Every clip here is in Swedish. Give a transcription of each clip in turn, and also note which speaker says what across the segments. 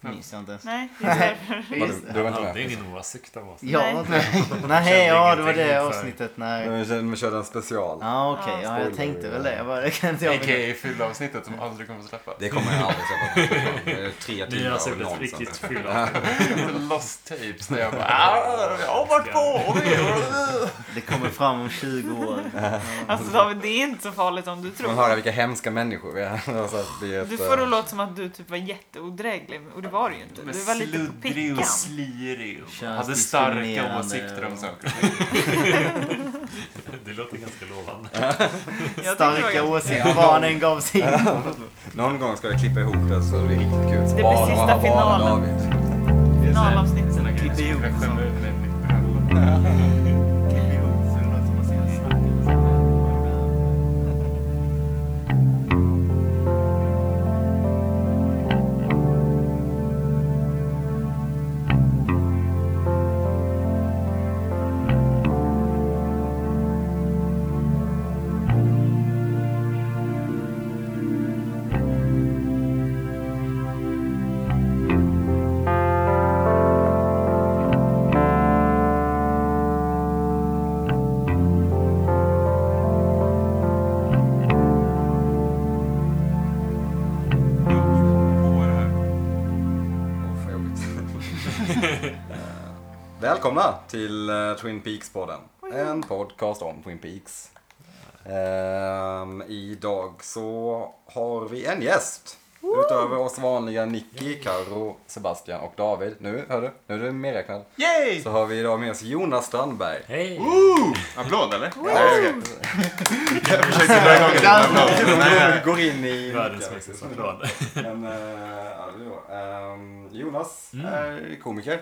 Speaker 1: minns jag inte ens.
Speaker 2: Nej, det är därför.
Speaker 3: Vadå,
Speaker 1: Just-
Speaker 3: Du var inte
Speaker 4: Han
Speaker 3: med?
Speaker 4: hade ingen åsikt om oss.
Speaker 1: Ja, nej,
Speaker 4: kände
Speaker 1: nej ja, det var
Speaker 4: ingenting
Speaker 1: det
Speaker 4: inför.
Speaker 1: avsnittet. Nej.
Speaker 3: Men vi- Vi körde en special.
Speaker 1: Ja, okej.
Speaker 2: Ja.
Speaker 1: ja, jag tänkte väl det. Jag bara, det kan inte jag minnas.
Speaker 5: A.k.a. fyllavsnittet som aldrig kommer att släppas.
Speaker 3: Det kommer jag aldrig släppa. Det är Tre
Speaker 4: Ni
Speaker 3: timmar
Speaker 4: har
Speaker 3: av
Speaker 4: sett ett
Speaker 3: nonsens.
Speaker 4: riktigt fylla.
Speaker 5: Lost tapes när jag bara "Ah, jag har varit på och det.
Speaker 1: Det kommer fram om 20 år.
Speaker 2: Alltså David, det är inte så farligt om du
Speaker 3: Man
Speaker 2: tror.
Speaker 3: hör vilka hemska människor vi är. Alltså, att det är ett,
Speaker 2: Du får det
Speaker 3: eh,
Speaker 2: att låta som att du typ var jätteodräglig, och det var du ju inte.
Speaker 5: Men
Speaker 2: Du var lite på
Speaker 5: sluddrig
Speaker 2: pickan.
Speaker 5: och slirig och
Speaker 1: Känns
Speaker 5: hade starka
Speaker 1: diskriminerande
Speaker 5: åsikter om
Speaker 1: och-
Speaker 5: saker och ting.
Speaker 4: Det låter ganska lovande.
Speaker 2: Jag tycker det
Speaker 1: Starka
Speaker 2: var-
Speaker 1: åsikter. Vad han än gav sig in på.
Speaker 3: Någon gång ska jag klippa ihop det så det blir riktigt kul.
Speaker 2: blir
Speaker 3: Bara-
Speaker 2: sista
Speaker 3: bara- bara
Speaker 2: finalen.
Speaker 3: David.
Speaker 2: Finalavsnittet.
Speaker 5: Sådana grejer som jag skämmer ut mig mitt på helgen.
Speaker 3: Åh, vad jobbigt. Eh, Välkomna till eh, Twin Peaks-podden. En podcast om Twin Peaks. Ehm, idag så har vi en gäst. Utöver oss vanliga Nicky, Karo, Sebastian och David. Nu, hör du? Nu är du medräknad.
Speaker 5: Yay!
Speaker 3: Så har vi idag med oss Jonas Strandberg.
Speaker 4: Hej!
Speaker 5: Applåd eller?
Speaker 3: Jag försökte dra igång
Speaker 5: det,
Speaker 3: det. Går in i...
Speaker 4: Världens mest applåd.
Speaker 3: Men, eh, ja, det var, ehm, Jonas
Speaker 4: Mm.
Speaker 3: är komiker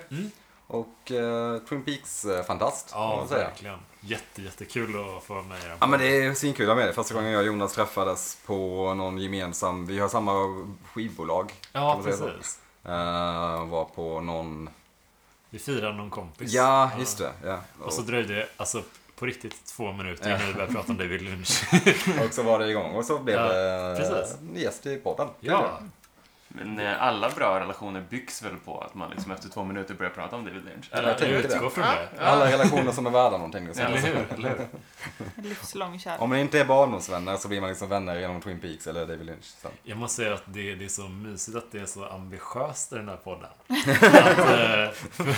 Speaker 3: och eh, Twin Peaks-fantast.
Speaker 4: Ja, verkligen. Jätte, jättekul att få vara med i den.
Speaker 3: Ja men det är svinkul att ha med dig. Första gången jag och Jonas träffades på någon gemensam, vi har samma skivbolag.
Speaker 4: Ja,
Speaker 3: man säga så?
Speaker 4: precis.
Speaker 3: Eh, var på någon,
Speaker 4: Vi firar någon kompis.
Speaker 3: ja just det. Ja.
Speaker 4: Och så dröjde det alltså på riktigt två minuter innan vi började prata om David Lynch.
Speaker 3: och så var det igång och så blev
Speaker 4: Ja,
Speaker 3: det
Speaker 4: precis.
Speaker 3: en gäst i podden.
Speaker 4: Ja,
Speaker 5: Men eh, alla bra relationer byggs väl på att man liksom efter två minuter börjar prata om David Lynch?
Speaker 3: Ja,
Speaker 5: Eller?
Speaker 3: jag
Speaker 4: jag
Speaker 3: tänker det.
Speaker 4: utgår från det.
Speaker 3: Alla relationer som är värda någonting. liksom.
Speaker 4: Eller hur? Eller hur?
Speaker 2: Livslång kärlek.
Speaker 3: Om man inte är barndomsvänner så blir man liksom vänner genom Twin Peaks eller David Lynch. Sen.
Speaker 4: Jag måste säga att det, det är så mysigt att det är så ambitiöst i den här podden. Att, eh, för,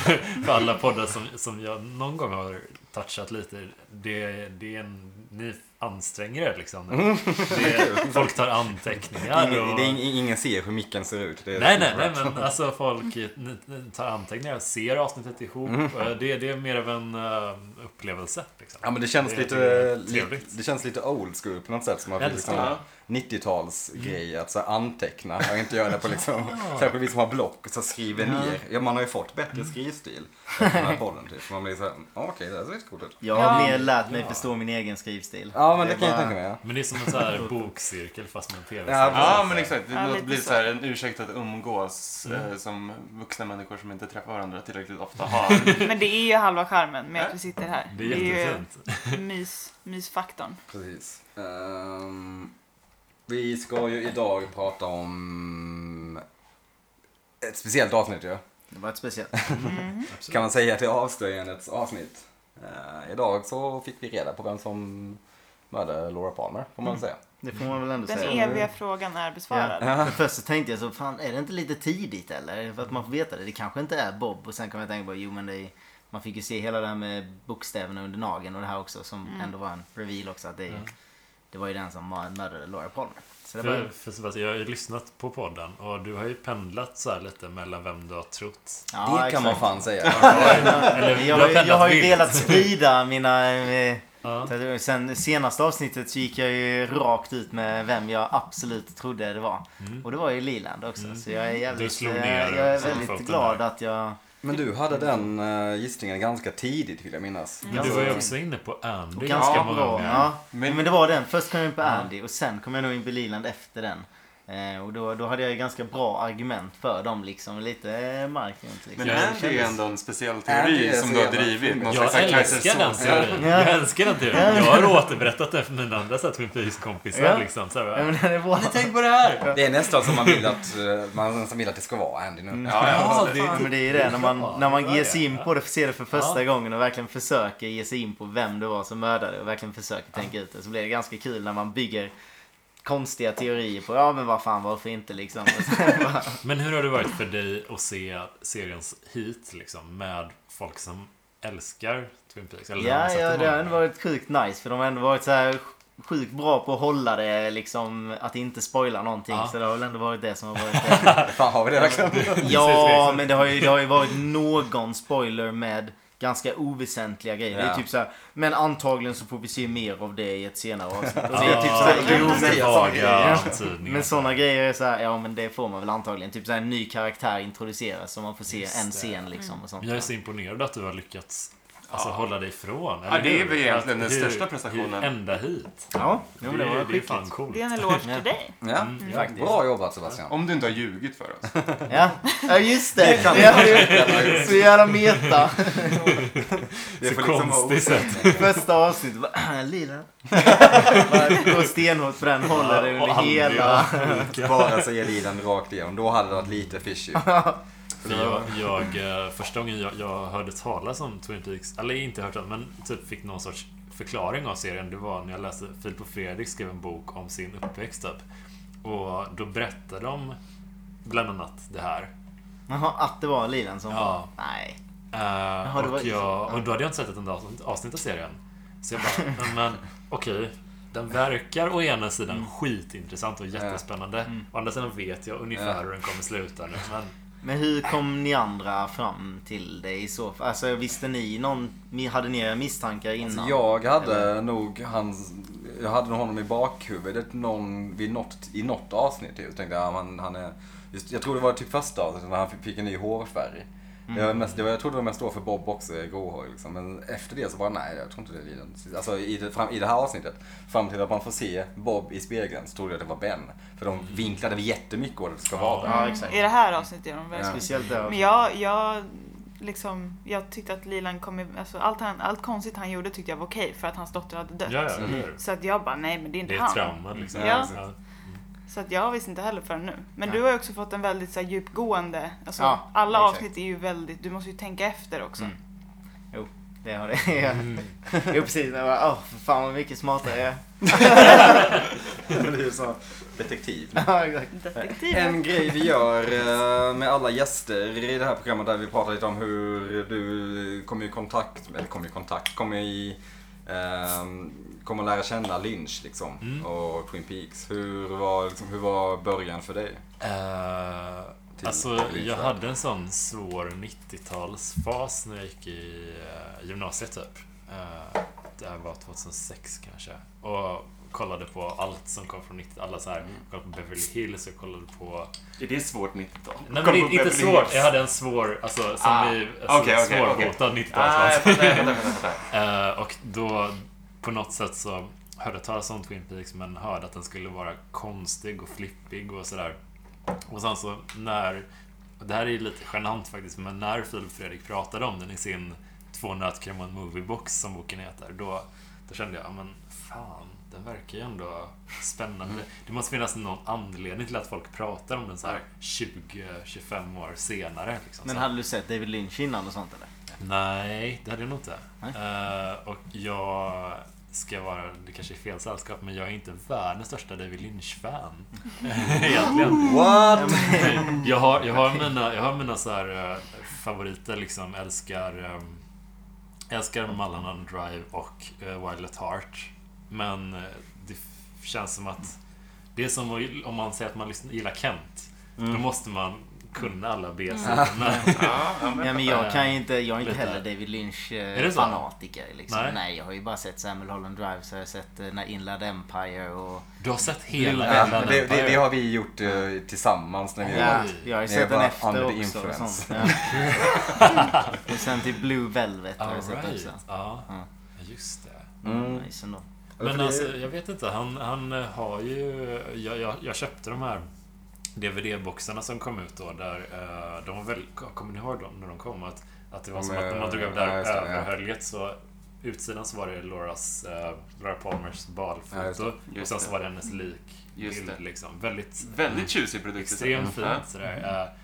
Speaker 4: för alla poddar som, som jag någon gång har touchat lite, det, det är en, ni anstränger er liksom. Det, folk tar anteckningar
Speaker 3: Mm. Ingen,
Speaker 4: och...
Speaker 3: det är ing, ingen ser hur micken ser ut. Det är
Speaker 4: Nej, nej, nej, men alltså folk eh, ni- ni tar anteckningar, ser avsnittet ihop. Eh, Det, det är mer av en eh, upplevelse. Liksom.
Speaker 3: Mm. Ja men det känns
Speaker 4: Det-
Speaker 3: lite, eh,
Speaker 4: det är
Speaker 3: li,
Speaker 4: trevligt.
Speaker 3: det känns lite old school på något sätt. Som man fick
Speaker 4: Älskar
Speaker 3: liksom 90-talsgrej
Speaker 4: Mm.
Speaker 3: att så här, anteckna och inte göra det på liksom, särskilt vi som har block, så skriver ner. Ja man har ju fått
Speaker 4: Mm.
Speaker 3: bättre skrivstil efter den här podden typ. Man blir såhär, ah, okej det där ser lite coolt ut.
Speaker 1: Jag har
Speaker 2: Ja.
Speaker 1: mer lärt mig förstå min egen skrivstil.
Speaker 3: Ja men det, kan jag
Speaker 1: var-
Speaker 3: tänka mig. Ja.
Speaker 4: Men det är som en sån här bokcirkel fast med en
Speaker 3: Ja,
Speaker 4: tv-serie.
Speaker 5: Ja, men exakt. Det
Speaker 2: Ja,
Speaker 5: ja,
Speaker 2: lite
Speaker 5: blir
Speaker 2: så.
Speaker 5: så här en ursäkt att umgås eh, som vuxna människor som inte träffar varandra tillräckligt ofta har.
Speaker 2: Men det är ju halva skärmen med att vi sitter här.
Speaker 4: Det är jättefint.
Speaker 2: ju mys, mysfaktorn.
Speaker 3: Precis. Ehm, vi ska ju idag prata om ett speciellt avsnitt ju.
Speaker 1: Det var ett speciellt.
Speaker 3: kan man säga till avslöjandets avsnitt. Eh, idag så fick vi reda på vem som mördade Laura Palmer, får
Speaker 4: Mm.
Speaker 3: man säga.
Speaker 1: Det får man väl ändå
Speaker 2: Den
Speaker 1: säga.
Speaker 2: eviga frågan är besvarad.
Speaker 1: Ja. Men först så tänkte jag så, fan är det inte lite tidigt eller? För att man får veta det. Det kanske inte är Bob. Och sen kom jag att tänka på, jo men det är, man fick ju se hela det här med bokstäverna under nageln och det här också som ändå var en reveal också. Att det, det var ju den som mör- mördade Laura Palmer. Så det var
Speaker 4: För,
Speaker 1: ju,
Speaker 4: för Sebastian, jag har ju lyssnat på podden och du har ju pendlat så här lite mellan vem du har trott.
Speaker 1: ja,
Speaker 3: det kan
Speaker 1: exakt.
Speaker 3: man fan säga.
Speaker 4: Eller
Speaker 1: Men
Speaker 4: du
Speaker 1: Jag,
Speaker 4: har
Speaker 1: har ju-
Speaker 4: pendlat
Speaker 1: jag har ju
Speaker 4: vilt.
Speaker 1: velat sprida mina... eh,
Speaker 4: Ja.
Speaker 1: tatueringar. Sen senaste avsnittet så gick jag ju rakt ut med vem jag absolut trodde det var. Och det var ju Liland också. Så jag är jävligt,
Speaker 4: Mm. slog
Speaker 1: eh,
Speaker 4: ner
Speaker 1: jag är
Speaker 4: som
Speaker 1: väldigt
Speaker 4: foten
Speaker 1: glad
Speaker 4: där.
Speaker 1: att jag...
Speaker 3: Men du hade den eh, gissningen ganska tidigt vill jag minnas.
Speaker 4: Men du var ju också inne på Andy ganska
Speaker 1: Ganska
Speaker 4: många
Speaker 1: bra.
Speaker 4: gånger.
Speaker 1: Ja.
Speaker 5: Men-
Speaker 1: Men... men det var den. Först kom jag in på Andy och sen kom jag nog in på Liland efter den. Eh, och då, då hade jag ju ganska bra argument för dem liksom. Lite eh, mark runt liksom.
Speaker 5: Men
Speaker 4: Ja,
Speaker 5: det
Speaker 4: det
Speaker 5: här är ju
Speaker 1: kändes-
Speaker 5: ändå en speciell
Speaker 3: Andy
Speaker 5: teori
Speaker 3: är
Speaker 5: som
Speaker 3: så
Speaker 5: du har
Speaker 3: jävla
Speaker 5: drivit.
Speaker 3: ful.
Speaker 5: Någon
Speaker 4: Jag
Speaker 5: slags sån här
Speaker 4: älskar den
Speaker 5: kaisersås-
Speaker 4: teorin. Jag älskar den teorin. Jag har återberättat den för mina andra så här Twin Peaks-kompisar.
Speaker 1: Ja.
Speaker 4: Liksom, så här,
Speaker 1: Ja,
Speaker 4: bara,
Speaker 1: men den är bra.
Speaker 4: "Har ni tänkt på det här?
Speaker 3: Det är nästan som man vill att, eh, man som vill att det ska vara Andy
Speaker 4: Mm.
Speaker 3: nu.
Speaker 5: Ja, ja.
Speaker 4: Ja,
Speaker 1: Ja,
Speaker 4: det,
Speaker 1: men det är ju det, när
Speaker 4: Ja,
Speaker 1: man, när
Speaker 4: det
Speaker 1: man
Speaker 4: var
Speaker 1: ger
Speaker 4: det.
Speaker 1: sig in på det, ser det för första
Speaker 4: Ja.
Speaker 1: gången och verkligen försöker ge sig in på vem det var som mördade och verkligen försöker tänka ut det. Så blir det ganska kul när man bygger konstiga teorier på, ja men vad fan varför inte liksom. Och sen bara,
Speaker 4: men hur har det varit för dig att se seriens hit liksom, med folk som älskar Twin Peaks? Eller har
Speaker 1: ja,
Speaker 4: sett
Speaker 1: ja
Speaker 4: dem
Speaker 1: det har
Speaker 4: många
Speaker 1: ändå
Speaker 4: gånger?
Speaker 1: varit sjukt nice för de har ändå varit så här sjukt bra på att hålla det liksom, att inte spoila någonting.
Speaker 4: Ja.
Speaker 1: Så det har väl ändå varit det som har varit det.
Speaker 3: Fan har vi det verkligen?
Speaker 4: Mm.
Speaker 1: Ja, men det har, ju, det har ju varit någon spoiler med ganska oväsentliga grejer. Det
Speaker 3: Ja.
Speaker 1: är typ så här, men antagligen så får vi se mer av det i ett senare avsnitt. Och
Speaker 4: Ja,
Speaker 1: det är typ så här, jo, men,
Speaker 3: precis.
Speaker 4: vaga
Speaker 1: Ja.
Speaker 4: antydningar.
Speaker 1: men sådana grejer är så här, ja men det får man väl antagligen. Typ så här, en ny karaktär introduceras så man får se
Speaker 4: Just
Speaker 1: en
Speaker 4: det.
Speaker 1: scen liksom och sånt.
Speaker 4: Men Jag är så imponerad att du har lyckats alltså,
Speaker 5: Ja.
Speaker 4: hålla dig ifrån.
Speaker 5: Ja, det är
Speaker 4: hur?
Speaker 5: väl egentligen
Speaker 4: Att
Speaker 5: den
Speaker 4: hur-
Speaker 5: största prestationen.
Speaker 4: hur Ända hit.
Speaker 1: Ja, jo, men det
Speaker 4: är-
Speaker 1: var
Speaker 4: det är fan
Speaker 1: skickligt.
Speaker 4: coolt.
Speaker 2: Det är en eloge till dig.
Speaker 3: Ja,
Speaker 4: Mm,
Speaker 1: faktiskt.
Speaker 3: bra jobbat Sebastian.
Speaker 5: Om du inte har ljugit för oss.
Speaker 1: Ja. ja, just det. det har ju, så jävla meta.
Speaker 3: Det
Speaker 4: Så
Speaker 3: får liksom vara
Speaker 4: konstigt sätt.
Speaker 1: Första avsnittet bara, lila. Bara Gå stenhårt på den, håller det
Speaker 4: Och
Speaker 1: under
Speaker 4: aldrig
Speaker 1: hela.
Speaker 4: avbrukat.
Speaker 3: Bara säga lidan rakt igenom, då hade det varit lite fishy.
Speaker 4: För Jag, jag, eh, första gången jag, jag hörde talas om Twin Peaks, eller inte hört talas men typ fick någon sorts förklaring av serien, det var när jag läste Filip och Fredrik skrev en bok om sin uppväxt typ. Och då berättade de bland annat det här.
Speaker 1: Jaha, att det var lilan som
Speaker 4: Ja.
Speaker 1: var, nej.
Speaker 4: Eh,
Speaker 1: det var-
Speaker 4: och, jag, och då hade jag inte sett ett enda avsnitt- avsnitt av serien. Så jag bara, "Nej, men okej. Den verkar å ena sidan skitintressant och jättespännande. Å andra sidan vet jag ungefär
Speaker 3: Ja.
Speaker 4: hur den kommer sluta nu. Men
Speaker 1: Men hur kom ni andra fram till det i så fall? Alltså visste ni någon, ni- hade ni era misstankar innan?
Speaker 3: Alltså, jag hade nog hans, jag hade nog honom i bakhuvudet någon, vid något, i något avsnitt. Jag tänkte ja, han, han är, just, jag tror det var typ första avsnittet när han fick en ny hårfärg. Det var mest, det var, jag trodde det var mest då för Bob också, gråhårig liksom. Men efter det så bara nej, jag tror inte det är Liden. Alltså i det, fram, i det här avsnittet, fram till att man får se Bob i spegeln så trodde jag det var Ben. För de vinklade jättemycket vad det ska vara.
Speaker 1: Ja, exakt.
Speaker 2: I det här avsnittet är de
Speaker 3: Ja.
Speaker 2: väldigt
Speaker 1: Speciellt där.
Speaker 2: Mm. Men jag, jag, liksom, jag tyckte att Lilan kom i, alltså, allt, han, allt konstigt han gjorde tyckte jag var okej för att hans dotter hade dött.
Speaker 4: ja, ja, det är-
Speaker 2: Så att jag bara, nej men det är inte
Speaker 4: det är
Speaker 2: han.
Speaker 4: ett trauma liksom.
Speaker 2: Ja.
Speaker 3: alltså,
Speaker 4: Ja.
Speaker 2: Så att jag visste inte heller förrän nu. Men
Speaker 1: Nej.
Speaker 2: du har ju också fått en väldigt så här, djupgående, alltså,
Speaker 1: Ja,
Speaker 2: alla
Speaker 1: exakt.
Speaker 2: avsnitt är ju väldigt, du måste ju tänka efter också.
Speaker 1: Mm. Det har det. Ja. Jo precis, jag bara, åh för fan vad mycket smartare jag är.
Speaker 3: Men det är ju så detektiv.
Speaker 1: Ja, exakt.
Speaker 2: Detektiven.
Speaker 3: En grej vi gör eh, med alla gäster i det här programmet där vi pratar lite om hur du kommer i kontakt, eller kommer i kontakt, kommer i ehm, kommer lära känna Lynch liksom och Twin Peaks. Hur var, liksom, hur var början för dig?
Speaker 4: Eh,
Speaker 3: Till-
Speaker 4: alltså,
Speaker 3: till
Speaker 4: jag
Speaker 3: Lisa.
Speaker 4: hade en sån svår 90-talsfas när jag gick i eh, gymnasiet typ. Eh, det här var 2006 kanske. Och kollade på allt som kom från 90 Alla så här,
Speaker 5: Mm.
Speaker 4: jag kollade på Beverly Hills, jag kollade på...
Speaker 5: Är det svårt 90-tal?
Speaker 4: Nej men
Speaker 5: Kom på
Speaker 4: inte, inte
Speaker 5: Beverly
Speaker 4: svårt.
Speaker 5: Hills.
Speaker 4: Jag hade en svår, alltså som
Speaker 5: Ah,
Speaker 4: i... Alltså,
Speaker 5: okej, okej,
Speaker 4: svårbotad
Speaker 5: Ah,
Speaker 4: 90-talsfas.
Speaker 5: jag fattar, jag fattar, jag fattar.
Speaker 4: Eh, och då på något sätt så hörde jag talas om Twin Peaks men hörde att den skulle vara konstig och flippig och sådär. Och sen så när, och det här är ju lite genant faktiskt, men när Filip och Fredrik pratade om den i sin Två nötkräm och en moviebox som boken heter, då, då kände jag, ja men fan, den verkar ju ändå spännande.
Speaker 1: Mm.
Speaker 4: Det måste finnas någon anledning till att folk pratar om den så här 20-25 år senare. Liksom,
Speaker 1: Men
Speaker 4: Så-
Speaker 1: hade du sett David Lynch innan och sånt eller?
Speaker 4: Nej, det hade jag nog inte.
Speaker 1: Nej.
Speaker 4: Eh, och jag ska vara, det kanske är fel sällskap, men jag är inte världens största David Lynch-fan. Egentligen.
Speaker 3: What?
Speaker 4: Jag har, jag har mina, jag har mina så här, eh, favoriter liksom. Älskar, um, älskar Mulholland Drive och uh, Wild at Heart. Men eh, det f- känns som att det är som att- om man säger att man lyssnar, gillar Kent. Då måste man kunna alla B-sidorna.
Speaker 5: Ja, ja, men-
Speaker 1: Ja, men jag kan ju inte, jag är inte
Speaker 4: Lite.
Speaker 1: heller David Lynch eh,
Speaker 4: Är det så?
Speaker 1: fanatiker liksom.
Speaker 4: Nej.
Speaker 1: Nej. jag har ju bara sett Samuel Holland Drive så har jag sett eh, när Inland Empire och...
Speaker 4: Du har sett hela
Speaker 3: Ja,
Speaker 4: Inland
Speaker 3: det, det,
Speaker 4: Empire.
Speaker 3: det har vi gjort eh, tillsammans när vi
Speaker 1: Ja, jag har ju
Speaker 3: Det är
Speaker 1: sett den
Speaker 3: bara
Speaker 1: efter
Speaker 3: under
Speaker 1: också. Och
Speaker 3: influence.
Speaker 1: sånt. Ja. och sen till Blue Velvet har jag sett
Speaker 4: Alright,
Speaker 1: också.
Speaker 4: ja.
Speaker 1: Ja.
Speaker 4: Just det.
Speaker 3: Mm.
Speaker 1: Nice ändå.
Speaker 3: för
Speaker 4: Men
Speaker 3: det-
Speaker 4: alltså, jag vet inte. Han, han har ju... Jag, jag, jag köpte de här DVD-boxarna som kom ut då, där eh, de var väl, kommer ni ihåg dem när de kom? Att, att det var
Speaker 3: De
Speaker 4: som att när man drog över det
Speaker 3: är- ja,
Speaker 4: här
Speaker 3: just det, ja.
Speaker 4: överhöljet så utsidan så var det Lauras, eh, Laura Palmers
Speaker 3: Ja, just det.
Speaker 4: balfoto och
Speaker 5: Just
Speaker 4: sen
Speaker 5: det.
Speaker 4: så var det hennes lik
Speaker 5: Just
Speaker 4: bild,
Speaker 5: det.
Speaker 4: liksom. Väldigt
Speaker 5: Väldigt tjusig produkt. Mm.
Speaker 4: Extremt
Speaker 5: Ja.
Speaker 4: fint sådär. Eh,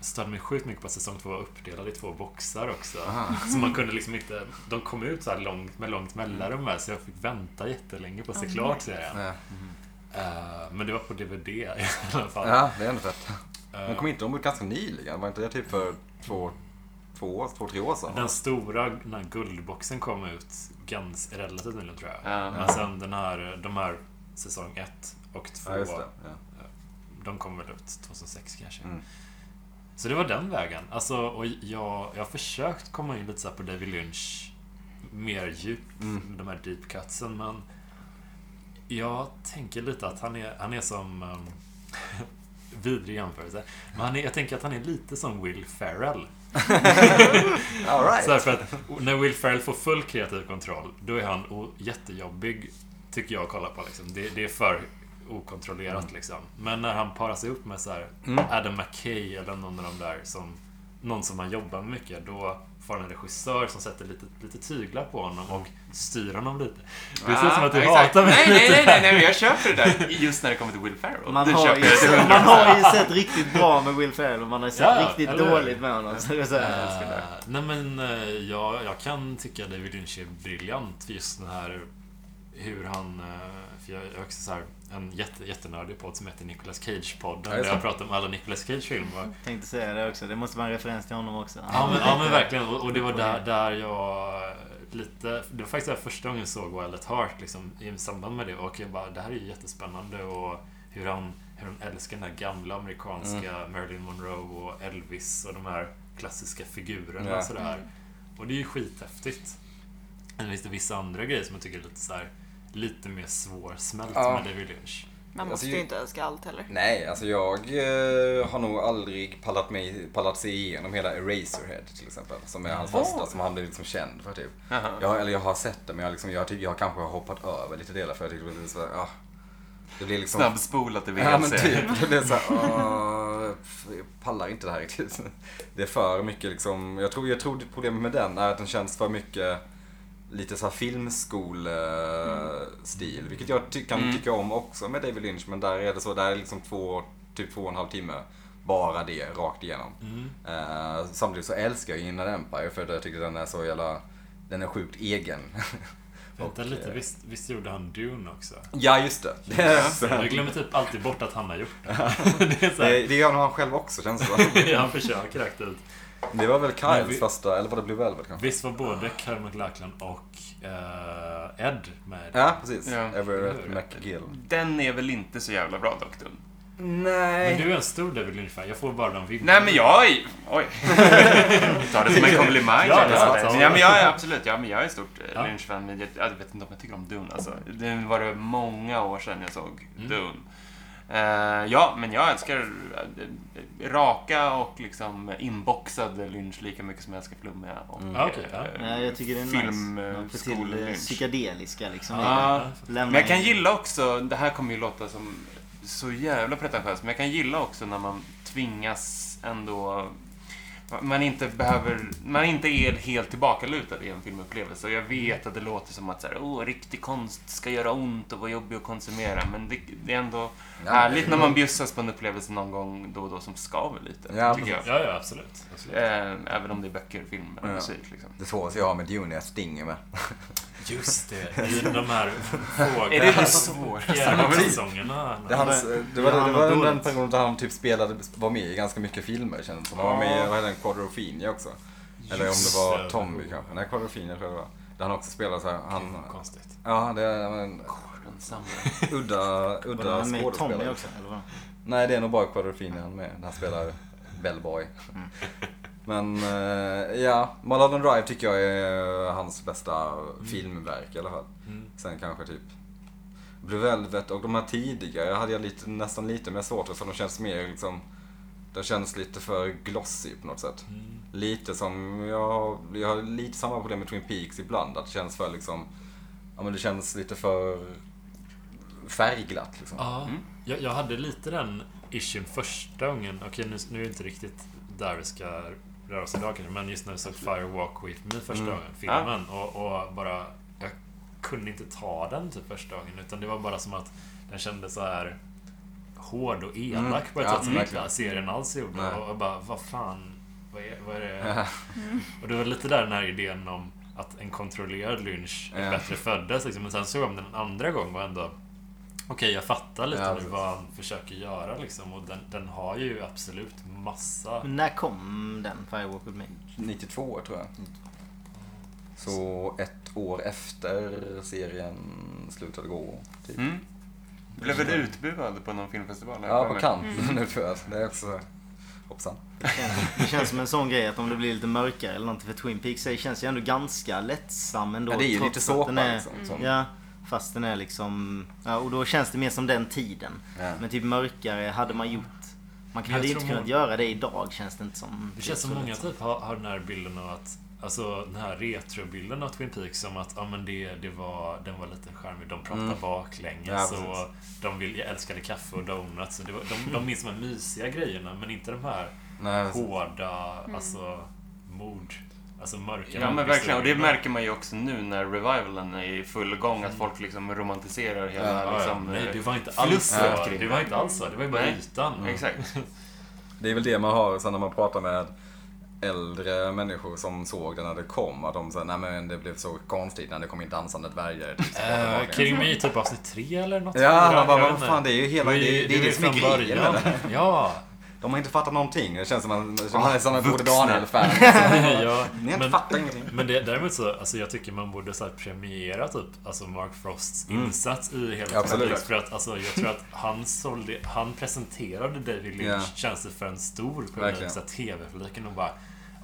Speaker 4: Störde mig sjukt mycket på att säsong två var uppdelad i två boxar också.
Speaker 3: Aha.
Speaker 4: Så man kunde liksom inte... De kom ut så här långt, med långt mellanrum här, så jag fick vänta jättelänge på att se
Speaker 2: Oh,
Speaker 4: klart
Speaker 2: nej.
Speaker 4: serien.
Speaker 3: Ja.
Speaker 4: Eh, Men det var på DVD i alla fall.
Speaker 3: ja, det är ändå fett. Den
Speaker 4: Eh,
Speaker 3: kom inte om ganska nyligen, var inte det typ för två, två, år- två tre år sedan?
Speaker 4: Den stora den här guldboxen kom ut ganska relativt nyligen tror jag.
Speaker 5: Ja.
Speaker 4: Men sen den här, de här säsong ett och två,
Speaker 3: Ja, just det. Ja.
Speaker 4: de kom väl ut 2006 kanske.
Speaker 3: Mm.
Speaker 4: Så det var den vägen. Alltså, och jag, jag har försökt komma in lite så här på David Lynch mer djup,
Speaker 3: Mm.
Speaker 4: de här deep cutsen, men jag tänker lite att han är, han är som... Um, vidrig jämförelse. Men han är, jag tänker att han är lite som Will Ferrell.
Speaker 3: All
Speaker 4: Så här,
Speaker 3: right.
Speaker 4: Alltså, för att när Will Ferrell får full kreativ kontroll, då är han o- jättejobbig, tycker jag att kolla på. Liksom. Det, det är för okontrollerat
Speaker 5: Mm.
Speaker 4: liksom. Men när han parar sig upp med så här,
Speaker 3: Mm.
Speaker 4: Adam McKay eller någon av de där som någon som han jobbar med mycket, då får han en regissör som sätter lite, lite tyglar på honom och styr honom lite. Det ser ut som att du
Speaker 5: Ja, Ah, exakt.
Speaker 4: hatar mig
Speaker 5: nej, nej,
Speaker 4: lite.
Speaker 5: nej, nej, nej, men jag köper det där. Just när det kommer till Will Ferrell.
Speaker 1: Man
Speaker 5: det
Speaker 1: har,
Speaker 5: köper
Speaker 1: ju,
Speaker 5: jag till
Speaker 1: man
Speaker 5: 100%.
Speaker 1: har ju sett riktigt bra med Will Ferrell och man har ju sett
Speaker 4: Ja,
Speaker 1: riktigt
Speaker 4: eller hur?
Speaker 1: dåligt med honom. Så det är så här,
Speaker 4: Eh, nej men eh, jag, jag kan tycka David Lynch är briljant för just den här hur han, eh, för jag jag är också så här, en jätte, jättenördig podd som heter Nicolas Cage-podden
Speaker 3: Ja, just
Speaker 4: där
Speaker 3: det.
Speaker 4: jag pratar om alla Nicolas Cage-filmer.
Speaker 1: tänkte säga det också. Det måste vara en referens till honom också.
Speaker 4: Ja men, ja, men verkligen. Och, och det var där, där jag lite... Det var faktiskt där första gången jag såg Wild at Heart liksom, i samband med det. Och jag bara, det här är ju jättespännande och hur han, hur han älskar den här gamla amerikanska
Speaker 3: Mm.
Speaker 4: Marilyn Monroe och Elvis och de här klassiska figurerna
Speaker 3: Ja.
Speaker 4: och sådär. Och det är ju skithäftigt. Men finns det vissa andra grejer som jag tycker är lite så här lite mer svårsmält
Speaker 3: Ja.
Speaker 4: med David Lynch.
Speaker 2: Man måste
Speaker 3: Alltså, ju-
Speaker 2: ju inte älska allt heller.
Speaker 3: Nej, alltså jag eh, har nog aldrig pallat, mig, pallat sig igenom hela Eraserhead till exempel. Som är hans
Speaker 2: Jaha.
Speaker 3: första, som han blev liksom känd för typ.
Speaker 5: Jaha.
Speaker 3: Jag, eller jag har sett det, men jag, liksom, jag, tycker jag kanske har hoppat över lite delar för jag tycker det blir så här, ah, Det blir liksom...
Speaker 5: Snabbspolat i VLC.
Speaker 3: Ja men typ, det blir så här, ah, f- jag pallar inte det här riktigt. Det är för mycket liksom, jag tror, jag tror det problemet med den är att den känns för mycket lite så här filmskolstil. Vilket jag ty- kan tycka om också med David Lynch, men där är det så, där är liksom två, typ två och en halv timme. Bara det, rakt igenom. Eh, samtidigt så älskar jag Inland Empire för att jag tycker den är så jävla, den är sjukt egen.
Speaker 4: Vänta
Speaker 3: Och,
Speaker 4: lite,
Speaker 3: eh,
Speaker 4: visst, visst gjorde han Dune också?
Speaker 3: Ja, just det. Det är,
Speaker 4: Jag glömmer typ alltid bort att han har gjort det. det är så här,
Speaker 3: det, det gör nog han själv också känns det som.
Speaker 4: han försöker aktivt.
Speaker 3: Det var väl Kyles
Speaker 4: Men vi-
Speaker 3: första, eller var det Blue Velvet kanske?
Speaker 4: Visst var både Kyle MacLachlan och eh, Ed med?
Speaker 3: Ja, precis.
Speaker 5: Ja.
Speaker 3: Everett McGill.
Speaker 5: Den är väl inte så jävla bra, Doktorn?
Speaker 4: Men
Speaker 3: Nej.
Speaker 4: du är en stor David Lynch-fan. Jag får bara de vibbarna.
Speaker 5: Nej, men jag är... Oj. Ta det som en komplimang.
Speaker 4: Ja,
Speaker 5: Ja,
Speaker 4: det är sant.
Speaker 5: ja, men jag är absolut... Ja, men jag är ett stort eh,
Speaker 4: Ja.
Speaker 5: Lynch-fan, men jag, jag vet inte om jag tycker om Dune. Alltså. Det var det många år sedan jag såg
Speaker 4: Mm.
Speaker 5: Dune. Eh, ja, men jag älskar eh, raka och liksom inboxade Lynch lika mycket som jag älskar flummiga och
Speaker 3: Mm.
Speaker 4: Ja, okej, ja.
Speaker 5: eh,
Speaker 1: Nej, jag tycker det är
Speaker 5: film,
Speaker 1: nice.
Speaker 5: eh,
Speaker 1: Man får
Speaker 5: skol-
Speaker 1: till eh,
Speaker 5: Lynch.
Speaker 1: psykedeliska liksom.
Speaker 5: Ja.
Speaker 1: Lämna
Speaker 5: Men jag kan
Speaker 1: in-
Speaker 5: gilla också, det här kommer ju låta som så jävla pretentiöst, men jag kan gilla också när man tvingas ändå man inte behöver, man inte är helt tillbakalutad i en filmupplevelse. Och jag vet att det låter som att så här, oh, riktig konst ska göra ont och vara jobbig att konsumera. Men det, det är ändå härligt när man bjussas på en upplevelse någon gång då och då som skaver lite.
Speaker 3: Ja,
Speaker 5: tycker jag.
Speaker 4: Ja, ja, absolut. absolut.
Speaker 5: Eh, Även om det är böcker, film eller
Speaker 3: Ja.
Speaker 5: musik. Liksom.
Speaker 3: Det svåraste jag har med Dune är att Stinger med.
Speaker 4: Just det, i de här
Speaker 5: Är det
Speaker 4: fåglarna.
Speaker 5: det svårt?
Speaker 4: Fjärilsångerna.
Speaker 3: Det, är hans, det var,
Speaker 1: Ja,
Speaker 3: det,
Speaker 1: han
Speaker 3: det
Speaker 1: var
Speaker 3: var den
Speaker 1: dåligt.
Speaker 3: perioden där han typ spelade, var med i ganska mycket filmer känns det som. Han var med i, vad heter den, Quadrophenia också. Eller om det
Speaker 4: Just
Speaker 3: var
Speaker 4: det.
Speaker 3: Tommy kanske. Nej, Quadrophenia tror jag det var. Där han också spelade så här, han...
Speaker 4: Konstigt.
Speaker 3: Ja, det är en udda,
Speaker 1: Var det
Speaker 3: udda
Speaker 1: han med i Tommy
Speaker 3: skådespelare.
Speaker 1: också? Eller vad?
Speaker 3: Nej, det är nog bara Quadrophenia han är med. Där han spelar Bellboy.
Speaker 4: Mm.
Speaker 3: Men eh, ja, Mulholland Drive tycker jag är eh, hans bästa filmverk i alla fall.
Speaker 4: Mm.
Speaker 3: Sen kanske typ Blue Velvet och de här tidigare hade jag lite, nästan lite mer svårt för. för De känns mer liksom, de känns lite för glossy på något sätt.
Speaker 4: Mm.
Speaker 3: Lite som, jag, jag har lite samma problem med Twin Peaks ibland. Att det känns för liksom, ja men det känns lite för färgglatt liksom.
Speaker 4: Ja, jag, jag hade lite den issuen första gången. Okej, nu, nu är det inte riktigt där vi ska röra oss idag kanske, men just när vi såg Fire Walk With Me första
Speaker 3: Mm.
Speaker 4: gången, filmen, och, och bara... Jag kunde inte ta den typ första gången, utan det var bara som att den kändes så här hård och elak
Speaker 3: Mm.
Speaker 4: på ett
Speaker 3: Ja,
Speaker 4: sätt som
Speaker 3: mm,
Speaker 4: inte
Speaker 3: verkligen.
Speaker 4: serien alls gjorde.
Speaker 3: Nej.
Speaker 4: Och jag bara, vad fan, vad är, vad är det? Och det var lite där den här idén om att en kontrollerad lynch är
Speaker 3: Ja.
Speaker 4: bättre föddes. Liksom. Men sen såg jag om den en andra gång och ändå... Okej, jag fattar lite
Speaker 3: Ja,
Speaker 4: nu
Speaker 3: precis.
Speaker 4: vad han försöker göra liksom. Och den, den har ju absolut massa...
Speaker 1: Men när kom den? Firewalk with me?
Speaker 3: 92 tror jag. Så ett år efter serien slutade gå. Typ.
Speaker 5: Mm. Blev väl utbuad på någon filmfestival? här
Speaker 3: Ja,
Speaker 5: för
Speaker 3: på
Speaker 5: mig.
Speaker 3: kant nu tror jag. Det är också... Hoppsan.
Speaker 1: Det känns- Det känns som en sån grej att om det blir lite mörkare eller någonting för Twin Peaks så känns ju ändå ganska lättsam ändå.
Speaker 3: Ja, det är ju
Speaker 1: trots
Speaker 3: lite
Speaker 1: att
Speaker 3: såpa
Speaker 1: den är-
Speaker 3: liksom. Som,
Speaker 1: Ja, fast den är liksom... Ja, och då känns det mer som den tiden.
Speaker 3: Ja.
Speaker 1: Men typ mörkare hade man gjort... Man
Speaker 4: Men jag
Speaker 1: hade ju
Speaker 4: tror
Speaker 1: inte kunnat
Speaker 4: många-
Speaker 1: göra det idag känns det inte som.
Speaker 4: Det känns som många typ har, har den här bilden av att Alltså den här retrobilden av Twin Peaks som att ja, men det, det var, den var lite charmig. De pratade
Speaker 3: Mm. Ja,
Speaker 4: baklänges och de vill, jag älskade kaffe och donuts. Och det var, de, de minns de här mysiga grejerna men inte de här
Speaker 3: Nej,
Speaker 4: hårda, alltså mord. Alltså mörka
Speaker 5: Ja men
Speaker 4: mordhistorier.
Speaker 5: verkligen, och det märker man ju också nu när revivalen är i full gång,
Speaker 3: Mm.
Speaker 5: att folk liksom romantiserar hela
Speaker 4: Ja, ja,
Speaker 5: liksom...
Speaker 4: Nej,
Speaker 5: eh,
Speaker 4: det var inte alls så.
Speaker 5: fluffet kring
Speaker 4: Det var inte alls så. Det var ju bara
Speaker 5: Nej.
Speaker 4: ytan.
Speaker 5: Exakt.
Speaker 3: Det är väl det man har sen när man pratar med äldre människor som såg den när det kom. Att de säger nej men det blev så konstigt när det kom in dansande dvärgar. Typ, så
Speaker 4: Eh,
Speaker 3: tillbaka.
Speaker 4: Kring mig typ avsnitt tre eller något.
Speaker 3: ja, man bara,
Speaker 4: Jag
Speaker 3: vad
Speaker 4: vet inte.
Speaker 3: fan det är ju hela, det,
Speaker 4: var ju-
Speaker 3: det, är
Speaker 4: var
Speaker 3: det
Speaker 4: ju
Speaker 3: som är
Speaker 4: från
Speaker 3: grejen med
Speaker 4: början.
Speaker 3: det.
Speaker 4: Ja.
Speaker 3: De har inte fattat någonting. Det känns som att man, man är som ett Både
Speaker 5: vuxna.
Speaker 3: Daniel-fan.
Speaker 4: ja.
Speaker 3: Ni har inte
Speaker 4: Men-
Speaker 3: fattat ingenting.
Speaker 4: Men det, däremot så, alltså jag tycker man borde så här premiera typ, alltså Mark Frosts insats i hela
Speaker 3: Ja, Mm. absolut.
Speaker 4: Twin Peaks. För att alltså, jag tror att han sålde, han presenterade David Lynch
Speaker 3: Ja.
Speaker 4: tjänster för en stor
Speaker 3: Verkligen.
Speaker 4: publik, så här TV-publiken och bara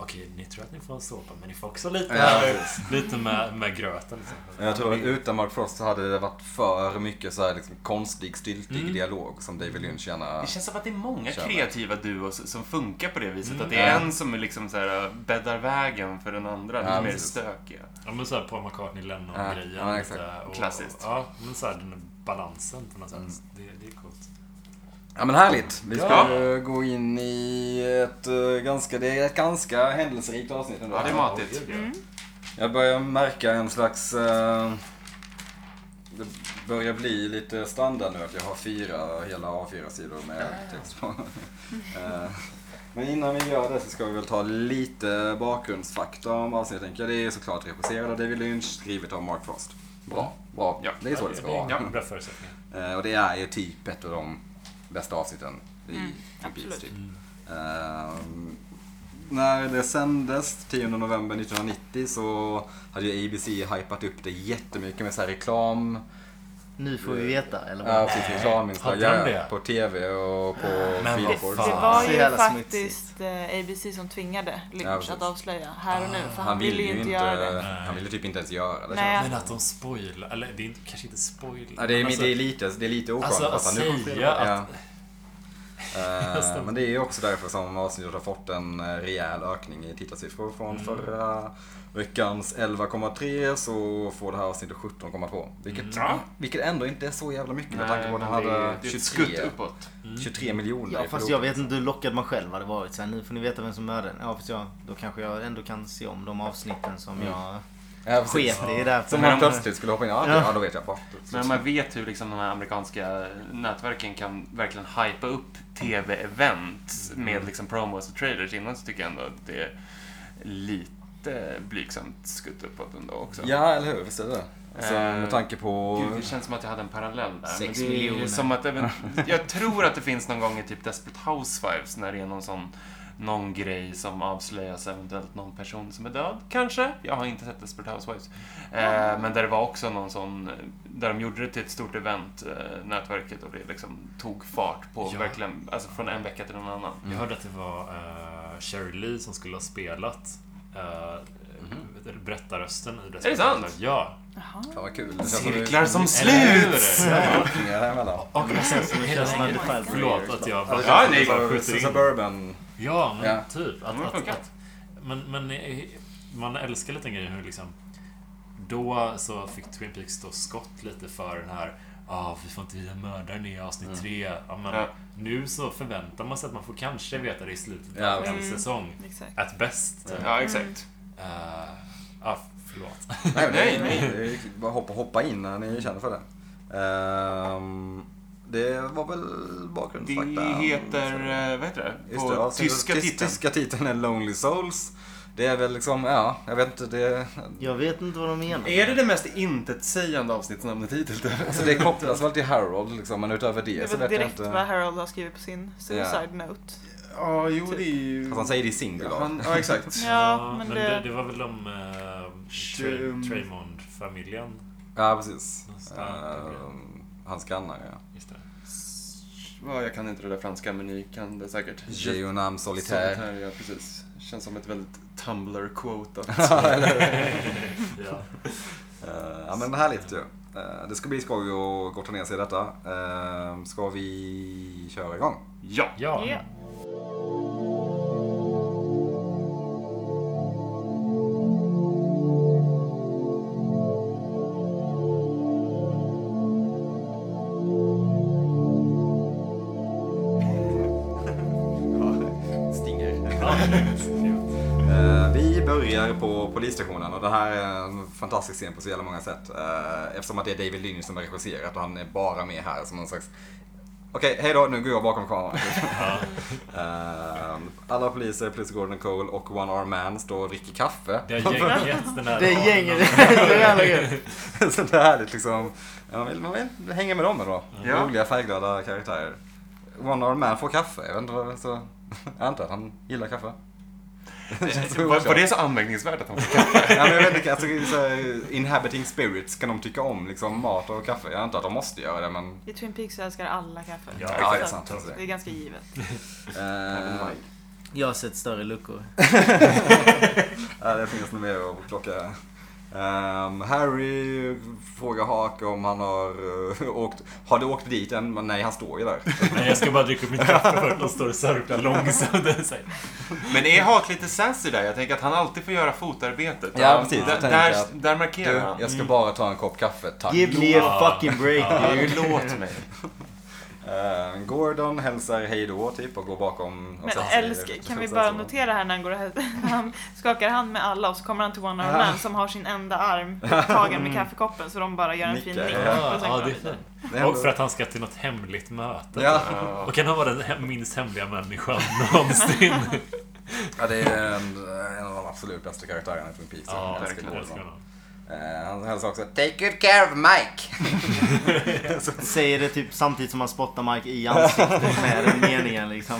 Speaker 4: Okej, ni tror att ni får en såpa, men ni får också lite,
Speaker 3: Ja,
Speaker 4: lite med, med gröten. Liksom.
Speaker 3: Jag tror
Speaker 5: Mm.
Speaker 3: att utan Mark Frost så hade det varit för mycket så här liksom konstig, styltig
Speaker 5: Mm.
Speaker 3: dialog som David Lynch gärna...
Speaker 5: Det känns som att det är många
Speaker 3: Kör med.
Speaker 5: kreativa duos som funkar på det viset. Att det är
Speaker 3: Ja.
Speaker 5: en som är liksom så här, bäddar vägen för den andra.
Speaker 3: Ja,
Speaker 5: Lite mer
Speaker 3: precis.
Speaker 5: stökiga.
Speaker 4: Ja men såhär Paul McCartney, Lennon-grejen.
Speaker 3: Ja, ja, exakt.
Speaker 4: lite, och-
Speaker 5: Klassiskt.
Speaker 4: Ja, men såhär den här balansen på något sätt. Det, det är coolt.
Speaker 3: Ja men härligt. Vi ska
Speaker 5: Ja.
Speaker 3: eh, gå in i ett eh, ganska, det är ett ganska händelserikt avsnitt ändå.
Speaker 5: Ja, det är matigt.
Speaker 4: Ja, det är det.
Speaker 3: Jag börjar märka en slags... eh, det börjar bli lite standard nu att jag har fyra, hela A4-sidor med text på. Eh, Men innan vi gör det så ska vi väl ta lite bakgrundsfakta om avsnittet. tänker jag. Det är såklart regisserat av David Lynch, skrivet av Mark Frost. Bra, bra.
Speaker 5: Ja.
Speaker 3: det är så det ska vara.
Speaker 4: Ja, bra förutsättningar.
Speaker 3: Eh, Och det är ju typ ett av de bästa avsnitten i mm,
Speaker 2: absolut.
Speaker 3: typ. Ehm, när det sändes 10 november 1990 så hade ju ABC hypat upp det jättemycket med så här reklam.
Speaker 1: Nu får vi veta, eller vad?
Speaker 3: Ja, precis. Reklaminslag
Speaker 4: Mm. Hade de det?
Speaker 3: ja, på TV och på
Speaker 4: Men vad
Speaker 3: Billboard.
Speaker 4: fan.
Speaker 2: Det
Speaker 4: Ah,
Speaker 2: var
Speaker 1: så
Speaker 2: ju
Speaker 1: jävla
Speaker 2: faktiskt eh, ABC som tvingade
Speaker 3: Ja,
Speaker 2: Lynch
Speaker 3: precis.
Speaker 2: att avslöja här och nu. För han,
Speaker 3: Han
Speaker 2: ville ju inte göra det.
Speaker 3: han ville typ inte ens göra det.
Speaker 2: Nej.
Speaker 3: känns det.
Speaker 4: Men att de spoilar, eller det är inte, kanske inte spoilar.
Speaker 3: Ja, det, är,
Speaker 4: men alltså,
Speaker 3: det, är lite, det är lite oskönt
Speaker 4: Alltså,
Speaker 3: att han
Speaker 4: att
Speaker 3: nu kommer
Speaker 4: säga
Speaker 3: spela.
Speaker 4: att-
Speaker 3: Ja. Eh, Men det är ju också därför som avsnittet har fått en eh, rejäl ökning i tittarsiffror. Från
Speaker 5: Mm.
Speaker 3: förra veckans 11,3 så får det här avsnittet 17,2. Vilket, vilket ändå inte är så jävla mycket med tanke på att
Speaker 5: Mm. men
Speaker 3: den
Speaker 5: det, är,
Speaker 3: hade
Speaker 5: det är
Speaker 3: 23,
Speaker 5: ett skutt uppåt. Mm.
Speaker 3: 23 miljoner.
Speaker 1: Ja,
Speaker 3: i
Speaker 1: fast
Speaker 3: förlust.
Speaker 1: jag vet inte hur lockad man själv hade varit. Så här, nu får ni veta vem som mördade den. Ja, fast jag, då kanske jag ändå kan se om de avsnitten som jag
Speaker 3: Ja, precis.
Speaker 1: sket i. Där.
Speaker 3: Mm. Som han plötsligt skulle hoppa in. Ja, ja.
Speaker 1: Ja.
Speaker 3: ja då vet jag. Bara.
Speaker 5: Men man vet hur liksom de här amerikanska nätverken kan verkligen hypa upp TV-event med liksom promos och trailers innan så tycker jag ändå att det är lite blygsamt skutt uppåt ändå också.
Speaker 3: Ja, eller hur? Visst är det det? alltså,
Speaker 5: Eh,
Speaker 3: Med tanke på...
Speaker 5: Gud, det känns som att jag hade en parallell där.
Speaker 1: Sex
Speaker 5: men det är ju
Speaker 1: miljoner.
Speaker 5: Som att även, jag tror att det finns någon gång i typ Desperate Housewives när det är någon sån någon grej som avslöjas, eventuellt någon person som är död, kanske? Jag har inte sett Desperate Housewives. Eh, men där det var också någon sån, där de gjorde det till ett stort event, eh, nätverket, och det liksom tog fart på
Speaker 4: Ja.
Speaker 5: verkligen, alltså från en vecka till en annan.
Speaker 4: Jag hörde att det var eh, Sherry Lee som skulle ha spelat uh, berättarrösten i
Speaker 5: Är det sant?
Speaker 4: Housewives. Ja.
Speaker 2: Jaha.
Speaker 3: Fan vad kul. Det känns som det är
Speaker 5: Cirklar som
Speaker 4: Eller hur?
Speaker 5: slut!
Speaker 3: ökningar däremellan.
Speaker 4: Och alltså, hela
Speaker 1: Just
Speaker 4: den-
Speaker 1: Under Five
Speaker 4: Förlåt
Speaker 1: Warriors,
Speaker 4: att jag
Speaker 3: Ja,
Speaker 4: bara...
Speaker 3: det känns
Speaker 5: nej,
Speaker 3: som
Speaker 4: bara
Speaker 3: sub-
Speaker 4: skjuter in.
Speaker 3: Suburban.
Speaker 4: Ja, men
Speaker 3: Ja.
Speaker 4: typ.
Speaker 5: men det
Speaker 4: Att, att,
Speaker 5: funkar.
Speaker 4: att, men, men eh, man älskar lite grejer hur liksom... Då så fick Twin Peaks stå skott lite för den här ah, vi får inte visa mördaren i avsnitt
Speaker 3: Mm.
Speaker 4: tre. Ja, men
Speaker 5: Ja.
Speaker 4: Nu så förväntar man sig att man får kanske veta det i slutet
Speaker 3: Ja.
Speaker 4: av en
Speaker 2: Mm.
Speaker 4: säsong.
Speaker 2: Exakt.
Speaker 4: At best. typ.
Speaker 5: Ja, exakt.
Speaker 4: Eh, ah, förlåt.
Speaker 3: Nej, nej,
Speaker 5: Nej,
Speaker 3: nej. Bara hoppa, hoppa in när ni känner för det. Ehm, det var väl bakgrundsfakta.
Speaker 5: Det heter, eh, vad heter det?
Speaker 3: liksom. Just
Speaker 5: På
Speaker 3: det, avsnittet-
Speaker 5: tyska
Speaker 3: tys-
Speaker 5: titeln.
Speaker 3: Tyska titeln är Lonely Souls. Det är väl liksom, ja, jag vet inte. Det,
Speaker 1: Jag vet inte vad de menar.
Speaker 3: Är det mest intetsägande avsnittsnamnet hittills? Alltså det kopplas väl till Harold liksom, men utöver det,
Speaker 2: Det
Speaker 3: så
Speaker 2: var
Speaker 3: vet jag
Speaker 2: direkt
Speaker 3: inte.
Speaker 2: vad Harold har skrivit på sin suicide note.
Speaker 6: Ja, jo det är ju...
Speaker 3: Fast han säger det i singular.
Speaker 6: Han- Ja, exakt.
Speaker 2: Ja, men
Speaker 4: det... Det,
Speaker 2: det...
Speaker 4: var väl de uh,
Speaker 6: Tjum.
Speaker 4: Traymond-familjen.
Speaker 3: Ja, precis.
Speaker 4: Nästa.
Speaker 3: Ehm, hans grannar, ja.
Speaker 4: Just det.
Speaker 6: Ja, jag kan inte det där franska, men ni kan det säkert.
Speaker 3: Jeonam Solitaire.
Speaker 6: Solitär, ja precis. Känns som ett väldigt Tumblr-quote.
Speaker 4: Ja.
Speaker 3: Eh, Ja men härligt ju. Eh, Det ska bli skoj att gotta ner sig i detta. Eh, Ska vi köra igång?
Speaker 5: Ja.
Speaker 4: ja.
Speaker 2: Ja.
Speaker 3: Stinger.
Speaker 4: Ja, det är kul.
Speaker 3: Vi börjar på polisstationen och det här är en fantastisk scen på så jävla många sätt. Eh, Eftersom att det är David Lynch som har regisserat och han är bara med här som någon slags Okej, hej då, nu går jag bakom kameran. Eh, Alla poliser plus Gordon Cole och One Arm Man står och dricker kaffe.
Speaker 4: det har gänget den här
Speaker 1: Det är
Speaker 4: raden
Speaker 1: gänget.
Speaker 4: av-
Speaker 1: Det är jävla gött.
Speaker 3: Så det är härligt liksom. Man vill, man vill hänga med dem då.
Speaker 5: Ja.
Speaker 3: Roliga färgglada karaktärer. One Arm Man får kaffe. Jag vet inte vad, så... Jag antar att han gillar kaffe. Det känns så
Speaker 5: Eh, Var, var
Speaker 3: oklart.
Speaker 5: det så anmärkningsvärt att han fick kaffe?
Speaker 3: ja, men jag vet inte, alltså, så här, inhabiting spirits kan de tycka om liksom, mat och kaffe. Jag antar att de måste göra det men...
Speaker 2: I Twin Peaks så älskar alla kaffe.
Speaker 4: Ja,
Speaker 3: Ja, det är
Speaker 2: Så att
Speaker 3: sant. Alltså.
Speaker 2: Det är ganska givet.
Speaker 5: Oh
Speaker 3: Eh,
Speaker 1: Jag har sett större luckor.
Speaker 3: Ja, det finns nog mer att plocka. Ehm, Harry frågar Hake om han har eh, åkt, har du åkt dit än? Men nej, han står ju där.
Speaker 4: Nej, jag ska bara dricka upp mitt kaffe för att de står och sörplar långsamt. Det är så här-
Speaker 5: Men är Hart lite sassy där? Jag tänker att han alltid får göra fotarbetet.
Speaker 3: Ja, precis. Jag
Speaker 5: Där,
Speaker 3: tänker
Speaker 5: där,
Speaker 3: att-
Speaker 5: där markerar
Speaker 3: Du,
Speaker 5: han.
Speaker 3: jag
Speaker 4: Mm.
Speaker 3: ska bara ta en kopp kaffe, tack.
Speaker 1: Give me a
Speaker 4: Ja.
Speaker 1: fucking break.
Speaker 5: Ja, låt mig.
Speaker 3: Eh, Gordon hälsar hej då typ och går bakom. och
Speaker 2: Men
Speaker 3: sätter sig i
Speaker 2: älsk, kan vi
Speaker 3: receptionen.
Speaker 2: bara notera här när han går och hälsar- han skakar hand med alla och så kommer han till One Arm Man som har sin enda arm upptagen
Speaker 3: Mm.
Speaker 2: med kaffekoppen så de bara gör en fin
Speaker 3: Nickar.
Speaker 2: nick.
Speaker 4: Ja,
Speaker 2: och sen
Speaker 4: ja,
Speaker 2: går
Speaker 4: det är
Speaker 2: vidare.
Speaker 3: Det är ändå-
Speaker 4: Och för att han ska till något hemligt möte.
Speaker 3: Ja,
Speaker 4: Och kan han vara den he- minst hemliga människan någonsin?
Speaker 3: ja, det är en, en av de absolut bästa karaktärerna i Twin Peaks.
Speaker 4: Ja,
Speaker 3: Jag älskar
Speaker 4: verkligen. Jag
Speaker 3: Gordon.
Speaker 4: älskar honom.
Speaker 3: Eh, han hälsar också Take good care of Mike.
Speaker 1: Säger det typ samtidigt som han spottar Mike i ansiktet med den meningen liksom.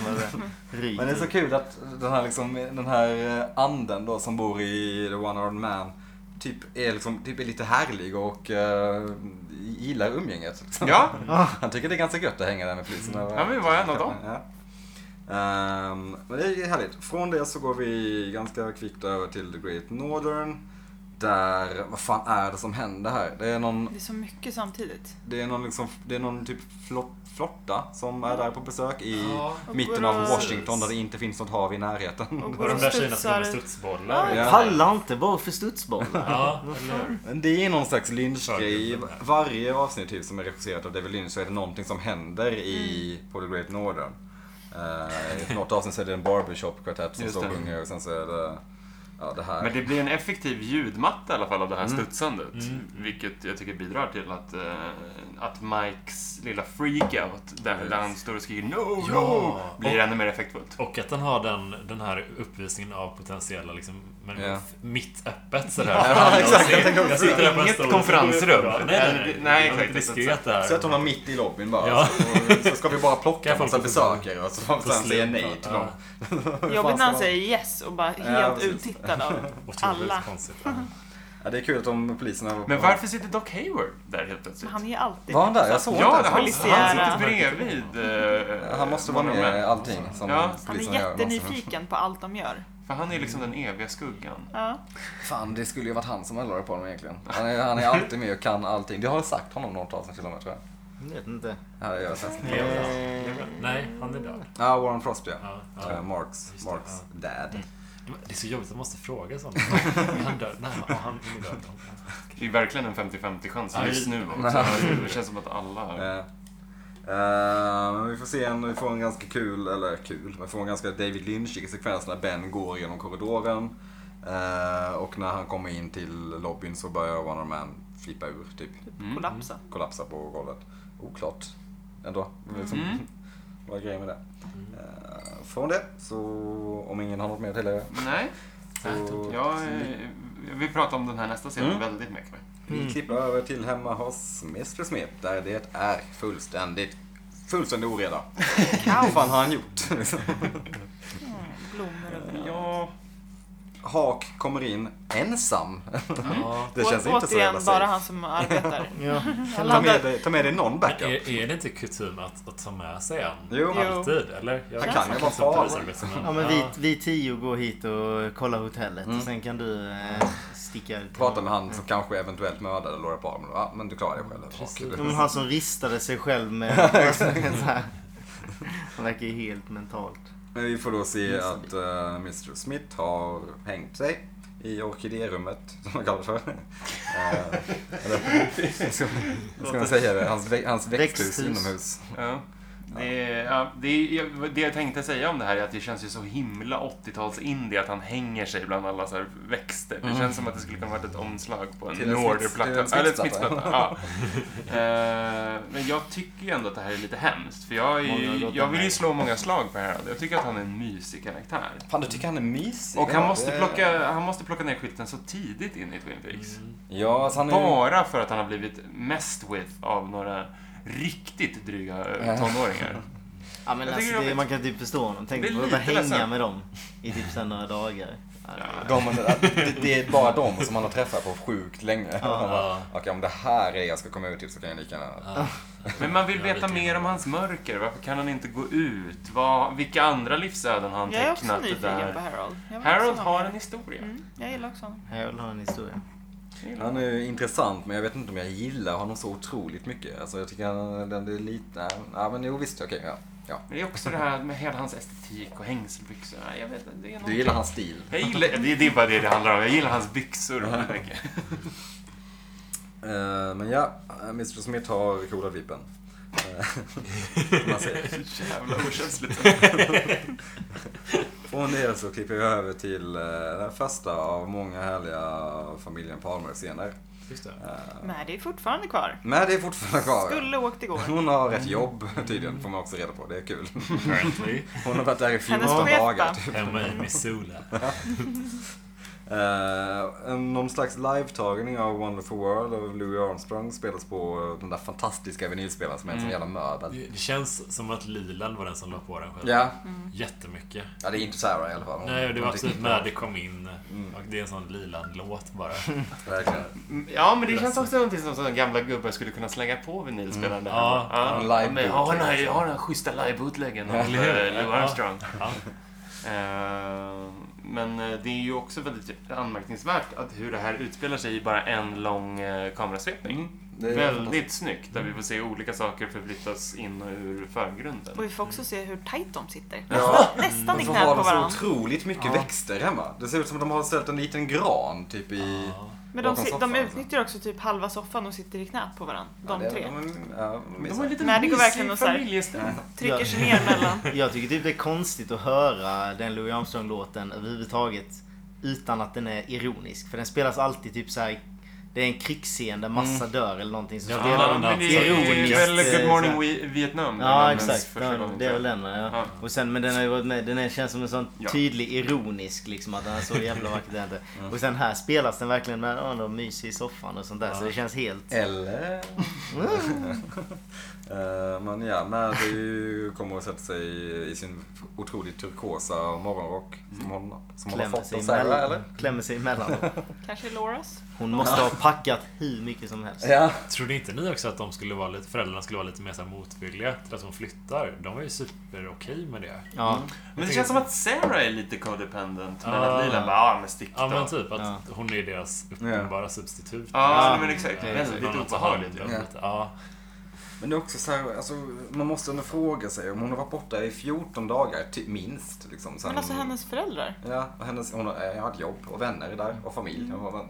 Speaker 1: Ryker.
Speaker 3: Men det är så kul att den här, liksom, den här anden då som bor i The One Armed Man typ är, liksom, typ är lite härlig och eh, gillar umgänget. Liksom.
Speaker 5: Ja,
Speaker 3: Han tycker det är ganska gött att hänga där med poliserna.
Speaker 5: han vill vara en av dem.
Speaker 3: Ja. Ehm, men det är härligt. Från det så går vi ganska kvickt över till The Great Northern. Där, vad fan är det som händer här? Det är någon,
Speaker 2: Det är så mycket samtidigt.
Speaker 3: det är någon, liksom, det är någon typ flott, flotta som är där på besök i
Speaker 2: Och
Speaker 3: mitten
Speaker 2: går
Speaker 3: av
Speaker 2: och-
Speaker 3: Washington där det inte finns något hav i närheten.
Speaker 2: Och
Speaker 4: Och
Speaker 2: går
Speaker 4: de
Speaker 2: och
Speaker 4: där tjejerna som går
Speaker 2: studsar.
Speaker 4: med studsbollar.
Speaker 3: Ja.
Speaker 1: Pallar inte bara för studsbollar.
Speaker 4: Ja, eller
Speaker 3: Men det är någon slags lynchgrej.
Speaker 4: Förgrunden här.
Speaker 3: Varje avsnitt typ, som är regisserat av David Lynch så är det någonting som händer i,
Speaker 2: Mm.
Speaker 3: på The Great Northern. Uh, I något avsnitt så är det en barbershop-kvartett som
Speaker 5: Just
Speaker 3: står och
Speaker 5: det.
Speaker 3: sjunger och sen så är det ja, det här.
Speaker 5: Men det blir en effektiv ljudmatta i alla fall av det
Speaker 3: Mm.
Speaker 5: här studsandet. Vilket jag tycker bidrar till att, eh, att Mikes lilla freakout, där, där han står och skriker no,
Speaker 4: Ja.
Speaker 5: no, blir
Speaker 4: Och-
Speaker 5: ännu mer effektfullt.
Speaker 4: Och att den har den, den här uppvisningen av potentiella liksom, men
Speaker 3: Ja.
Speaker 4: f- mitt öppet sådär. Ja,
Speaker 3: exakt, jag tänkte också
Speaker 4: sitter där på en
Speaker 5: Inget
Speaker 4: stol.
Speaker 5: konferensrum.
Speaker 4: Nej, nej, nej.
Speaker 5: Nej,
Speaker 4: Det var
Speaker 5: exakt,
Speaker 4: diskret där.
Speaker 3: Sätt honom mitt i lobbyn bara.
Speaker 4: Ja.
Speaker 3: Så, så ska vi bara plocka
Speaker 4: Kan
Speaker 3: en
Speaker 4: folk
Speaker 3: massa
Speaker 4: få förbud?
Speaker 3: besökare och så får vi
Speaker 4: Få
Speaker 3: sen säga
Speaker 4: slut
Speaker 3: nej
Speaker 4: på-
Speaker 3: till
Speaker 4: ja.
Speaker 3: dem.
Speaker 2: Jobbigt när han
Speaker 3: Fan,
Speaker 2: säger yes och bara helt
Speaker 3: precis.
Speaker 2: uttittad av
Speaker 4: Otroligt
Speaker 2: alla.
Speaker 4: konstigt. Ja.
Speaker 3: Ja, det är kul att de poliserna...
Speaker 5: Men varför sitter Doc Hayward där helt plötsligt?
Speaker 2: Men han är alltid
Speaker 3: Var han där? Jag såg inte
Speaker 5: Ja,
Speaker 3: ens
Speaker 5: han, han
Speaker 2: polisiära.
Speaker 5: sitter bredvid. eh,
Speaker 3: Han måste vara
Speaker 5: Mono
Speaker 3: med i
Speaker 5: Man.
Speaker 3: allting som
Speaker 5: Ja.
Speaker 2: Han är
Speaker 3: polisen gör.
Speaker 2: jättenyfiken på allt de gör.
Speaker 5: För han är liksom den eviga skuggan.
Speaker 2: Ja.
Speaker 3: Fan, det skulle ju varit han som höll på honom egentligen. Han är, han är alltid med och kan allting. Det har jag sagt honom något avsnitt till och med tror jag.
Speaker 1: Jag vet inte.
Speaker 3: Ja, det gör jag sen.
Speaker 4: Lever
Speaker 3: Eh,
Speaker 4: han? Lever han? Nej, han är död.
Speaker 3: Mm. Ja, Warren Frost ja.
Speaker 4: Ja,
Speaker 3: Eh,
Speaker 4: ja.
Speaker 3: Marks,
Speaker 4: Just det,
Speaker 3: Marks dad.
Speaker 4: Det var- Det är så jobbigt att man måste fråga sådana. Är han död? Nej, ja, han är död.
Speaker 5: Det är verkligen en 50-50 chans
Speaker 4: Ja,
Speaker 5: just
Speaker 4: just-
Speaker 5: nu också. Det känns som att alla
Speaker 4: Mm.
Speaker 5: har...
Speaker 3: Eh, eh, men vi får se en, vi får en ganska kul, eller kul, men vi får en ganska David Lynchig sekvens när Ben går genom korridoren. Eh, och när han kommer in till lobbyn så börjar Wonder Man flippa ur, typ
Speaker 5: Mm.
Speaker 2: Kollapsa.
Speaker 3: kollapsa på golvet. Oklart ändå. Liksom,
Speaker 5: Mm.
Speaker 3: Vad är grejen med det? Eh, från det, så om ingen har något mer att tillägga.
Speaker 5: Nej,
Speaker 3: Så,
Speaker 5: jag, eh, jag vill prata om den här nästa scenen
Speaker 3: Mm.
Speaker 5: väldigt mycket.
Speaker 3: Vi klipper över till hemma hos Mr Smith där det är fullständigt, fullständig oreda. Vad fan har han gjort?
Speaker 2: Mm, blommor överallt.
Speaker 5: Ja,
Speaker 3: Hak kommer in ensam.
Speaker 4: Ja.
Speaker 3: Det känns
Speaker 2: Å-
Speaker 3: inte så
Speaker 2: återigen
Speaker 3: jävla
Speaker 2: bara
Speaker 3: safe.
Speaker 2: han som arbetar.
Speaker 1: Ja.
Speaker 2: Alla
Speaker 3: Ta
Speaker 2: andra,
Speaker 3: med, dig, ta med dig någon backup.
Speaker 4: Är, är det inte kutym att, att ta med sig en?
Speaker 3: Jo,
Speaker 2: Jo.
Speaker 4: Alltid, eller? Jag
Speaker 3: Han kan ju vara far.
Speaker 1: Ja men vi, vi tio går hit och kollar hotellet och sen kan du eh, sticka till-
Speaker 3: Mm. prata med han som kanske eventuellt mördade Laura Palmer. Ja, men du klarar dig själv.
Speaker 4: Precis.
Speaker 3: Hak.
Speaker 1: Ja, men Mm, han som ristade sig själv med... alltså, så här. Han verkar ju helt mentalt.
Speaker 3: Men vi får då se
Speaker 1: Mr.
Speaker 3: att eh, Mr Smith har hängt sig i orkidérummet, som man kallar det för. Eh, eller, ska, ska man säga det? Hans, vä- hans växthus,
Speaker 1: Växthus.
Speaker 3: inomhus.
Speaker 5: Ja. Det, är- ja, det, är- jag- det jag tänkte säga om det här är att det känns ju så himla 80-tals-indie att han hänger sig bland alla så här växter. Det känns som att det skulle kunna varit ett omslag på en
Speaker 3: Till en smitts- till en
Speaker 5: Norderplatta. Eller ett
Speaker 3: smittplatta.
Speaker 5: smittplatta. Ja. Eh, Men jag tycker ju ändå att det här är lite hemskt. För jag, är,
Speaker 1: Många har
Speaker 5: ju-
Speaker 1: gått
Speaker 5: jag vill ju
Speaker 1: med.
Speaker 5: slå många slag på Harold. Jag tycker att han är en mysig karaktär.
Speaker 3: Fan, du tycker han är mysig?
Speaker 5: Och han
Speaker 3: Ja,
Speaker 5: måste
Speaker 3: det-
Speaker 5: plocka, han måste plocka ner skiten så tidigt in i Twin Peaks.
Speaker 3: Ja, alltså han är
Speaker 5: Bara för att han har blivit messed with av några riktigt dryga eh, tonåringar.
Speaker 1: Ja, men
Speaker 5: Jag tycker
Speaker 1: alltså,
Speaker 5: det är
Speaker 1: det, man kan typ förstå honom. Tänk
Speaker 5: Det är
Speaker 1: att behöva
Speaker 5: lite
Speaker 1: hänga
Speaker 5: ledsamt.
Speaker 1: med dem i typ sen några dagar. Ja,
Speaker 3: de, det, det är bara de som han har träffat på sjukt länge. Han bara, Okej, om det här är jag ska komma ut till så kan jag lika gärna...
Speaker 5: Men man vill
Speaker 4: Ja, det
Speaker 5: veta
Speaker 4: kan
Speaker 5: mer
Speaker 4: jag.
Speaker 5: om hans mörker. Varför kan han inte gå ut? Vad, vilka andra livsöden har han
Speaker 2: jag är också
Speaker 5: tecknat? det
Speaker 2: nyfiken på
Speaker 5: där?
Speaker 2: Harold. Jag vill
Speaker 5: Harold
Speaker 2: också
Speaker 5: har
Speaker 2: ha
Speaker 5: en
Speaker 2: mer.
Speaker 5: historia.
Speaker 2: Mm, jag gillar också honom.
Speaker 1: Jag vill ha en historia.
Speaker 3: Han är ju intressant, men jag vet inte om jag gillar honom så otroligt mycket. Alltså, jag tycker han, den är lite... Ja, men jo visst, okej. ja. ja.
Speaker 5: Men det är också det här med hela hans estetik och hängselbyxorna. Jag vet inte, det är något.
Speaker 3: Du gillar hans stil.
Speaker 5: Jag gillar, det, det är bara det det handlar om. Jag gillar hans byxor väldigt mycket.
Speaker 3: Eh, men ja, Mr Smith har coola vippen. Eh, som man säger.
Speaker 5: Jävla okänsligt.
Speaker 3: Från det så klipper vi över till eh, den första av många härliga familjen Palmer-scener.
Speaker 4: Just det.
Speaker 2: Men det är fortfarande kvar.
Speaker 3: Men det är fortfarande kvar.
Speaker 2: Skulle Mm. åkt igår.
Speaker 3: Hon har ett jobb tydligen, får man också reda på. Det är kul.
Speaker 4: Currently.
Speaker 3: Hon har varit där i 14
Speaker 2: Hennes chef,
Speaker 3: dagar.
Speaker 2: va?
Speaker 4: Hemma i Missoula.
Speaker 3: Eh, en- någon slags live-tagning av Wonderful World av Louis Armstrong spelas på eh, den där fantastiska vinylspelaren som är en sån
Speaker 4: Mm.
Speaker 3: jävla möbel.
Speaker 4: Det, det känns som att Lilan var den som la på den själv.
Speaker 3: Ja,
Speaker 4: Jättemycket.
Speaker 3: ja det är inte Sarah i alla fall. Hon-
Speaker 4: Nej,
Speaker 3: hon
Speaker 4: det var
Speaker 3: tycker
Speaker 4: absolut
Speaker 3: inte om
Speaker 4: när det kom in. Och det är en sån Lilan-låt bara.
Speaker 3: det. Verkligen.
Speaker 5: Mm, Ja, men det känns också någonting som sådana gamla gubbar skulle kunna slänga på vinylspelaren. där
Speaker 4: Ja,
Speaker 5: hemma. ja,
Speaker 3: Mm. en live
Speaker 5: men jag har den här,
Speaker 3: bootleg.
Speaker 5: jag har den här schyssta live-bootleggen av
Speaker 4: eller hur?
Speaker 5: eh, Lou
Speaker 4: Ja.
Speaker 5: Armstrong.
Speaker 4: Ja.
Speaker 5: Eh, Men eh, det är ju också väldigt anmärkningsvärt att hur det här utspelar sig i bara en lång eh, kamerasvepning.
Speaker 3: Det är
Speaker 5: Väldigt snyggt, där vi får se olika saker förflyttas in och ur förgrunden.
Speaker 2: Och vi får också se hur tajt de sitter.
Speaker 3: Ja.
Speaker 2: Nästan i
Speaker 3: De
Speaker 2: knät
Speaker 3: har
Speaker 2: på
Speaker 3: så
Speaker 2: varandra.
Speaker 3: otroligt mycket växter hemma. Det ser ut som att de har ställt en liten gran typ i...
Speaker 2: Men de,
Speaker 3: bakom
Speaker 2: si-
Speaker 3: soffan,
Speaker 2: de
Speaker 3: så.
Speaker 2: utnyttjar också typ halva soffan och sitter i knät på varandra. De
Speaker 3: Ja, det-
Speaker 2: tre.
Speaker 3: Ja, de är
Speaker 5: De
Speaker 3: så
Speaker 5: har
Speaker 3: här.
Speaker 5: lite
Speaker 2: Nej, det går verkligen
Speaker 5: mysig
Speaker 2: att så här-
Speaker 5: familjestämning.
Speaker 2: Trycker sig ner mellan.
Speaker 1: Jag tycker typ det är konstigt att höra den Louis Armstrong-låten överhuvudtaget utan att den är ironisk. För den spelas alltid typ så här. Det är en krigsscen där massa
Speaker 5: Mm.
Speaker 1: dör eller någonting. Så
Speaker 4: Ja,
Speaker 1: spelar de
Speaker 5: Ja, men det
Speaker 1: något
Speaker 5: är
Speaker 1: ironiskt,
Speaker 5: ju väl
Speaker 1: eh,
Speaker 5: Good
Speaker 1: så
Speaker 5: Morning
Speaker 1: här.
Speaker 5: Vi- Vietnam. där den
Speaker 1: Ja
Speaker 5: används
Speaker 1: exakt,
Speaker 5: första
Speaker 1: den,
Speaker 5: gången,
Speaker 1: det är
Speaker 5: tror
Speaker 1: väl
Speaker 5: jag.
Speaker 1: den va? Ja.
Speaker 5: Ja.
Speaker 1: Och sen, men den har ju varit med, den här känns som en sån
Speaker 5: Ja.
Speaker 1: tydlig ironisk liksom att den är så jävla vacker den inte. Och sen här spelas den verkligen med, åh de myser i soffan och sånt där så det känns helt...
Speaker 3: Eller... Eh, Men ja, Maddie kommer att sätta sig i sin otroligt turkosa morgonrock som hon, som hon har
Speaker 1: Klämmer
Speaker 3: fått
Speaker 1: sig,
Speaker 3: av Sarah, eller?
Speaker 1: emellan, klämmer sig emellan dem.
Speaker 2: Kanske Lauras.
Speaker 1: Hon måste ha packat hur mycket som helst.
Speaker 3: Ja.
Speaker 4: Trodde inte ni också att de skulle vara lite, föräldrarna skulle vara lite mer så här motvilliga till att hon flyttar? De var ju superokej med det.
Speaker 3: Mm.
Speaker 1: Ja,
Speaker 5: Men det känns som att Sarah är lite codependent, men
Speaker 4: Ah.
Speaker 5: att Lila bara, ja men stick då.
Speaker 4: Ja men typ att hon är deras uppenbara substitut. Liksom,
Speaker 5: Ja,
Speaker 1: Ja.
Speaker 5: men exakt.
Speaker 1: Ja,
Speaker 5: Väldigt
Speaker 4: Någon att ta hand om
Speaker 5: obehagligt.
Speaker 4: dem lite. Ja.
Speaker 3: Men det är också så här, alltså, man måste ändå fråga sig om hon har varit borta i 14 dagar, ty- minst. Liksom, sen,
Speaker 2: Men alltså hennes föräldrar.
Speaker 3: Ja, och hennes, hon har, eh, jag har ett jobb och vänner där och familj. Och, men,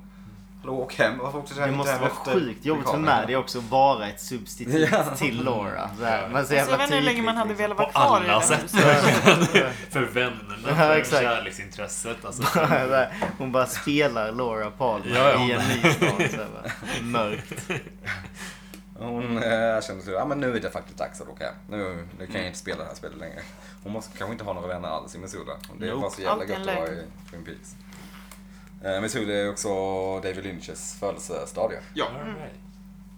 Speaker 3: hallå, åk hem. Varför åkte du
Speaker 1: Mm. Det
Speaker 3: hem
Speaker 1: måste
Speaker 3: hem
Speaker 1: vara
Speaker 3: efter
Speaker 1: sjukt jobbigt för
Speaker 3: vulkanen?
Speaker 1: Maddie också att vara ett substitut
Speaker 3: Ja.
Speaker 1: till Laura. Så här. Man är så
Speaker 2: Så Alltså, jag
Speaker 1: jävla
Speaker 2: vet inte hur länge
Speaker 1: tydlig,
Speaker 2: man hade
Speaker 1: liksom.
Speaker 2: velat vara
Speaker 4: På
Speaker 2: kvar i det
Speaker 4: alla
Speaker 2: här
Speaker 4: sätt.
Speaker 2: huset.
Speaker 4: För vännerna,
Speaker 1: Ja,
Speaker 4: för
Speaker 1: exakt.
Speaker 4: kärleksintresset. Alltså,
Speaker 1: Så här, liksom. Hon bara spelar Laura Palmer
Speaker 4: Ja, ja.
Speaker 1: i en ny stad. så här, bara. Mörkt.
Speaker 3: Hon eh, kände sig, ja men nu är det faktiskt dags att åka hem. Nu, nu
Speaker 1: Mm.
Speaker 3: kan jag inte spela det här spelet längre. Hon måste, kanske inte ha några vänner alls i Missoula. Det
Speaker 1: Nope.
Speaker 3: var så jävla
Speaker 2: Allt är
Speaker 3: gött att vara i
Speaker 2: lögn.
Speaker 3: Twin Peaks. Eh, Missoula är också David Lynches födelsestad ju.
Speaker 4: all right.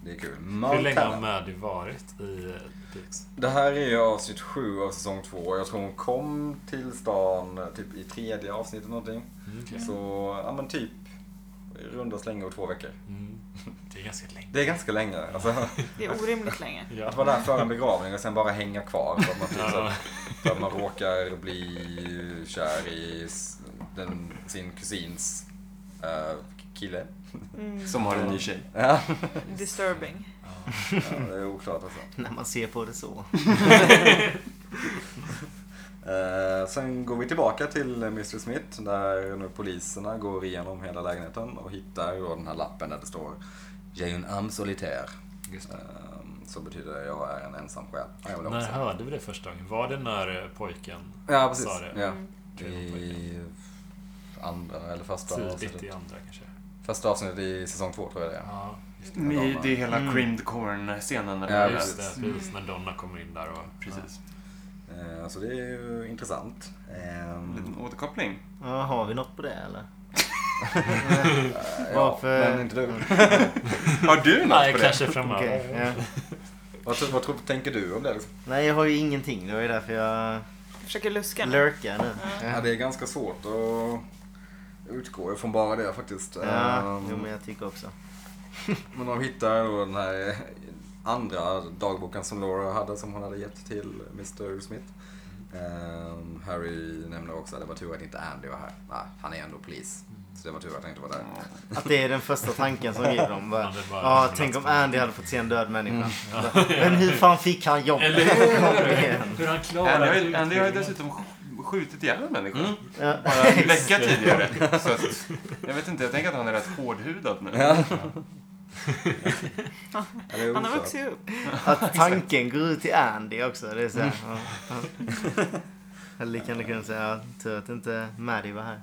Speaker 3: Det är kul.
Speaker 4: Hur länge har
Speaker 3: Montana.
Speaker 4: Maddie varit i eh, Peaks?
Speaker 3: Det här är ju avsnitt sju av säsong två. Jag tror hon kom till stan eh, typ i tredje avsnittet någonting.
Speaker 4: Mm, okej.
Speaker 3: Så, ja men typ i runda slängar och två veckor.
Speaker 4: Mm. Det är ganska länge.
Speaker 3: Det är ganska länge. Alltså,
Speaker 2: Det är orimligt länge.
Speaker 4: Ja.
Speaker 3: att vara där före en begravning och sen bara hänga kvar. För att man, typ, så,
Speaker 4: Ja.
Speaker 3: här- för att man råkar bli kär i s- den, sin kusins eh, kille.
Speaker 2: Mm,
Speaker 6: Som har en ny tjej.
Speaker 3: Ja,
Speaker 2: disturbing.
Speaker 3: det är oklart alltså.
Speaker 1: När man ser på det så.
Speaker 3: Eh, sen går vi tillbaka till Mr Smith där nu poliserna går igenom hela lägenheten och hittar då den här lappen där det står Jane am solitaire.
Speaker 4: Just det.
Speaker 3: Eh, så betyder det jag är en ensam själ. Ja, jag vill
Speaker 4: När
Speaker 3: också.
Speaker 4: hörde vi det första gången? Var det när eh, pojken
Speaker 3: Ja, precis.
Speaker 4: sa det?
Speaker 3: Ja.
Speaker 2: Mm.
Speaker 3: I andra eller första
Speaker 4: Tidigt i
Speaker 3: avsnittet.
Speaker 4: andra kanske?
Speaker 3: Första avsnittet i säng två tror jag det är.
Speaker 4: Ja, just det.
Speaker 3: Madonna.
Speaker 5: Med det är hela
Speaker 1: Mm.
Speaker 5: creamed corn-scenen. när
Speaker 3: Ja,
Speaker 5: det
Speaker 4: just det.
Speaker 5: är-
Speaker 4: Precis när Donna kommer in där och...
Speaker 5: Precis.
Speaker 3: Eh, Så det är ju intressant. Ehm,
Speaker 5: Liten återkoppling.
Speaker 1: Ja, har vi något på det eller?
Speaker 3: eh,
Speaker 1: Varför-
Speaker 3: Ja, men inte du.
Speaker 5: Har du något
Speaker 4: Nej,
Speaker 5: på det?
Speaker 4: kanske framöver.
Speaker 1: Okej. ja.
Speaker 3: vad, tror- vad tror, tänker du om det? Liksom?
Speaker 1: Nej, jag har ju ingenting. Det var ju därför jag
Speaker 2: Jag försöker luska nu.
Speaker 1: lurkar nu.
Speaker 3: Ja, det är ganska svårt att utgå från bara det faktiskt.
Speaker 1: Ja,
Speaker 3: Ehm,
Speaker 1: jo, men jag tycker också.
Speaker 3: Men de hittar då den här eh, andra dagboken som Laura hade som hon hade gett till Mr Smith. Ehm, Harry nämner också att det var tur att inte Andy var här. Nej, han är ändå polis. Så det var tur att han inte var där.
Speaker 1: Att det är den första tanken som ger dem.
Speaker 4: Ja,
Speaker 1: Bara,
Speaker 4: det är bara-
Speaker 1: ja, tänk om Andy hade fått se en död människa. Men hur fan fick han jobb?
Speaker 4: Eller
Speaker 1: Kom igen.
Speaker 4: hur? Hur han
Speaker 5: Andy har
Speaker 4: klarar
Speaker 5: ju- Andy har ju
Speaker 4: utbildningen.
Speaker 5: dessutom sk- skjutit ihjäl en människa.
Speaker 1: Ja.
Speaker 5: Bara en vecka tidigare. Så att, jag vet inte, jag tänker att han är rätt hårdhudad nu.
Speaker 3: Ja, det är
Speaker 2: Han har
Speaker 3: oklart.
Speaker 2: vuxit upp.
Speaker 1: Att tanken går ut till Andy också. Det är så här,
Speaker 4: Mm.
Speaker 1: ja, ja. Eller lika gärna kunna säga, ja, tur att inte Maddie var här.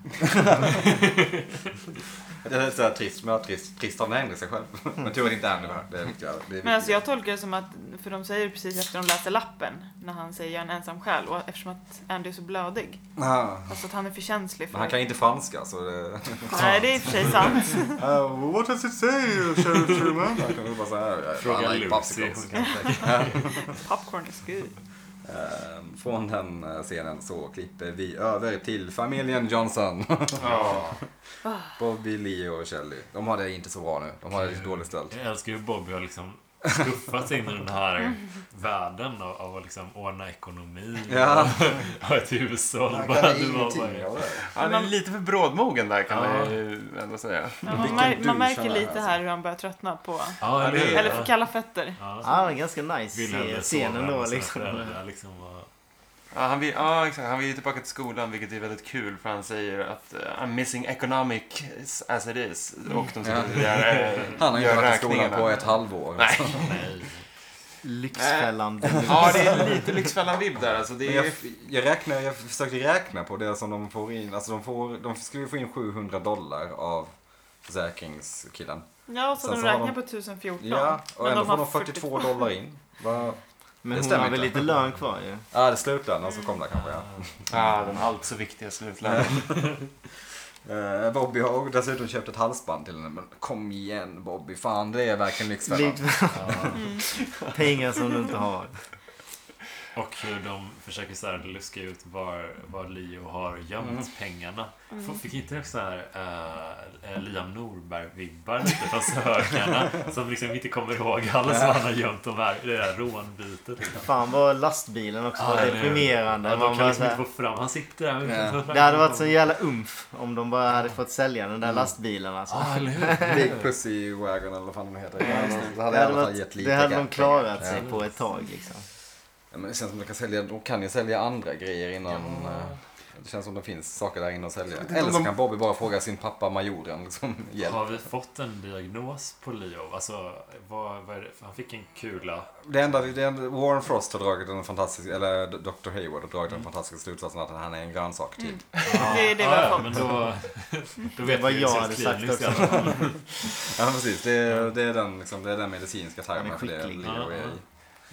Speaker 3: Det är så här trist, men jag är trist, trist av hängde sig själv. Men tur att inte Andy var här. Det är viktigare. Det är
Speaker 2: Men alltså jag
Speaker 3: viktigare.
Speaker 2: tolkar det som att, för de säger precis efter de läser lappen, när han säger jag är en ensam själ, och eftersom att Andy är så blödig.
Speaker 3: Ah,
Speaker 2: Alltså att han är för känslig för...
Speaker 3: Men han kan ju inte franska så det...
Speaker 2: Nej, det är i och för sig sant.
Speaker 3: Uh, what does it say, Sheriff Truman? Han kan väl bara säga...
Speaker 4: Fråga
Speaker 3: "I like
Speaker 4: Lucy,
Speaker 3: popsicles."
Speaker 4: hon kan
Speaker 2: Popcorn is good.
Speaker 3: Ehm, Från den eh, scenen så klipper vi över till familjen Johnson.
Speaker 5: Ja.
Speaker 3: Bobby, Leo och Shelley. De har det inte så bra nu. De har det lite dåligt ställt.
Speaker 4: Jag älskar hur Bobby har liksom skuffat sig in i den här världen av, av att liksom ordna ekonomi
Speaker 3: Ja.
Speaker 4: och ha ett hushåll.
Speaker 3: Han
Speaker 4: Bara,
Speaker 3: kan
Speaker 4: du var bara,
Speaker 3: ingenting av det.
Speaker 5: Han är lite för brådmogen där kan
Speaker 4: Ja.
Speaker 5: man ju ändå säga.
Speaker 2: Ja, man,
Speaker 3: Vilken
Speaker 2: mär,
Speaker 3: douche
Speaker 2: man
Speaker 3: han
Speaker 2: märker
Speaker 3: är,
Speaker 2: lite
Speaker 3: alltså.
Speaker 2: här hur han börjar tröttna på...
Speaker 4: ja, eller hur?
Speaker 2: Eller för kalla fötter.
Speaker 4: Ja.
Speaker 1: Ja, det är ganska nice
Speaker 4: Vill
Speaker 1: se
Speaker 4: hellre sova
Speaker 1: scenen
Speaker 4: med
Speaker 1: då
Speaker 4: sina
Speaker 1: liksom.
Speaker 4: föräldrar, liksom och,
Speaker 5: Ja, han vill, ja, exakt. Han vill ju tillbaka till skolan, vilket är väldigt kul, för han säger att eh, I'm missing economic as it is. Och de sitter och gör, eh,
Speaker 3: Han har inte
Speaker 5: gör
Speaker 3: varit i skolan
Speaker 5: räkningarna.
Speaker 3: på ett halvår.
Speaker 5: Nej.
Speaker 4: nej.
Speaker 1: Lyxfällan.
Speaker 5: Ja, det är lite Lyxfällan-vibb där. Alltså,
Speaker 3: Men
Speaker 5: det
Speaker 3: jag,
Speaker 5: är...
Speaker 3: jag, räknar, jag försökte räkna på det som de får in. Alltså de, får, de skulle ju få in 700 dollar av försäkringskillen.
Speaker 2: Ja, så
Speaker 3: Sen
Speaker 2: de
Speaker 3: så har
Speaker 2: räknar
Speaker 3: de-
Speaker 2: på 1014.
Speaker 3: Ja, och
Speaker 2: men
Speaker 3: ändå får
Speaker 2: har
Speaker 3: de 42 dollar in. Va?
Speaker 1: Men
Speaker 3: Det
Speaker 1: hon
Speaker 3: stämmer
Speaker 1: har väl
Speaker 3: inte.
Speaker 1: lite lön kvar ju.
Speaker 3: Ja, det är slutlönen som kom där kanske. Ja.
Speaker 5: Ah, den allt så viktiga slutländen.
Speaker 3: Eh, Bobby har dessutom köpt ett halsband till henne. Men kom igen Bobby, fan det är verkligen Lyxfällan.
Speaker 1: Lyxfällan. Pengar som du inte har.
Speaker 4: Och hur de försöker så här luska ut var, var Leo har gömt pengarna.
Speaker 1: Mm.
Speaker 4: F-
Speaker 2: Mm.
Speaker 4: Fick inte det så här eh, eh, Liam Norberg-vibbar lite från sökarna? som liksom inte kommer ihåg alls var han har gömt de här, det där rånbytet. Liksom.
Speaker 1: Fan vad lastbilen också var
Speaker 4: eller hur?
Speaker 1: deprimerande.
Speaker 4: Ja,
Speaker 1: Man
Speaker 4: de kan
Speaker 1: bara
Speaker 4: liksom
Speaker 1: så
Speaker 4: inte
Speaker 1: här-
Speaker 4: få fram, han sitter där.
Speaker 3: Ja.
Speaker 1: Det hade varit så jävla umf om de bara hade fått sälja den
Speaker 2: Mm.
Speaker 1: där lastbilen alltså.
Speaker 4: Ja, eller hur?
Speaker 3: Big Pussy Wagon eller vad fan den heter. Det hade
Speaker 1: Det
Speaker 3: i
Speaker 1: hade,
Speaker 3: alla fall
Speaker 1: varit,
Speaker 3: gett
Speaker 1: det
Speaker 3: lite
Speaker 1: hade de
Speaker 3: gap.
Speaker 1: klarat sig
Speaker 3: Ja.
Speaker 1: på ett tag liksom.
Speaker 3: Ja, men det känns som de kan sälja, de kan ju sälja andra grejer innan. eh, Det känns som det finns saker där inne att sälja. Eller så kan Bobby bara fråga sin pappa majoren liksom, hjälp.
Speaker 4: Har vi fått en diagnos på Leo? Alltså, vad, vad är det? Han fick en kula.
Speaker 3: Det enda, det enda Warren Frost har dragit den fantastiska, eller Dr. Hayward har dragit
Speaker 1: Mm.
Speaker 3: den fantastiska slutsatsen att han är en grönsak typ.
Speaker 2: Det är det vi
Speaker 4: Ja,
Speaker 2: har
Speaker 4: ja,
Speaker 2: fått.
Speaker 4: men då, då vet
Speaker 1: vad
Speaker 4: vi
Speaker 1: jag
Speaker 4: hur
Speaker 1: hade
Speaker 4: det
Speaker 1: sagt
Speaker 4: kliniskt
Speaker 1: också.
Speaker 4: i alla fall.
Speaker 3: Ja men precis, det är, det är, den, liksom, det är den medicinska
Speaker 1: Han
Speaker 3: termen
Speaker 1: är
Speaker 3: för det
Speaker 1: skicklig.
Speaker 3: Leo är
Speaker 4: Ja,
Speaker 3: i.
Speaker 4: ja.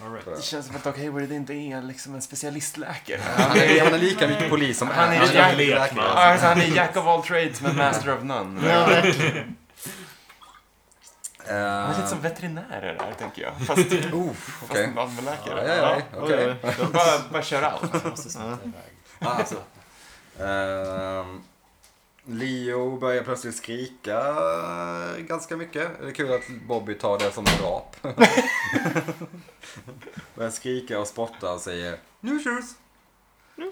Speaker 4: All right.
Speaker 5: Det känns som att Doc Hayward inte är liksom en specialistläkare.
Speaker 3: Han är, han är lika mycket polis som
Speaker 5: Han är
Speaker 4: Han
Speaker 5: en
Speaker 4: är en
Speaker 5: jack,
Speaker 4: lekman.
Speaker 5: alltså, han är jack of all trades men master of none.
Speaker 1: Ja, verkligen.
Speaker 5: Han är
Speaker 3: Eh,
Speaker 5: lite som veterinärer där, tänker jag. Fast, typ, fast
Speaker 3: oh, okej.
Speaker 5: en allmänläkare.
Speaker 3: Ja, ja,
Speaker 1: Oj,
Speaker 3: ja, okej.
Speaker 1: oj, oj.
Speaker 5: Bara, bara kör allt.
Speaker 4: Jag måste smita iväg.
Speaker 3: Ja, Alltså. Ehm, Leo börjar plötsligt skrika ganska mycket. Det är kul att Bobby tar det som en rap. börjar skrika och spotta och säger Nu tjus!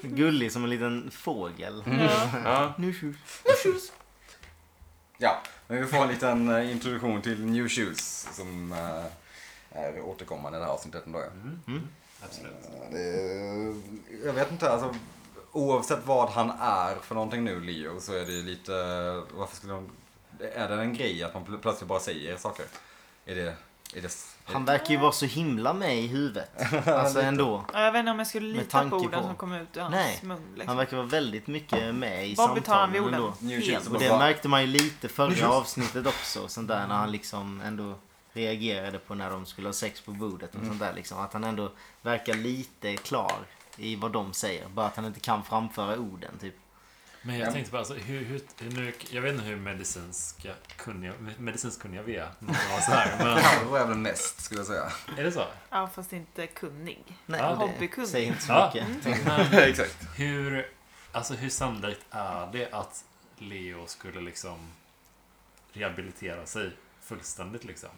Speaker 1: Gullig som en liten fågel.
Speaker 2: Ja.
Speaker 5: Ja.
Speaker 1: Nu tjus.
Speaker 3: Ja, men vi får en liten eh, introduktion till New Shoes som eh, är återkommande i det här avsnittet ändå. ja.
Speaker 2: Mm.
Speaker 1: Mm.
Speaker 4: Absolut.
Speaker 3: Ja, det är- Jag vet inte, alltså oavsett vad han är för någonting nu, Leo, så är det ju lite, varför skulle de, är det en grej att man pl- plötsligt bara säger saker? Är det, är det,
Speaker 1: Han verkar ju vara så himla med i huvudet. Alltså ändå.
Speaker 2: Ja, Jag vet inte om jag skulle
Speaker 1: Med
Speaker 2: lita
Speaker 1: tanke
Speaker 2: på orden
Speaker 1: på-
Speaker 2: som kom ut ur hans
Speaker 1: Nej.
Speaker 2: mun.
Speaker 1: Han
Speaker 2: Liksom.
Speaker 1: verkar vara väldigt mycket med i
Speaker 2: Bobby tar han vid
Speaker 1: samtalen
Speaker 2: orden.
Speaker 1: ändå.
Speaker 3: New
Speaker 2: Helt.
Speaker 3: Jersey.
Speaker 1: Och det märkte man ju lite förra avsnittet också. och Sånt där när han liksom ändå reagerade på när de skulle ha sex på bordet och sånt där liksom. Att han ändå verkar lite klar i vad de säger. Bara att han inte kan framföra orden typ.
Speaker 4: Men jag tänkte bara, alltså, hur, hur, hur- nu, jag vet inte hur medicinska kunniga, medicinskt kunniga vi är. när vi var Så här, men,
Speaker 3: han var väl mest skulle jag säga.
Speaker 4: är det så?
Speaker 2: Ja, fast inte kunnig.
Speaker 1: Nej,
Speaker 4: Ja.
Speaker 1: och det
Speaker 2: Hobbykunnig.
Speaker 1: säger inte så
Speaker 4: Ja.
Speaker 1: mycket.
Speaker 4: Men
Speaker 3: Exakt.
Speaker 4: hur, alltså, hur sannolikt är det att Leo skulle liksom rehabilitera sig fullständigt? Liksom?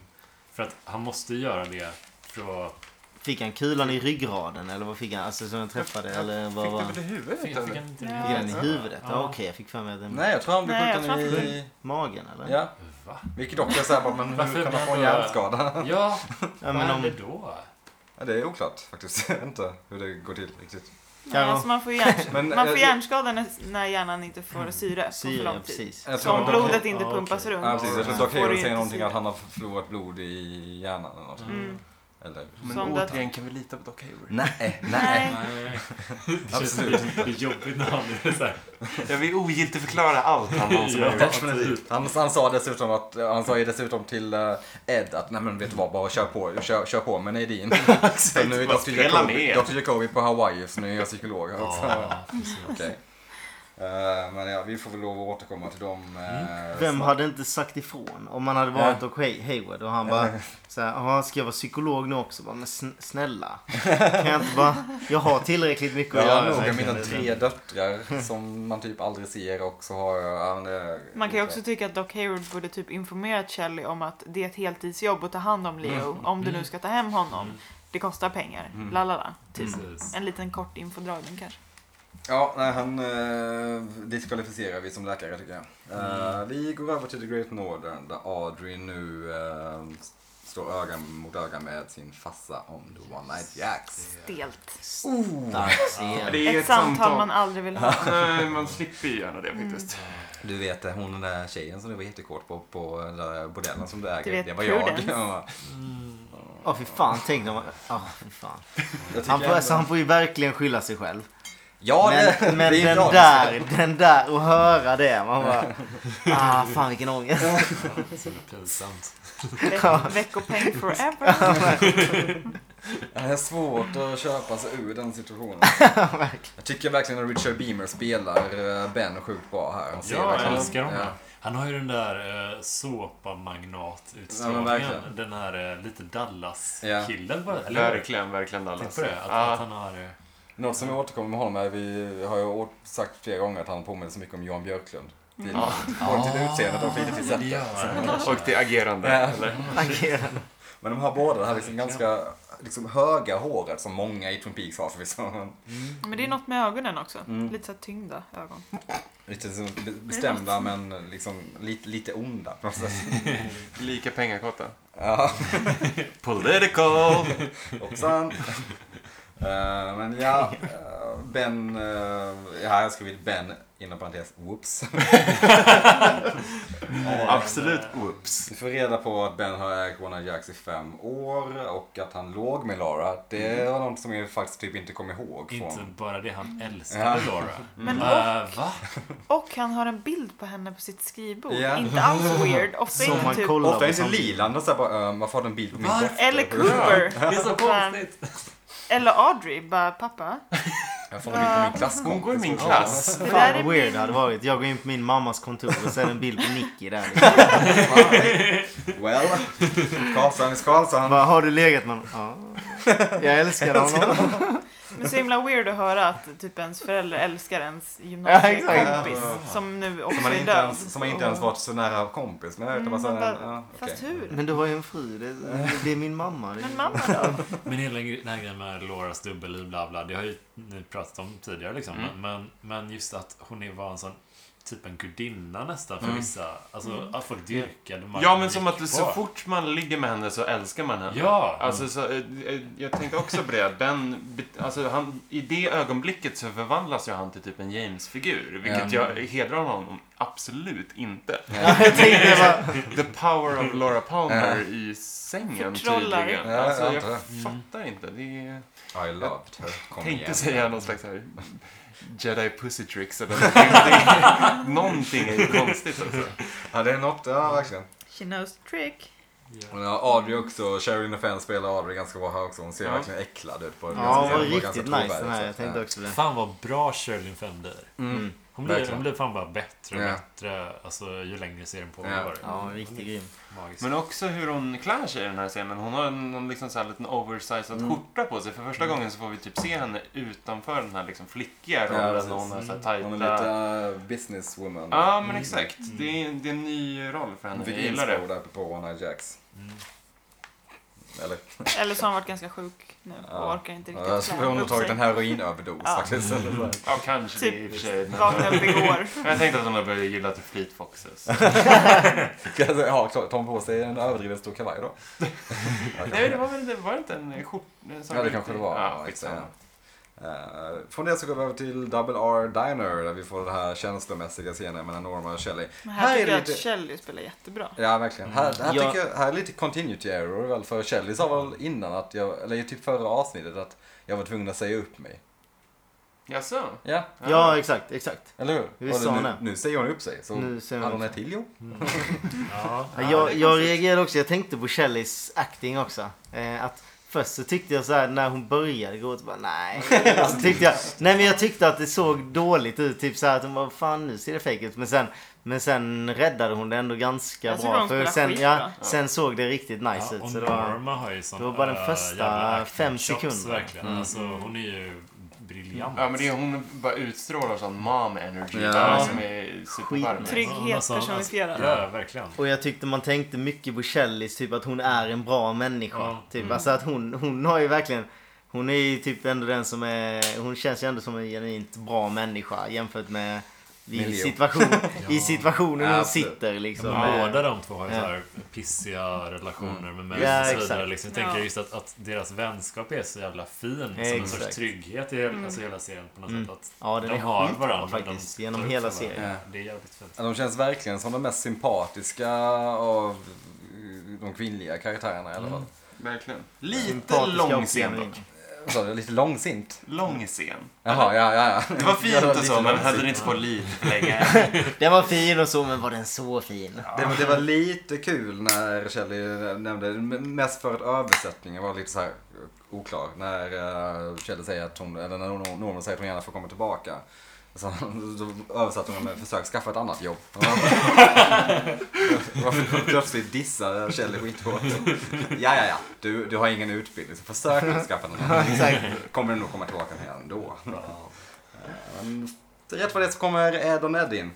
Speaker 4: För att han måste ju göra det för att...
Speaker 1: Fick han kulan i ryggraden eller vad fick han? Alltså som han träffade eller vad var
Speaker 5: Fick
Speaker 1: han?
Speaker 5: du väl
Speaker 1: Fick
Speaker 5: i huvudet?
Speaker 4: Fick han
Speaker 5: eller?
Speaker 4: inte
Speaker 2: Ja.
Speaker 1: han i huvudet? Ja,
Speaker 4: Ja.
Speaker 1: okej, jag fick för mig att den...
Speaker 3: Nej, jag tror han blev
Speaker 2: Nej, jag
Speaker 3: skjuten
Speaker 2: tror
Speaker 3: i,
Speaker 1: Magen eller?
Speaker 3: ja.
Speaker 4: Va?
Speaker 3: Vilket också är såhär, bara, men
Speaker 4: Varför
Speaker 3: hur kan man få en
Speaker 4: blir han då-
Speaker 3: hjärnskada?
Speaker 4: Ja,
Speaker 1: Ja,
Speaker 4: vad
Speaker 1: men om,
Speaker 4: hände då?
Speaker 3: Ja, det är oklart faktiskt. Jag vet inte hur det går till riktigt.
Speaker 2: Nej,
Speaker 1: Karo.
Speaker 2: alltså man får, hjärn...
Speaker 3: Men,
Speaker 2: man får
Speaker 3: eh,
Speaker 2: hjärnskada när- när hjärnan inte får syre på för
Speaker 1: Syria,
Speaker 2: lång tid.
Speaker 1: precis.
Speaker 3: Jag
Speaker 2: Så om
Speaker 3: tror-
Speaker 2: blodet inte
Speaker 4: Ja,
Speaker 2: pumpas
Speaker 4: okej.
Speaker 2: runt.
Speaker 3: Ja, precis. Jag tror
Speaker 1: Ja.
Speaker 3: Doc
Speaker 2: Får du
Speaker 3: Hayward
Speaker 2: inte
Speaker 3: säger någonting
Speaker 2: syre.
Speaker 3: att han har förlorat blod i hjärnan eller något.
Speaker 2: Mm.
Speaker 3: Eller?
Speaker 5: Men
Speaker 2: Som det-
Speaker 5: återigen, kan vi lita på Doc Hayward?
Speaker 3: Nej,
Speaker 2: Nej.
Speaker 4: Nej. Det känns
Speaker 3: Absolut
Speaker 4: lite jobbigt när han är så här.
Speaker 5: Jag vill ogiltigförklara allt han någonsin har
Speaker 4: Ja.
Speaker 5: gjort.
Speaker 3: Definitivt. Han, han sa dessutom att, han sa ju dessutom till eh, Ed att nej men vet du vad, bara kör på, kör, kör på med Nadine. Så nu är
Speaker 5: bara
Speaker 3: Dr.
Speaker 5: spela
Speaker 3: Jacobi,
Speaker 5: med.
Speaker 3: Dr. Jacobi på Hawaii så nu är jag psykolog. här också.
Speaker 4: Ja, precis.
Speaker 3: Okej. Eh, men ja, vi får väl lov att återkomma till dem. eh,
Speaker 1: Mm. Vem
Speaker 3: snart.
Speaker 1: hade inte sagt ifrån? Om man hade varit och Hay- Hayward och han bara såhär, "Ja, ska jag vara psykolog nu också? Bara, men sn- snälla. Kan jag inte bara, jag har tillräckligt mycket att
Speaker 3: Jag har
Speaker 1: göra.
Speaker 3: nog
Speaker 1: verkligen."
Speaker 3: mina tre döttrar som man typ aldrig ser och så har jag... ja, men det-
Speaker 2: Man kan ju också tycka att Doc Hayward borde typ informerat Shelley om att det är ett heltidsjobb att ta hand om Leo.
Speaker 1: Mm.
Speaker 2: Om du nu ska ta hem honom. Det kostar pengar. La la la. Typ.
Speaker 1: Mm.
Speaker 4: Precis.
Speaker 2: En liten kort infodragning kanske.
Speaker 3: Ja, nej, han eh, diskvalificerar vi som läkare tycker jag. Eh,
Speaker 1: Mm.
Speaker 3: Vi går över till The Great Northern där Audrey nu eh, står öga mot öga med sin fassa om The One Night Jacks.
Speaker 2: Stelt.
Speaker 1: Dags igen.
Speaker 5: Det är
Speaker 2: Ett samtal man aldrig vill ha.
Speaker 5: Nej, man slipper ju gärna det faktiskt.
Speaker 3: Du vet eh, hon den där tjejen som du var jättekort på, på den där bordellen som du
Speaker 2: Du
Speaker 3: äger.
Speaker 2: vet,
Speaker 3: Det var jag.
Speaker 2: Prudence.
Speaker 3: Ja.
Speaker 1: Åh fy fan, tänk om... Åh fy fan. Han
Speaker 3: Jag tycker
Speaker 1: får,
Speaker 3: ändå-
Speaker 1: alltså, han får ju verkligen skylla sig själv.
Speaker 3: Ja, det,
Speaker 1: Men, men
Speaker 3: det är
Speaker 1: den
Speaker 3: bra.
Speaker 1: där, den där och höra det. Man bara, ah fan vilken ångest.
Speaker 4: Så det är pinsamt.
Speaker 2: Ve- Veckopeng forever.
Speaker 3: Det är svårt att köpa sig ur den situationen.
Speaker 1: Verkligen.
Speaker 3: Jag tycker verkligen att Richard Beamer spelar eh, Ben sjukt bra här. Han ser
Speaker 4: Ja,
Speaker 3: verkligen-
Speaker 4: jag älskar
Speaker 3: Ja.
Speaker 4: honom. Han har ju den där eh,
Speaker 3: Ja, men
Speaker 4: såpamagnat-utstrålningen.
Speaker 3: verkligen.
Speaker 4: den här eh, lite Dallas-killen bara. Eller hur?
Speaker 5: Mm. Verkligen, verkligen
Speaker 4: Tänk
Speaker 5: Dallas.
Speaker 4: på det. Att, att
Speaker 5: Ja,
Speaker 4: han har... eh,
Speaker 3: Något som jag återkommer med honom är, vi har ju å- sagt flera gånger att han påminner så mycket om Jan Björklund. Till, Både till utseendet och till
Speaker 4: Ja, det
Speaker 3: sättet.
Speaker 4: gör han.
Speaker 5: och det agerande.
Speaker 3: Ja.
Speaker 5: Eller?
Speaker 1: Agerande.
Speaker 3: Men de här båda, det här liksom ganska liksom höga håret som många i Twin Peaks har förvisso.
Speaker 2: Men det är något med ögonen också.
Speaker 1: Mm.
Speaker 2: Lite så här tyngda ögon.
Speaker 3: Lite så be- bestämda men liksom lite, lite onda på något sätt.
Speaker 4: Mm.
Speaker 5: Lika pengakotta.
Speaker 3: Ja,
Speaker 5: Political!
Speaker 3: hoppsan. Eh, men ja, eh, Ben, eh, ja, jag har skrivit Ben inom parentes, whoops.
Speaker 5: Absolut. Oops.
Speaker 3: Vi får reda på att Ben har ägt One Night Jacks i fem år och att han låg med Laura. Det var något som jag faktiskt typ inte kom ihåg
Speaker 4: Inte
Speaker 3: från.
Speaker 4: bara det, han älskade
Speaker 3: Ja.
Speaker 4: Laura.
Speaker 2: Men
Speaker 4: Äh, va?
Speaker 2: Och han har en bild på henne på sitt skrivbord.
Speaker 3: Ja.
Speaker 2: Inte alls weird. Ofta är
Speaker 1: Som
Speaker 2: det
Speaker 1: man
Speaker 2: typ...
Speaker 1: kollar
Speaker 3: Ofta är
Speaker 1: på
Speaker 3: inte
Speaker 1: samtidigt.
Speaker 3: Lilan och såhär bara, ehm, varför har du en bild på min
Speaker 4: Va?
Speaker 3: dotter?
Speaker 2: Eller Cooper.
Speaker 4: Det är så konstigt.
Speaker 2: Eller Audrey. Bara pappa.
Speaker 3: Varför har du en bild på min klasskompis?
Speaker 5: Hon går i min klass.
Speaker 2: Det där
Speaker 1: Fan
Speaker 2: är
Speaker 1: vad weird
Speaker 2: min-
Speaker 1: det hade varit. Jag går in på min mammas kontor och ser en bild på Nicky där.
Speaker 3: Well, Karlsson is Karlsson.
Speaker 1: Vad har du legat med honom? Ja. Jag älskar honom.
Speaker 2: Men så himla weird att höra att typ ens förälder älskar ens
Speaker 1: Ja,
Speaker 2: gymnasiekompis. som nu också
Speaker 3: Som man
Speaker 2: är
Speaker 3: inte
Speaker 2: död.
Speaker 3: ens, som man inte ens varit så nära kompis med. Utan
Speaker 2: Mm,
Speaker 3: bara
Speaker 2: man
Speaker 3: så här,
Speaker 2: bara,
Speaker 3: ja, okej.
Speaker 2: Fast hur?
Speaker 1: Men du har ju en fru. Det, det är min mamma. Det är-
Speaker 2: Men mamma då?
Speaker 4: Men hela gre- den här grejen med Lauras dubbelliv, bla bla, det har ju ni pratat om tidigare liksom.
Speaker 5: Mm.
Speaker 4: Men, men just att hon är- var en sån, typ en gudinna nästan för vissa. Alltså, att folk dyrkade man
Speaker 5: Ja, men som
Speaker 4: gick
Speaker 5: att så
Speaker 4: bort.
Speaker 5: fort man ligger med henne så älskar man henne.
Speaker 4: Ja!
Speaker 5: Alltså, så, eh, eh, jag tänkte också på det. att Ben, be- alltså, han, I det ögonblicket så förvandlas ju han till typ en James-figur. Vilket
Speaker 3: Ja.
Speaker 5: jag hedrar honom absolut inte.
Speaker 1: Ja, jag tänkte bara,
Speaker 5: The power of Laura Palmer i sängen
Speaker 2: Förtrollar.
Speaker 5: tydligen.
Speaker 3: Ja,
Speaker 5: Alltså,
Speaker 3: jag
Speaker 5: jag
Speaker 3: antar det.
Speaker 5: fattar inte. Det är...
Speaker 3: I loved her. Kom
Speaker 5: Tänkte
Speaker 3: igen.
Speaker 5: säga någon slags här Jedi pussy tricks eller någonting. någonting är ju konstigt alltså.
Speaker 3: Ja, det är något, ja verkligen.
Speaker 2: She knows the trick.
Speaker 3: Men ja, Audrey också, Sherry Fan spelar Audrey ganska bra här också. Hon ser
Speaker 5: Ja.
Speaker 3: verkligen äcklad ut. På
Speaker 1: ja, hon var
Speaker 3: ganska- ganska
Speaker 1: riktigt nice den
Speaker 3: trovärdig,
Speaker 1: här.
Speaker 3: så
Speaker 1: Jag
Speaker 3: att,
Speaker 1: tänkte
Speaker 3: ja.
Speaker 1: också det.
Speaker 4: Fan vad bra Sherlyn Fenn blir.
Speaker 1: Mm.
Speaker 4: Hon blir,
Speaker 3: Verkligen.
Speaker 4: hon blir fan bara bättre och
Speaker 3: Ja.
Speaker 4: bättre alltså, ju längre serien pågår.
Speaker 3: Ja.
Speaker 1: Ja, riktigt grym.
Speaker 4: Magiskt.
Speaker 5: Men också hur hon klär sig i den här scenen. Hon har en någon liksom så här liten oversized
Speaker 3: Mm.
Speaker 5: skjorta på sig. För första gången så får vi typ se henne utanför den här liksom flickiga rollen.
Speaker 3: precis.
Speaker 5: och hon har så här
Speaker 3: Hon är
Speaker 5: tajta...
Speaker 3: lite
Speaker 5: Ja,
Speaker 3: eh, businesswoman.
Speaker 5: men exakt. Det, är, det är en ny roll för henne.
Speaker 3: Hon
Speaker 5: Jag
Speaker 3: fick
Speaker 5: gillar
Speaker 3: inspo
Speaker 5: det.
Speaker 3: där på One Night Jacks. Eller?
Speaker 2: Eller så har han varit ganska sjuk nu och
Speaker 3: Ja.
Speaker 2: orkar inte riktigt
Speaker 3: Ja, så hon har
Speaker 2: upp sig.
Speaker 3: tagit en heroinöverdos
Speaker 2: Ja.
Speaker 3: faktiskt. Eller så.
Speaker 5: Ja, kanske det i
Speaker 2: Typ
Speaker 5: och för sig. Men
Speaker 2: Vaknade upp igår.
Speaker 5: men jag tänkte att hon har börjat gilla till Fleet Foxes.
Speaker 3: Alltså, Ja, tar hon på sig en överdrivet stor kavaj då?
Speaker 5: Nej, det var väl inte, var det inte en skjorta?
Speaker 3: Ja, det kanske det var.
Speaker 5: Ja,
Speaker 3: Ja,
Speaker 5: skitsamma.
Speaker 3: Eh, från det så går vi över till Double R Diner där vi får den här känslomässiga scenen mellan Norma och Shelley.
Speaker 2: Men här, tycker jag
Speaker 3: lite...
Speaker 2: att Shelley spelar jättebra.
Speaker 3: Ja, verkligen. Här, här,
Speaker 1: Ja.
Speaker 3: tycker jag, här är lite continuity error väl, för Shelley sa väl innan att jag, eller typ förra avsnittet att jag var tvungen att säga upp mig.
Speaker 5: Jaså?
Speaker 3: Ja,
Speaker 1: Ja, exakt, exakt.
Speaker 3: eller hur?
Speaker 1: Visst
Speaker 3: Och
Speaker 1: sa hon
Speaker 3: nu,
Speaker 1: det?
Speaker 3: nu säger hon upp sig, så
Speaker 1: Nu säger hon
Speaker 3: hade hon
Speaker 1: upp
Speaker 3: ett till jobb.
Speaker 4: Ja.
Speaker 1: Ja, jag, jag reagerade också. Jag tänkte på Shelleys acting också. Eh, att först så tyckte jag så här när hon började gå ut, bara nej. Och så tyckte jag, nej men jag tyckte att det såg dåligt ut. Typ så här att hon bara, fan nu ser det fake ut. Men sen, men sen räddade hon det ändå ganska
Speaker 2: Jag tycker
Speaker 1: bra.
Speaker 2: hon spelar
Speaker 1: sen,
Speaker 2: skitbra.
Speaker 1: sen såg det riktigt nice
Speaker 4: Ja,
Speaker 1: ut.
Speaker 4: och
Speaker 1: Så det var,
Speaker 4: Norma har ju sån
Speaker 1: det var bara den
Speaker 4: äh,
Speaker 1: första
Speaker 4: jävla acting
Speaker 1: fem
Speaker 4: chops,
Speaker 1: sekunderna.
Speaker 4: Verkligen. Alltså, hon är ju briljant.
Speaker 5: Ja, men det är hon bara utstrålar sån mom energy.
Speaker 3: Ja.
Speaker 5: där Som är supervarm.
Speaker 1: Skitnice.
Speaker 4: Hon har
Speaker 2: Trygghet
Speaker 4: sån-
Speaker 2: personifierad.
Speaker 4: alltså, Ja, verkligen.
Speaker 1: och jag tyckte man tänkte mycket på Shelleys, typ att hon är en bra människa.
Speaker 4: Ja. Mm.
Speaker 1: Typ. Alltså att hon, hon har ju verkligen Hon är ju typ ändå den som är Hon känns ju ändå som en genuint bra människa jämfört med i,
Speaker 3: Miljö.
Speaker 1: situation, i situationen hon
Speaker 3: Absolut.
Speaker 1: sitter liksom.
Speaker 4: Men Båda
Speaker 1: Eh,
Speaker 4: de två har ju
Speaker 1: Ja.
Speaker 4: så här pissiga relationer med mig
Speaker 1: Ja,
Speaker 4: och så vidare.
Speaker 1: exakt.
Speaker 4: Liksom. Jag tänker
Speaker 2: Ja.
Speaker 4: just att, att deras vänskap är så jävla fin. Som en
Speaker 1: Exakt. Mm.
Speaker 4: sorts trygghet i alltså, hela serien på något sätt. Att
Speaker 1: Ja, den
Speaker 4: de
Speaker 1: är
Speaker 4: har
Speaker 1: skitbra
Speaker 4: varandra.
Speaker 1: faktiskt,
Speaker 4: de
Speaker 1: genom
Speaker 4: står upp
Speaker 1: hela
Speaker 4: för varandra.
Speaker 1: serien.
Speaker 4: Ja, Det är jävligt fint.
Speaker 3: Ja, De känns verkligen som de mest sympatiska av eh, de kvinnliga karaktärerna i alla fall.
Speaker 5: Verkligen. Lite
Speaker 1: sympatiska
Speaker 5: lång
Speaker 1: och
Speaker 5: scen
Speaker 1: genuin.
Speaker 5: dock.
Speaker 3: Vad sa du? Lite långsint?
Speaker 5: Lång scen.
Speaker 3: Jaha, ja, ja, ja.
Speaker 5: Mm. Det var fint
Speaker 3: var
Speaker 5: och
Speaker 3: lite
Speaker 5: så, men
Speaker 3: långsint.
Speaker 5: hade ni inte på lite för länge.
Speaker 1: Den var fin och så men var den så fin?
Speaker 3: Det, var- det var lite kul när Shelley nämnde, m- mest för att översättningen var lite så här oklar. När eh, Shelley säger att hon, eller när Norman säger att hon gärna får komma tillbaka. Så han, då översatte hon med försök skaffa ett annat jobb. Varför plötsligt dissar Kjell skithårt. Ja, ja, ja. Du, du har ingen utbildning så försök att skaffa något annat.
Speaker 1: Exakt.
Speaker 3: Kommer du nog komma tillbaka med ändå. Men rätt vad det är så kommer Ed och Ned in.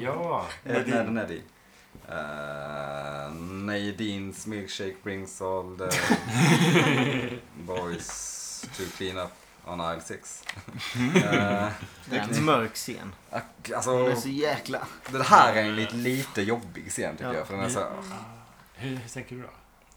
Speaker 4: Ja.
Speaker 3: Ed, Ned och Neddy. Uh, Nadines milkshake brings all the boys to clean up on aisle 6.
Speaker 4: Mm.
Speaker 1: Det är en mörk scen.
Speaker 3: alltså,
Speaker 1: Den är så jäkla...
Speaker 3: det här är en lite, lite jobbig scen tycker
Speaker 1: Ja.
Speaker 3: jag. För den är så,
Speaker 4: Mm.
Speaker 3: här-
Speaker 4: Ah, Hur, hur tänker du då?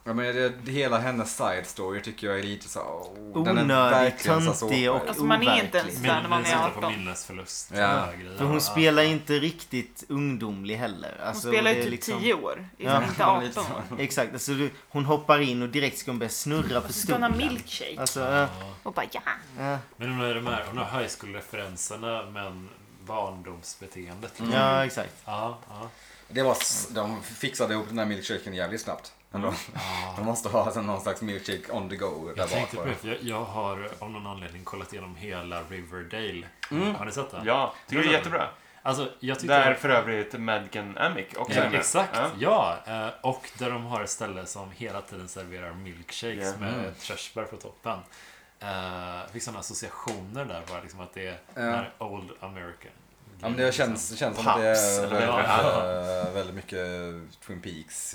Speaker 3: ja, men det, det, hela hennes side story tycker jag är lite så... Oh, den är
Speaker 1: Onödig,
Speaker 3: verkligen så
Speaker 1: töntig
Speaker 3: såpa.
Speaker 1: och
Speaker 2: Alltså, man är inte ens-
Speaker 1: overklig.
Speaker 2: Sen när man är
Speaker 4: sitter på
Speaker 2: 18.
Speaker 4: minnesförlust.
Speaker 3: Ja.
Speaker 4: sådana grejer.
Speaker 1: För hon spelar inte riktigt ungdomlig heller.
Speaker 2: Hon
Speaker 1: Alltså,
Speaker 2: spelar ju
Speaker 1: det är
Speaker 2: typ
Speaker 1: liksom-
Speaker 2: 10 år,
Speaker 1: Ja.
Speaker 2: liksom inte 18 år.
Speaker 1: Exakt, alltså du, hon hoppar in och direkt ska hon börja snurra på
Speaker 2: Så ska hon ha
Speaker 1: stolen.
Speaker 2: milkshake
Speaker 1: Alltså, eh,
Speaker 2: och bara ja.
Speaker 1: eh,
Speaker 3: Mm.
Speaker 4: Men hon har de här, hon har high school-referenserna men barndomsbeteendet. liksom.
Speaker 1: ja exakt.
Speaker 4: Ja, ja.
Speaker 3: Det var, s- de fixade ihop den här milkshaken jävligt snabbt. ändå. De måste ha sen någon slags milkshake on the go där
Speaker 4: Mm. Jag tänkte på
Speaker 3: bak.
Speaker 4: det, för jag, jag har av någon anledning kollat igenom hela Riverdale. Har ni sett den?
Speaker 5: Ja, tycker det är jättebra.
Speaker 4: Alltså, jag tycker...
Speaker 5: Där för övrigt Madgan Amick också
Speaker 4: Ja,
Speaker 5: är med.
Speaker 4: exakt,
Speaker 5: Ja.
Speaker 4: ja. Eh, Och där de har ett ställe som hela tiden serverar milkshakes
Speaker 5: Ja.
Speaker 4: med körsbär på toppen. Eh, Jag fick sådana associationer där bara, liksom att det är
Speaker 3: Ja.
Speaker 4: den här Old American.
Speaker 3: Ja, men det känns, känns som att det
Speaker 4: Paps,
Speaker 3: är
Speaker 4: eller
Speaker 3: väldigt,
Speaker 4: vad det
Speaker 3: eh, väldigt mycket Twin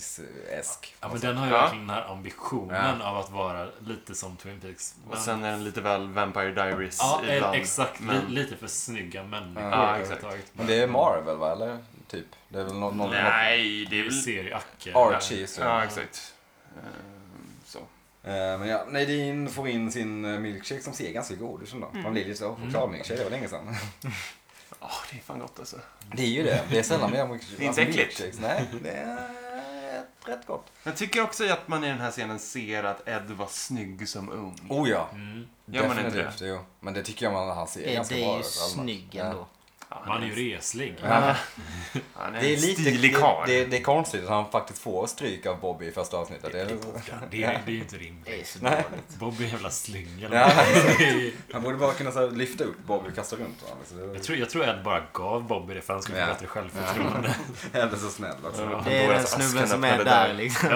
Speaker 3: Peaks-esk.
Speaker 4: Ja, men den har ju
Speaker 5: Ja.
Speaker 4: verkligen den här ambitionen av att vara lite som Twin Peaks.
Speaker 5: Och
Speaker 4: Men-
Speaker 5: sen är den lite väl Vampire Diaries
Speaker 4: Ja, eh,
Speaker 5: ibland.
Speaker 4: exakt. li-
Speaker 5: Men...
Speaker 4: Lite för snygga människor
Speaker 3: Ja,
Speaker 5: exakt.
Speaker 4: överhuvudtaget.
Speaker 3: Men det är Marvel va, eller? Typ. Det är väl någon... någon
Speaker 5: Nej, det är
Speaker 4: Det är
Speaker 5: väl...
Speaker 4: serieacke.
Speaker 3: någon Archie. Så.
Speaker 5: Ja, exakt. Ehm, Så.
Speaker 3: Eh, Men ja, Nadine får in sin eh, milkshake som ser ganska god ut som
Speaker 1: Mm.
Speaker 3: då. Man blir lite så,
Speaker 5: Mm.
Speaker 3: chokladmilkshake, det var länge sedan.
Speaker 5: Ja, det är fan gott alltså.
Speaker 3: Det är ju det, det är sällan vi gör milkshake. Alltså,
Speaker 5: Det är inte äckligt.
Speaker 3: milkshakes, Nej, det är rätt gott.
Speaker 5: Jag tycker också att man i den här scenen ser att Ed var snygg som ung.
Speaker 3: Oh ja.
Speaker 4: Mm.
Speaker 5: Gör man inte
Speaker 3: Definitivt, jo. Men det tycker jag man han ser
Speaker 1: Ed
Speaker 3: ganska bra
Speaker 1: är
Speaker 3: ut.
Speaker 1: ju
Speaker 3: allmänt.
Speaker 1: snygg
Speaker 3: Ja.
Speaker 1: ändå.
Speaker 5: Ja,
Speaker 4: Man är ju reslig.
Speaker 3: Ja.
Speaker 5: Han är,
Speaker 3: Det är
Speaker 5: en
Speaker 3: lite
Speaker 5: stilig
Speaker 3: det,
Speaker 5: karl.
Speaker 3: det, det är konstigt att han faktiskt får stryk av Bobby i första avsnittet. Det är,
Speaker 4: Det är det är ju inte
Speaker 1: Det är
Speaker 4: rimligt.
Speaker 1: så dåligt.
Speaker 4: Bobby är en jävla slyngel.
Speaker 3: Ja.
Speaker 4: Det är-
Speaker 3: han borde bara kunna så här, lyfta upp Bobby och kasta runt honom. liksom. Så det
Speaker 4: Jag tror, jag tror Ed bara gav Bobby det för han skulle få
Speaker 3: Ja.
Speaker 4: bättre självförtroende.
Speaker 3: Eller så snäll också.
Speaker 4: Ja.
Speaker 1: Det är
Speaker 5: Då är
Speaker 1: den
Speaker 5: alltså
Speaker 1: snubben
Speaker 5: asken
Speaker 1: som
Speaker 5: öppnade
Speaker 1: är där
Speaker 5: där.
Speaker 1: liksom.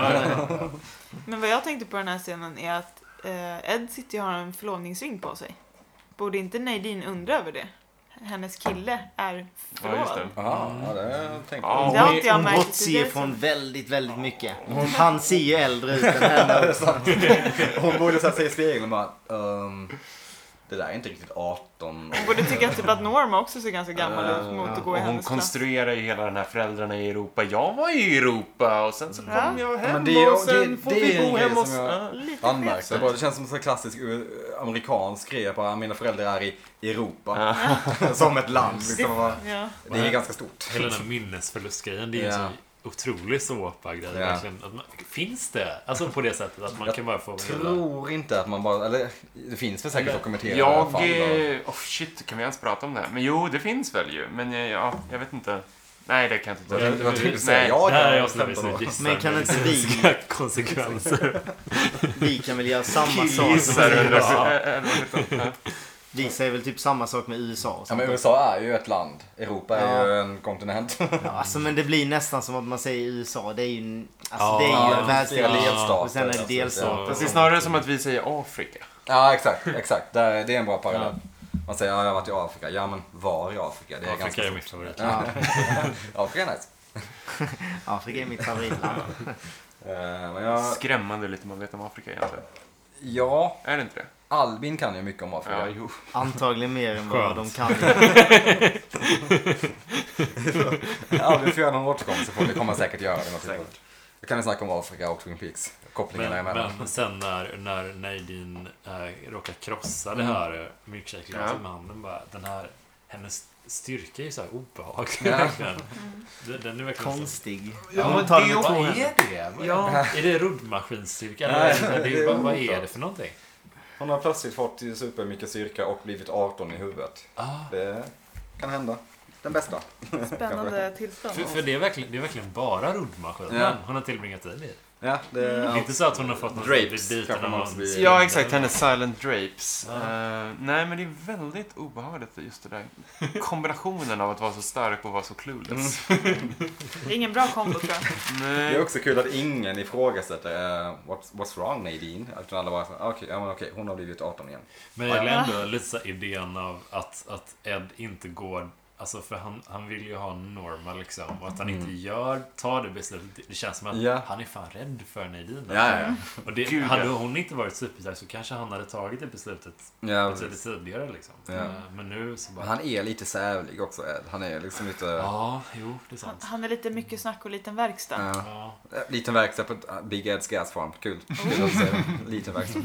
Speaker 2: Men vad jag tänkte på den här scenen är att eh, Ed sitter ju och har en förlovningsring på sig. Borde inte Nadine undra över det? Hennes kille är
Speaker 5: Ja, just det.
Speaker 2: förlovad.
Speaker 3: Aha, ja, det tänkte
Speaker 5: Ja,
Speaker 3: jag.
Speaker 2: Det har inte jag
Speaker 1: Hon
Speaker 2: märkt
Speaker 1: bortser
Speaker 2: tidigare.
Speaker 1: från väldigt, väldigt mycket. Han ser ju äldre ut än henne också.
Speaker 3: Hon borde sätta sig i spegeln och bara... ehm, det där är inte riktigt 18
Speaker 2: Hon borde tycka typ att Norma också ser ganska gammal ut mot att gå
Speaker 5: och
Speaker 2: i
Speaker 5: hon
Speaker 2: hennes plats.
Speaker 5: konstruerar ju hela den här föräldrarna i Europa. Jag var ju i Europa och sen så kom
Speaker 2: Ja.
Speaker 5: jag hem
Speaker 3: Mm. Ja, men det är-
Speaker 5: och sen
Speaker 3: det-
Speaker 5: får
Speaker 3: det är
Speaker 5: vi
Speaker 3: en
Speaker 5: bo
Speaker 3: grej
Speaker 5: hemma hos...
Speaker 3: som jag-
Speaker 5: Ja.
Speaker 2: Lite
Speaker 3: Anmärkt. Det,
Speaker 2: skevt.
Speaker 3: bara, det känns som en sån här klassisk u- amerikansk grej. Bara, mina föräldrar är i Europa. som ett land. Liksom. Bara,
Speaker 2: Ja.
Speaker 3: Det är ganska stort.
Speaker 4: Hela den här minnesförlustgrejen, det är
Speaker 3: Ja.
Speaker 4: en så otrolig såpa-grej.
Speaker 3: Ja.
Speaker 4: verkligen. Att man- Finns det? Alltså på det sättet att man
Speaker 3: Jag
Speaker 4: kan bara få...
Speaker 3: tror inte att man bara... Eller det finns väl säkert dokumenterade
Speaker 5: Jag...
Speaker 3: fall. då.
Speaker 5: eh, Oh shit, kan vi ens prata om det här? Men jo, det finns väl ju. Men eh, ja, jag vet inte. Nej, det kan jag
Speaker 3: Det
Speaker 5: inte
Speaker 3: var-
Speaker 5: säga.
Speaker 3: det var tryggt att säga
Speaker 5: Nej,
Speaker 3: ja.
Speaker 4: det här
Speaker 3: jag
Speaker 4: är
Speaker 3: är
Speaker 4: avsnittet som
Speaker 3: 15 år.
Speaker 4: gissar.
Speaker 1: Men kan
Speaker 4: med
Speaker 1: inte
Speaker 4: liksom
Speaker 1: vi-
Speaker 4: sina konsekvenser.
Speaker 1: Vi kan väl göra samma sak.
Speaker 5: Killgissar
Speaker 4: Ja.
Speaker 5: eller så- eh, eh, vad heter det?
Speaker 1: Vi säger väl typ samma sak med USA och
Speaker 3: Ja,
Speaker 1: sånt.
Speaker 3: men USA är ju ett land. Europa är
Speaker 1: Ja.
Speaker 3: ju en kontinent.
Speaker 1: Ja, Alltså men det blir nästan som att man säger USA. Det är ju, alltså,
Speaker 4: Ja,
Speaker 1: det är ju en
Speaker 3: det är flera
Speaker 1: världsdel.
Speaker 3: delstater,
Speaker 1: Och sen är det
Speaker 3: alltså,
Speaker 1: delstater.
Speaker 5: Fast det är snarare som att vi säger Afrika.
Speaker 3: ja, exakt. exakt. Där, det är en bra parallell. Man säger ja, jag har varit i Afrika. Ja, men var i Afrika? Det är
Speaker 4: Afrika är
Speaker 3: ganska
Speaker 4: mitt favorit.
Speaker 1: Ja,
Speaker 3: Afrika är nice.
Speaker 1: Afrika är mitt favoritland.
Speaker 3: Eh, men jag,
Speaker 5: Skrämmande lite man vet om Afrika egentligen.
Speaker 3: ja,
Speaker 5: Är det inte det?
Speaker 3: Albin kan ju mycket om Afrika.
Speaker 5: Ja, jo.
Speaker 1: Antagligen mer än vad de
Speaker 4: Skönt.
Speaker 1: kan.
Speaker 3: Ja, vi får göra någon återkomst så får vi komma säkert göra det. Säkert. Då kan vi snacka om Afrika och Twin Peaks. Kopplingarna
Speaker 4: Men,
Speaker 3: emellan.
Speaker 4: men sen när, när Nadine äh, råkar krossa
Speaker 3: Mm.
Speaker 4: det här eh, milkshake-glaset
Speaker 5: Ja.
Speaker 4: med handen bara, den här, hennes styrka är ju så här obehaglig
Speaker 3: Ja. Mm.
Speaker 4: verkligen. Den, den är verkligen så-
Speaker 1: Konstig.
Speaker 5: Ja,
Speaker 1: Hon
Speaker 5: men
Speaker 1: tar
Speaker 5: det
Speaker 1: med
Speaker 5: är
Speaker 1: två
Speaker 4: Vad
Speaker 1: händer.
Speaker 4: är det? Vad- Är det ruddmaskinsstyrka? Eller
Speaker 3: Nej,
Speaker 4: är det så här, det
Speaker 3: det är
Speaker 4: är, vad, vad är
Speaker 3: oklart.
Speaker 4: det för någonting?
Speaker 3: Hon har plötsligt fått supermycket styrka och blivit 18 i huvudet.
Speaker 4: Ah.
Speaker 3: Det kan hända. Den bästa.
Speaker 2: Spännande tillstånd.
Speaker 4: För, för det, är verkligen, det är verkligen bara ruddmaskinen
Speaker 3: Ja.
Speaker 4: hon har tillbringat tid i.
Speaker 3: Ja, det
Speaker 4: Det är inte så att hon har fått någon
Speaker 3: Drapes,
Speaker 4: bit
Speaker 3: kanske man
Speaker 4: av någon-
Speaker 3: måste bli-
Speaker 5: Ja, exakt. Hennes Silent Drapes.
Speaker 4: Ja.
Speaker 5: Eh, nej, men det är väldigt obehagligt just det där. Kombinationen av att vara så stark och vara så clueless.
Speaker 3: Mm.
Speaker 2: Det är ingen bra kombo tror jag.
Speaker 3: Det är
Speaker 5: Nej.
Speaker 3: också kul att ingen ifrågasätter uh, what's, what's wrong Nadine? Utan alla bara så, "Ah, okej, okay, okay, hon har blivit 18 igen.
Speaker 4: Men jag gillar ändå lite så här idén av att, att Ed inte går... Alltså för han, han vill ju ha Norma liksom. Och att han inte gör, tar det beslutet. Det- Det känns som att
Speaker 3: Mm. Ja.
Speaker 4: han är fan rädd för Nadine.
Speaker 3: Ja, ja,
Speaker 4: Och det,
Speaker 5: Gud,
Speaker 4: hade
Speaker 5: ja.
Speaker 4: hon inte varit superstark så kanske han hade tagit det beslutet
Speaker 3: ja. ja precis.
Speaker 4: betydligt tidigare liksom.
Speaker 3: Ja.
Speaker 4: Eh, Men nu så
Speaker 3: Men
Speaker 4: bara...
Speaker 3: han är lite sävlig också Ed. Han är liksom lite...
Speaker 4: Ja, jo, det är
Speaker 2: Han,
Speaker 4: sant.
Speaker 2: han är lite mycket snack och liten verkstad.
Speaker 3: ja.
Speaker 4: Ja.
Speaker 3: Eh, Liten verkstad på ett- Big Eds gasfarm. Kul. Kul att se. Liten verkstad.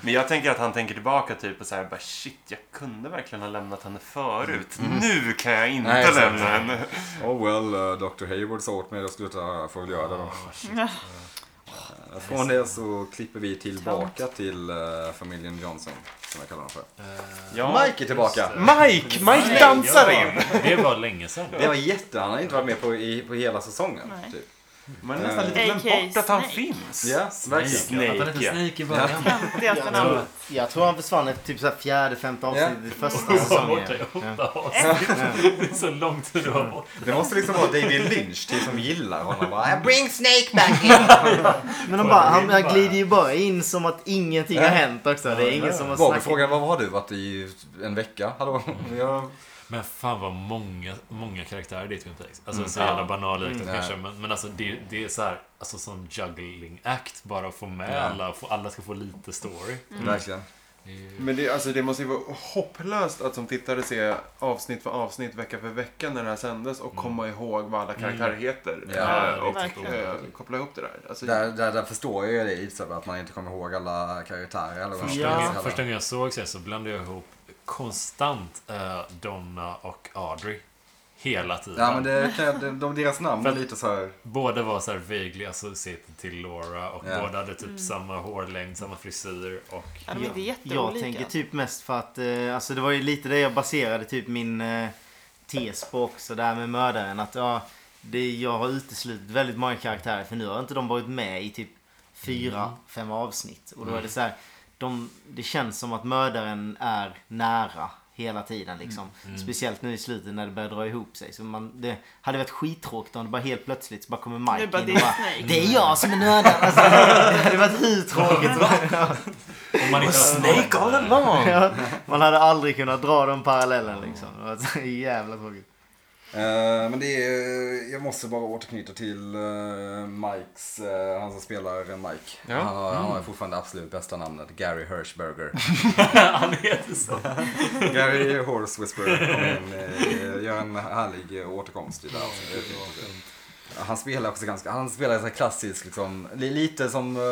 Speaker 5: Men jag tänker att han tänker tillbaka typ och så här, bara shit, jag kunde verkligen ha lämnat henne förut. Nu kan jag inte
Speaker 3: Nej, exakt.
Speaker 5: lämna henne.
Speaker 3: Oh well, uh, Dr Hayward sa åt mig att sluta, jag får väl göra det då.
Speaker 4: Ah, shit.
Speaker 2: Ja.
Speaker 3: Eh, Från det så klipper vi tillbaka till eh, familjen Johnson, som jag kallar dem för.
Speaker 4: Eh,
Speaker 5: Ja.
Speaker 3: Mike är tillbaka!
Speaker 5: Mike! Mike
Speaker 4: nej,
Speaker 5: dansar
Speaker 4: ja.
Speaker 5: in!
Speaker 4: Det var länge sedan.
Speaker 3: Det var jätte... Han har inte varit med på, i, på hela säsongen.
Speaker 2: Nej.
Speaker 3: Typ.
Speaker 5: Man har nästan lite
Speaker 2: Eh,
Speaker 5: glömt
Speaker 2: AKA
Speaker 5: bort att han
Speaker 2: Snake.
Speaker 5: finns.
Speaker 3: Ja, verkligen.
Speaker 4: Snake.
Speaker 5: Snake,
Speaker 4: Jag hette
Speaker 5: ja.
Speaker 4: Snake i början.
Speaker 2: Töntigast
Speaker 1: Jag
Speaker 2: men
Speaker 1: tror,
Speaker 2: han...
Speaker 1: jag tror han försvann efter typ så här fjärde, femte avsnittet i första
Speaker 4: Du var borta i
Speaker 1: säsongen. Ja.
Speaker 4: åtta avsnitt. Det är så lång tid du var borta.
Speaker 3: Det måste liksom vara David Lynch till som gillar honom. Bara, "I bring Snake back in!
Speaker 1: Men de bara, han han glider ju bara in som att ingenting har hänt också. Det är ingen som har
Speaker 3: Bobby
Speaker 1: snackat.
Speaker 3: frågar vad har du varit i en vecka? Hallå? Jag...
Speaker 4: Men fan vad många, många karaktärer det är i Twin Peaks. Alltså så jävla banala mm.
Speaker 3: Mm.
Speaker 4: kanske. Men, men alltså det, det är så här, alltså som juggling act bara att få med
Speaker 3: Ja.
Speaker 4: alla. Få, alla ska få lite story.
Speaker 1: Mm.
Speaker 3: Verkligen.
Speaker 4: Det är ju-
Speaker 6: Men det, alltså, det måste ju vara hopplöst att som tittare se avsnitt för avsnitt, vecka för vecka när det här sändes
Speaker 5: Mm.
Speaker 6: och komma ihåg vad alla karaktärer heter.
Speaker 3: Ja,
Speaker 6: Eh, och
Speaker 5: typ
Speaker 2: verkligen.
Speaker 6: eh, koppla ihop det där. Alltså,
Speaker 3: Där, där, där förstår jag ju det lite så att man inte kommer ihåg alla karaktärer. Eller vad
Speaker 4: Första,
Speaker 1: Ja.
Speaker 4: gången, första gången jag såg sig så blandade jag ihop konstant eh, Donna och Audrey. Hela tiden.
Speaker 3: Ja men det kan jag, de, de, deras namn är lite så här.
Speaker 4: Båda var så här vaguely associated till Laura och
Speaker 3: Ja.
Speaker 4: båda hade
Speaker 5: Mm.
Speaker 4: typ samma hårlängd, samma frisyr och...
Speaker 2: Ja, de är inte
Speaker 1: Jag
Speaker 2: jätteolika.
Speaker 1: tänker typ mest för att, eh, alltså det var ju lite det jag baserade typ min eh, tes på också, det här med mördaren. Att ja, det, jag har uteslutit väldigt många karaktärer för nu har inte de varit med i typ fyra,
Speaker 2: Mm.
Speaker 1: fem avsnitt. Och då är det så här, de, det känns som att mördaren är nära hela tiden liksom.
Speaker 2: Mm.
Speaker 1: Speciellt nu i slutet när det börjar dra ihop sig. Så man, det hade varit skittråkigt om det bara helt plötsligt så bara kommer Mike
Speaker 2: Nu bara,
Speaker 1: in
Speaker 2: det
Speaker 1: och
Speaker 2: är
Speaker 1: bara
Speaker 2: Snake.
Speaker 1: Det är jag som är mördaren! Alltså, det hade varit hur tråkigt som
Speaker 4: Om man inte Snake all
Speaker 1: Ja, man hade aldrig kunnat dra den parallellen liksom. Det var så jävla tråkigt.
Speaker 3: Eh, men det är, jag måste bara återknyta till eh, Mikes, eh, han som spelar eh, Mike.
Speaker 5: Ja.
Speaker 3: Han, har, han har fortfarande absolut bästa namnet, Gary Hirschberger.
Speaker 4: Han heter så.
Speaker 3: Gary Horse Whisperer kom in, eh, gör en härlig eh, återkomst i det här avsnittet. Han spelar också ganska, han spelar så här klassisk liksom, li- lite som eh,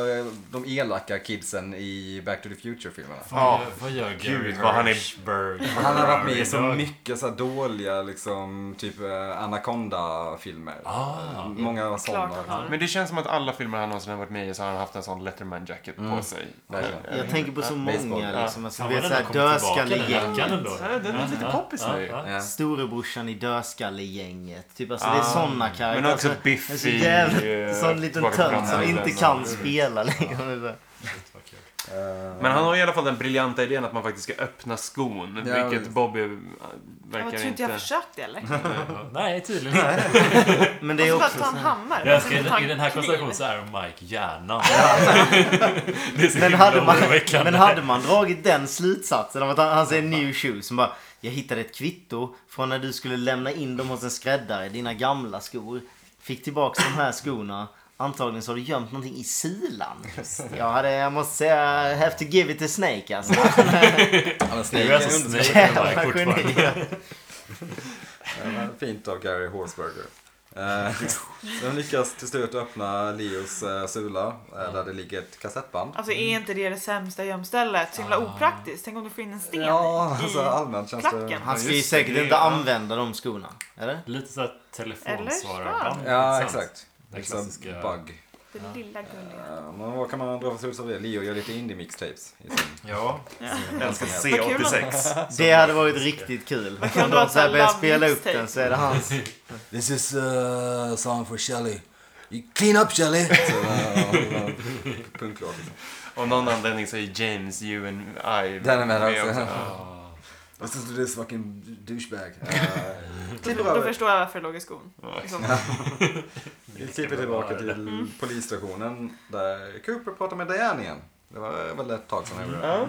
Speaker 3: de elaka kidsen i Back to the Future-filmerna.
Speaker 4: Vad gör- vad gör Gary
Speaker 5: Gud, vad han är-
Speaker 4: Hirschberg?
Speaker 3: Han har varit med i så
Speaker 4: Idag?
Speaker 3: mycket så här dåliga liksom, typ eh, Anaconda-filmer.
Speaker 4: Ah.
Speaker 3: Många
Speaker 2: Klart att
Speaker 3: sådana.
Speaker 2: han...
Speaker 5: Men det känns som att alla filmer han någonsin har varit med i så har han haft en sån Letterman jacket på sig.
Speaker 3: verkligen.
Speaker 1: Jag tänker på så
Speaker 3: baseball,
Speaker 1: många
Speaker 5: ja.
Speaker 1: liksom. Alltså,
Speaker 4: Fan
Speaker 1: du
Speaker 4: vad
Speaker 1: vet
Speaker 4: den har
Speaker 1: såhär
Speaker 4: kommit tillbaka den jackan
Speaker 1: dödskallegänget.
Speaker 4: ändå.
Speaker 6: Ja, den är lite poppis nu ju.
Speaker 4: Ja,
Speaker 3: Ja.
Speaker 1: Storebrorsan i dödskallegänget. Typ alltså det är såna karaktärer.
Speaker 5: Ah. Men också
Speaker 1: Alltså,
Speaker 5: Biff
Speaker 1: en så
Speaker 5: i,
Speaker 1: jävla,
Speaker 5: eh,
Speaker 1: sån liten
Speaker 5: Tillbaka till
Speaker 1: tönt som
Speaker 5: framtiden.
Speaker 1: inte kan spela liksom. längre.
Speaker 3: Eh,
Speaker 5: Men han har i alla fall den briljanta idén att man faktiskt ska öppna skon.
Speaker 3: Ja,
Speaker 5: vilket
Speaker 3: visst.
Speaker 5: Bobby äh,
Speaker 2: Jag
Speaker 5: verkar
Speaker 2: tror inte
Speaker 5: inte...
Speaker 2: jag försökte eller?
Speaker 4: ja. Nej, tydligen inte.
Speaker 1: Men det
Speaker 2: Det
Speaker 1: är också
Speaker 2: Alltså, bara ta en
Speaker 1: så här-
Speaker 2: hammare.
Speaker 4: Jag älskar,
Speaker 2: Och så ta en
Speaker 4: i- I den här
Speaker 2: kniv.
Speaker 4: konstellationen så är Mike hjärnan. Det är så
Speaker 1: men
Speaker 4: himla
Speaker 1: hade, man,
Speaker 4: oroväckande.
Speaker 1: men hade man dragit den slutsatsen av att han, han säger new shoes som bara Jag hittade ett kvitto från när du skulle lämna in dem hos en skräddare, dina gamla skor. Fick tillbaka de här skorna. Antagligen så har du gömt någonting i silan. Jag, hade, jag måste säga, I have to give it to Snake alltså.
Speaker 3: Han är
Speaker 4: Nu är
Speaker 3: snygg.
Speaker 4: alltså Snake med Mike
Speaker 1: Jävla
Speaker 4: fortfarande.
Speaker 1: geni.
Speaker 3: Eh, Fint av Gary Horseberger. Eh, De lyckas till slut öppna Leos eh, sula eh, där det ligger ett kassettband.
Speaker 2: Alltså är inte det det sämsta gömstället? Så himla opraktiskt. Tänk om du får in en sten
Speaker 3: Ja,
Speaker 2: i...
Speaker 3: alltså allmänt känns det...
Speaker 2: klacken.
Speaker 1: Han ska ju
Speaker 4: Just det,
Speaker 1: säkert
Speaker 4: det är-
Speaker 1: inte använda de skorna. Eller?
Speaker 4: Lite såhär telefonsvararband.
Speaker 3: Ja,
Speaker 4: inte sant?
Speaker 3: exakt.
Speaker 4: Den
Speaker 3: Liksom
Speaker 4: klassiska-
Speaker 3: bug.
Speaker 2: Det lilla gulliga.
Speaker 3: Eh, Men vad kan man dra för slutsats av det? Leo gör lite indie-mixtapes. i sin-
Speaker 4: Ja.
Speaker 5: Jag älskar
Speaker 2: Vad kul
Speaker 5: C86.
Speaker 1: Det hade varit riktigt kul.
Speaker 2: kan
Speaker 1: Om
Speaker 2: vara
Speaker 1: de så här
Speaker 2: så
Speaker 1: börjar
Speaker 2: love
Speaker 1: spela upp
Speaker 2: mixtape.
Speaker 1: den så är det hans.
Speaker 3: This is a song uh, for Shelly. You clean up Shelly! Så, ja, ja, Punklåt. liksom.
Speaker 5: Av någon anledning så är James, you and I
Speaker 3: Den är med också.
Speaker 5: Ja.
Speaker 3: Listen to this fucking douchebag. Uh,
Speaker 2: Då, då förstår jag varför det låg i skon. Liksom. I så fall.
Speaker 3: Vi klipper tillbaka till polisstationen där Cooper pratar med Diane igen. Det var väl ett tag sedan han gjorde det.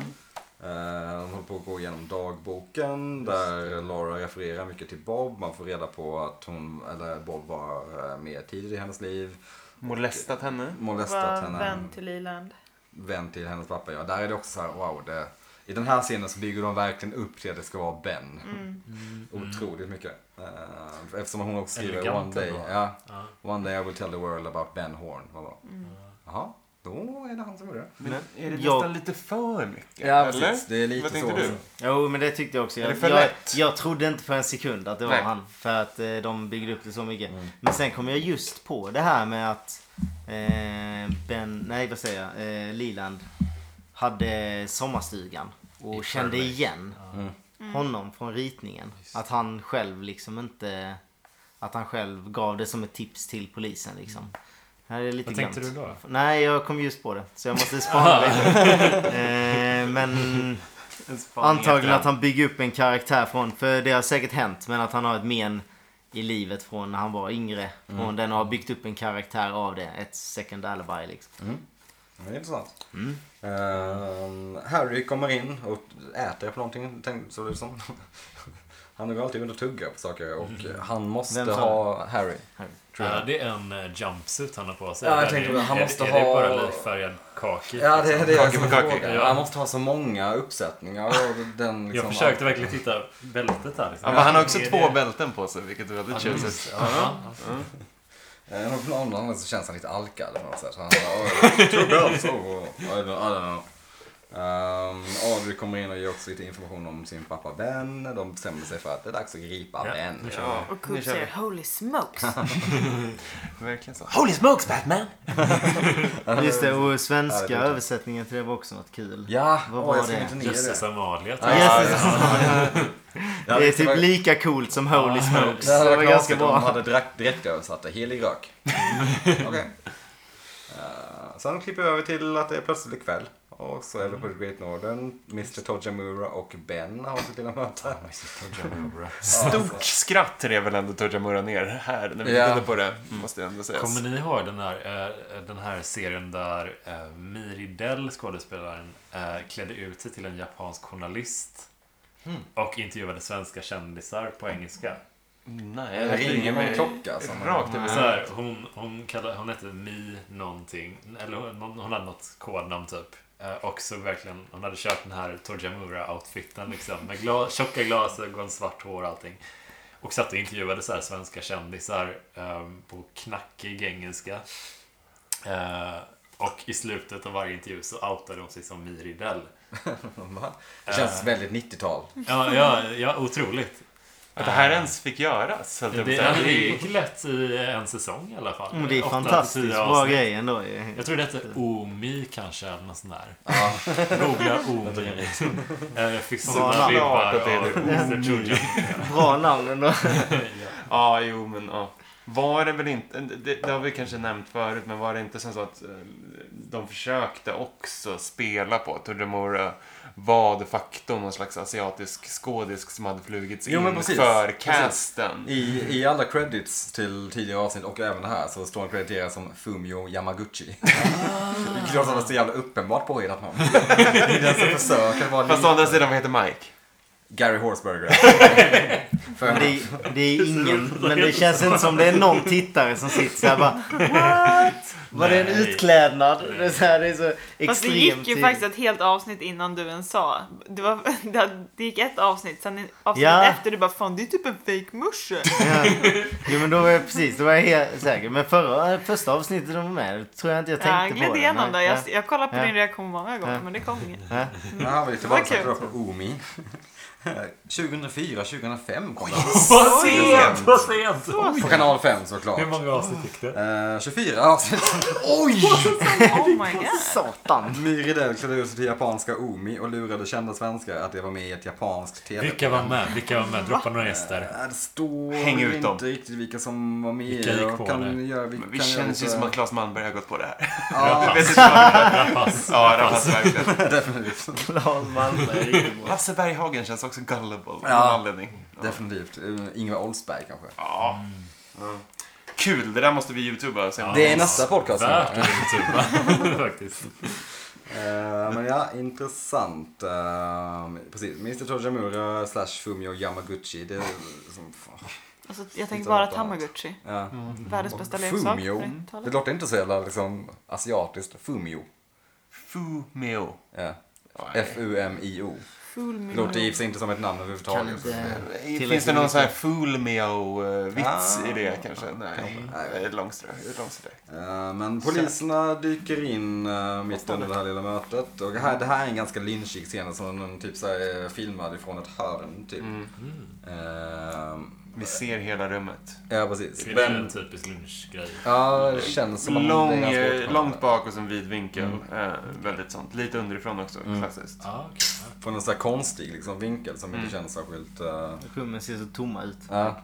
Speaker 3: Eh, De håller på att gå igenom dagboken där Laura refererar mycket till Bob. Man får reda på att hon, eller Bob var eh, med tidigt i hennes liv.
Speaker 5: Molestat henne.
Speaker 3: Molestat
Speaker 2: Var
Speaker 3: henne.
Speaker 2: vän till Liland.
Speaker 3: Vän till hennes pappa. Ja, där är det också så här, wow. Det, I den här scenen så bygger de verkligen upp till att det ska vara Ben.
Speaker 2: Mm.
Speaker 3: Otroligt mycket. Eh, Eftersom hon också skriver
Speaker 4: Elegant
Speaker 3: One day,
Speaker 4: ändå.
Speaker 3: ja,
Speaker 4: Ja.
Speaker 3: one day I will tell the world about Ben Horn. Man bara,
Speaker 2: Mm.
Speaker 3: Jaha, då är det han som gjorde det.
Speaker 5: Men är det
Speaker 1: Jag-
Speaker 5: nästan lite för mycket?
Speaker 3: Det är lite
Speaker 5: Vad
Speaker 3: så. alltså.
Speaker 5: tänkte du?
Speaker 3: också.
Speaker 1: Jo, men det tyckte jag också.
Speaker 5: Är det
Speaker 1: Jag,
Speaker 5: för
Speaker 1: jag,
Speaker 5: lätt?
Speaker 1: jag trodde inte för en sekund att det var
Speaker 5: Nej.
Speaker 1: han. För att eh, de byggde upp det så mycket. Men sen kom jag just på det här med att eh, Ben, nej vad säger jag, eh, Liland hade sommarstugan. Och
Speaker 4: I
Speaker 1: kände
Speaker 4: Fairbanks.
Speaker 1: igen
Speaker 3: Mm.
Speaker 1: honom från ritningen. Att han själv liksom inte, att han själv gav det som ett tips till polisen liksom. Det här är lite
Speaker 4: Vad tänkte
Speaker 1: glömt.
Speaker 4: du då?
Speaker 1: Nej, jag kom just på det. Så jag måste spana lite. eh, men
Speaker 5: En spaning
Speaker 1: Antagligen att
Speaker 5: efter
Speaker 1: han bygger upp en karaktär från, för det har säkert hänt, men att han har ett men i livet från när han var yngre.
Speaker 3: Mm.
Speaker 1: Från den och har byggt upp en karaktär av det. Ett second alibi liksom.
Speaker 3: Ja, Det är intressant.
Speaker 1: Mm.
Speaker 3: Ehm, Harry kommer in och äter på någonting, tänk- såg det ut som. Han går alltid runt och tuggar på saker och han måste
Speaker 1: Vem sa
Speaker 3: ha Harry.
Speaker 1: Harry.
Speaker 3: Tror jag.
Speaker 4: Ja, det är en eh, jumpsuit han har på sig.
Speaker 3: Ja, jag
Speaker 4: Eller
Speaker 3: tänkte
Speaker 4: är-
Speaker 3: väl, han
Speaker 4: är-
Speaker 3: måste
Speaker 4: är
Speaker 3: ha-
Speaker 4: det bara livfärgad kaki?
Speaker 3: Ja, det är det jag
Speaker 5: Kaka på
Speaker 3: som
Speaker 5: kaka.
Speaker 3: frågar.
Speaker 4: Ja.
Speaker 3: Han måste ha så många uppsättningar. Och den,
Speaker 4: Jag
Speaker 3: liksom,
Speaker 4: försökte verkligen hitta bältet här. Liksom.
Speaker 5: Ja, men han har också
Speaker 4: Är det-
Speaker 5: två bälten på sig, vilket är väldigt
Speaker 4: Ja,
Speaker 5: tjusigt.
Speaker 4: just- ja.
Speaker 3: Eh, och på någon annan så känns han lite alkad på något sätt. Så han bara, "Åh, tuggar alltså. Och, I don't, I don't know. Um, Audrey kommer in och ger också lite information om sin pappa Ben. De bestämmer sig för att det är dags att gripa
Speaker 4: Ja,
Speaker 3: Ben.
Speaker 5: Ja,
Speaker 2: Och
Speaker 5: nu
Speaker 2: Coop
Speaker 5: kör vi.
Speaker 2: säger Holy smokes.
Speaker 5: Verkligen så.
Speaker 3: Holy smokes Batman!
Speaker 1: Just det, och svenska
Speaker 3: Ja, det är det.
Speaker 1: översättningen till det var också något kul.
Speaker 3: Ja,
Speaker 1: Vad
Speaker 3: åh,
Speaker 1: var
Speaker 3: jag skrev
Speaker 1: det?
Speaker 3: inte ner
Speaker 4: Jösses
Speaker 3: det.
Speaker 4: Amalia.
Speaker 3: Ja,
Speaker 1: Jösses.
Speaker 3: ja, ja.
Speaker 1: det är
Speaker 3: var-
Speaker 1: typ lika coolt som Holy Smokes.
Speaker 3: Det hade
Speaker 1: Det var
Speaker 3: varit
Speaker 1: ganska
Speaker 3: konstigt om de
Speaker 1: bra.
Speaker 3: hade direkt, direkt översatt det. Helig rök. Okej. Eh, sen klipper vi över till att det är plötsligt kväll. Och så är vi på Great Northern. Mr Tojamura och Ben har sitt lilla möte.
Speaker 5: Stort skratt rev väl ändå Tujamura ner här när vi
Speaker 3: Ja.
Speaker 5: tittade på det, måste jag ändå säga.
Speaker 4: Kommer ni ihåg den här, eh, den här serien där eh, Miri Dell, skådespelaren, eh, klädde ut sig till en japansk journalist
Speaker 3: Hmm.
Speaker 4: och intervjuade svenska kändisar på engelska?
Speaker 5: Nej,
Speaker 3: Det
Speaker 5: jag
Speaker 3: ringer
Speaker 5: ringer
Speaker 3: någon
Speaker 5: mig
Speaker 3: klocka. alltså. Som
Speaker 5: rakt över
Speaker 1: Ah.
Speaker 4: Så här, hon, hon, kallade, hon hette Mi någonting, eller hon, hon hade något kodnamn typ. Eh, Och så verkligen, hon hade köpt den här Torjamura-outfiten liksom. Med gla, tjocka glasögon, svart hår och allting. Och satt och intervjuade så här svenska kändisar eh, på knackig engelska. Eh, och i slutet av varje intervju så outade hon sig som Miri Dell.
Speaker 3: Va? Det känns
Speaker 4: Eh.
Speaker 3: väldigt 90-tal.
Speaker 4: Ja, ja, ja otroligt.
Speaker 5: Att det här ens fick göras, höll
Speaker 4: Det,
Speaker 5: jag
Speaker 4: det
Speaker 5: på att
Speaker 4: hade
Speaker 5: säga.
Speaker 4: ju klätts i en säsong i alla fall.
Speaker 1: Mm, Det är
Speaker 4: Åtta till
Speaker 1: fantastiskt
Speaker 4: tio
Speaker 1: bra
Speaker 4: avsnitt.
Speaker 1: grej ändå. ju.
Speaker 4: Jag tror det hette Omi kanske, eller något sånt där.
Speaker 3: Ja.
Speaker 4: Googla Omi. Eh, Jag fick
Speaker 1: Såklart
Speaker 4: sådana
Speaker 1: att
Speaker 4: vibbar
Speaker 5: det är
Speaker 4: av Mr. Trojan.
Speaker 1: Bra namn ändå.
Speaker 5: Ja, jo, men ja. Var det väl inte, det, det har vi kanske nämnt förut, men var det inte sen så att eh, de försökte också spela på att Tujamura var de facto någon slags asiatisk skådisk som hade flugits
Speaker 3: Jo, men
Speaker 5: in
Speaker 3: precis.
Speaker 5: för
Speaker 3: Precis.
Speaker 5: casten?
Speaker 3: I, I alla credits till tidigare avsnitt och även det här så står han krediterad som Fumio Yamaguchi. Vilket låter som ett så jävla uppenbart påhittat namn. Det är Den som försöker vara
Speaker 5: Fast å
Speaker 3: lite-
Speaker 5: andra sidan, vad heter Mike?
Speaker 3: Gary Horseberger. För
Speaker 1: Men Det, det är ingen, men det känns inte som det är någon tittare som sitter såhär bara What? Var det en
Speaker 4: Nej.
Speaker 1: utklädnad? Det är så, här, det är så
Speaker 2: Fast det
Speaker 1: extremt
Speaker 2: gick ju
Speaker 1: tydligt.
Speaker 2: faktiskt ett helt avsnitt innan du ens sa. Det, var, det- det gick ett avsnitt, sen avsnitt
Speaker 1: Ja.
Speaker 2: efter du bara fan det är typ en fake musche.
Speaker 1: Ja. Jo men då var jag precis, då var jag helt säker. Men förra, eh, första avsnittet de var med, då tror jag inte jag tänkte
Speaker 2: Jag
Speaker 1: på
Speaker 2: gled
Speaker 1: det.
Speaker 2: igenom
Speaker 1: Nej,
Speaker 2: det. Jag,
Speaker 1: ja.
Speaker 2: jag kollade på
Speaker 1: Ja.
Speaker 2: din reaktion många gånger
Speaker 1: Ja.
Speaker 2: men det kom inget.
Speaker 1: Ja.
Speaker 3: Nu har vi tillbaka
Speaker 2: Okej.
Speaker 3: okay. på Omi. 2004, 2005 kom
Speaker 4: Vad
Speaker 2: Oj.
Speaker 4: sent! Vad sent!
Speaker 3: den.
Speaker 2: Så
Speaker 3: På kanal 5 såklart.
Speaker 4: Hur många avsnitt gick det?
Speaker 3: Eh, 24 avsnitt. Oj!
Speaker 2: Oh my god.
Speaker 1: Satan.
Speaker 3: Myridell klädde ut sig till japanska Omi och lurade kända svenskar att det var med i ett japanskt tv
Speaker 4: Vilka var med? Vilka var med? Droppa några gäster.
Speaker 3: Eh, Det står
Speaker 5: Häng ut
Speaker 3: inte
Speaker 5: dem.
Speaker 3: riktigt vilka som var med.
Speaker 4: Vilka gick
Speaker 3: och
Speaker 4: på
Speaker 3: kan
Speaker 4: det?
Speaker 3: Göra, vi
Speaker 5: Men det
Speaker 3: kan göra
Speaker 5: känns ju
Speaker 3: lite-
Speaker 5: som att Claes Malmberg har gått på det här. Jag
Speaker 3: Ja,
Speaker 5: vet inte vad det är.
Speaker 4: Rapace.
Speaker 5: Ja, Rapace verkligen.
Speaker 3: definitivt.
Speaker 1: Lars Malmberg är riktigt bra.
Speaker 5: Hasse Berghagen känns också gullible av någon
Speaker 3: Ja.
Speaker 5: anledning. Ja.
Speaker 3: definitivt. Eh, Ingvar Oldsberg kanske.
Speaker 5: Ja. Ja. Kul, det där måste vi youtuba och se om
Speaker 4: Ja.
Speaker 3: Det är nästa podcast.
Speaker 4: Värt att youtuba. Faktiskt.
Speaker 3: Eh, men ja, intressant. Eh, precis, Mr Tojamura slash Fumio Yamaguchi. Det är som, fan.
Speaker 2: Alltså, jag tänker
Speaker 3: Inte
Speaker 2: bara
Speaker 3: något annat.
Speaker 2: Tamagotchi.
Speaker 3: Ja.
Speaker 2: Världens Mm. bästa leksak.
Speaker 3: Fumio.
Speaker 2: för att tala.
Speaker 3: Det låter inte så jävla liksom, asiatiskt. Fumio.
Speaker 5: Fumeo.
Speaker 3: Ja.
Speaker 5: Ja,
Speaker 3: F-U-M-I-O.
Speaker 2: Fool me.
Speaker 3: Det låter i och för
Speaker 2: no.
Speaker 3: sig inte som ett namn
Speaker 1: Kan
Speaker 3: överhuvudtaget.
Speaker 1: inte...
Speaker 5: Finns det någon sån här Fulmeo-vits
Speaker 3: Ah.
Speaker 5: i det kanske? Nej,
Speaker 3: Nej.
Speaker 5: det är ett långströ- långströkt.
Speaker 3: Eh, Men poliserna dyker in eh, mitt under det här lilla mötet. Och det här, det här är en ganska lynchig scen som de typ så här, eh, filmad ifrån ett hörn. Typ.
Speaker 1: Mm.
Speaker 3: Eh,
Speaker 5: Vi ser hela rummet.
Speaker 3: ja, precis.
Speaker 4: Det är
Speaker 3: Men,
Speaker 4: en typisk lunchgrej.
Speaker 3: ja, det känns som att
Speaker 5: Lång,
Speaker 3: det är ganska
Speaker 5: eh,
Speaker 3: bortkommet.
Speaker 5: långt bak och sen vid vinkel. Eh, väldigt sånt. Lite underifrån också, klassiskt.
Speaker 4: Ja, okej.
Speaker 3: Från en sån här konstig liksom, vinkel som
Speaker 5: Mm.
Speaker 3: inte känns särskilt... eh,
Speaker 1: Rummen ser så tomma ut.
Speaker 3: ja.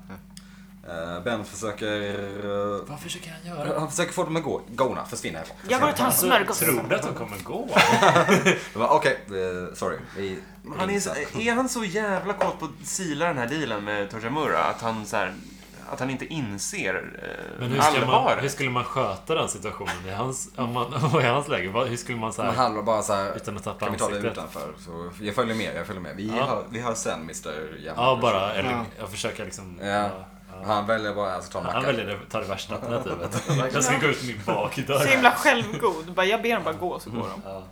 Speaker 3: Eh, ben försöker... eh,
Speaker 4: Vad försöker han Alltså,
Speaker 3: han försöker få dem att gå. Gona, försvinna härifrån.
Speaker 2: Jag går och tar en smörgås.
Speaker 4: Tror du att de kommer gå?
Speaker 3: Jag bara, Okej, eh, sorry. Vi
Speaker 5: Han är, så,
Speaker 3: ringsar.
Speaker 5: är han så jävla kåt på att sila den här dealen med Torjamura att han så här, att han inte inser eh,
Speaker 4: Men hur, ska man, hur
Speaker 5: allvaret?
Speaker 4: skulle man sköta den situationen i hans, om man, om man var i hans läge? Vad- Hur skulle man så
Speaker 3: Men
Speaker 4: här,
Speaker 3: han var bara så här...
Speaker 4: utan att tappa
Speaker 3: Kan vi ta det
Speaker 4: ansiktet?
Speaker 3: utanför? Så jag följer med, jag följer med. Vi,
Speaker 4: Ja.
Speaker 3: hör, vi hör sen Mr. Jammer.
Speaker 4: Ja, bara. Eller
Speaker 1: Ja.
Speaker 4: jag försöker liksom...
Speaker 3: Ja.
Speaker 4: ja, ja.
Speaker 3: Han väljer bara, alltså ta en macka.
Speaker 4: Han väljer det, tar det värsta alternativet. Jag ska gå ut min bakdörr.
Speaker 2: Så himla självgod. Bara, jag ber dem bara gå så går de.
Speaker 4: Ja.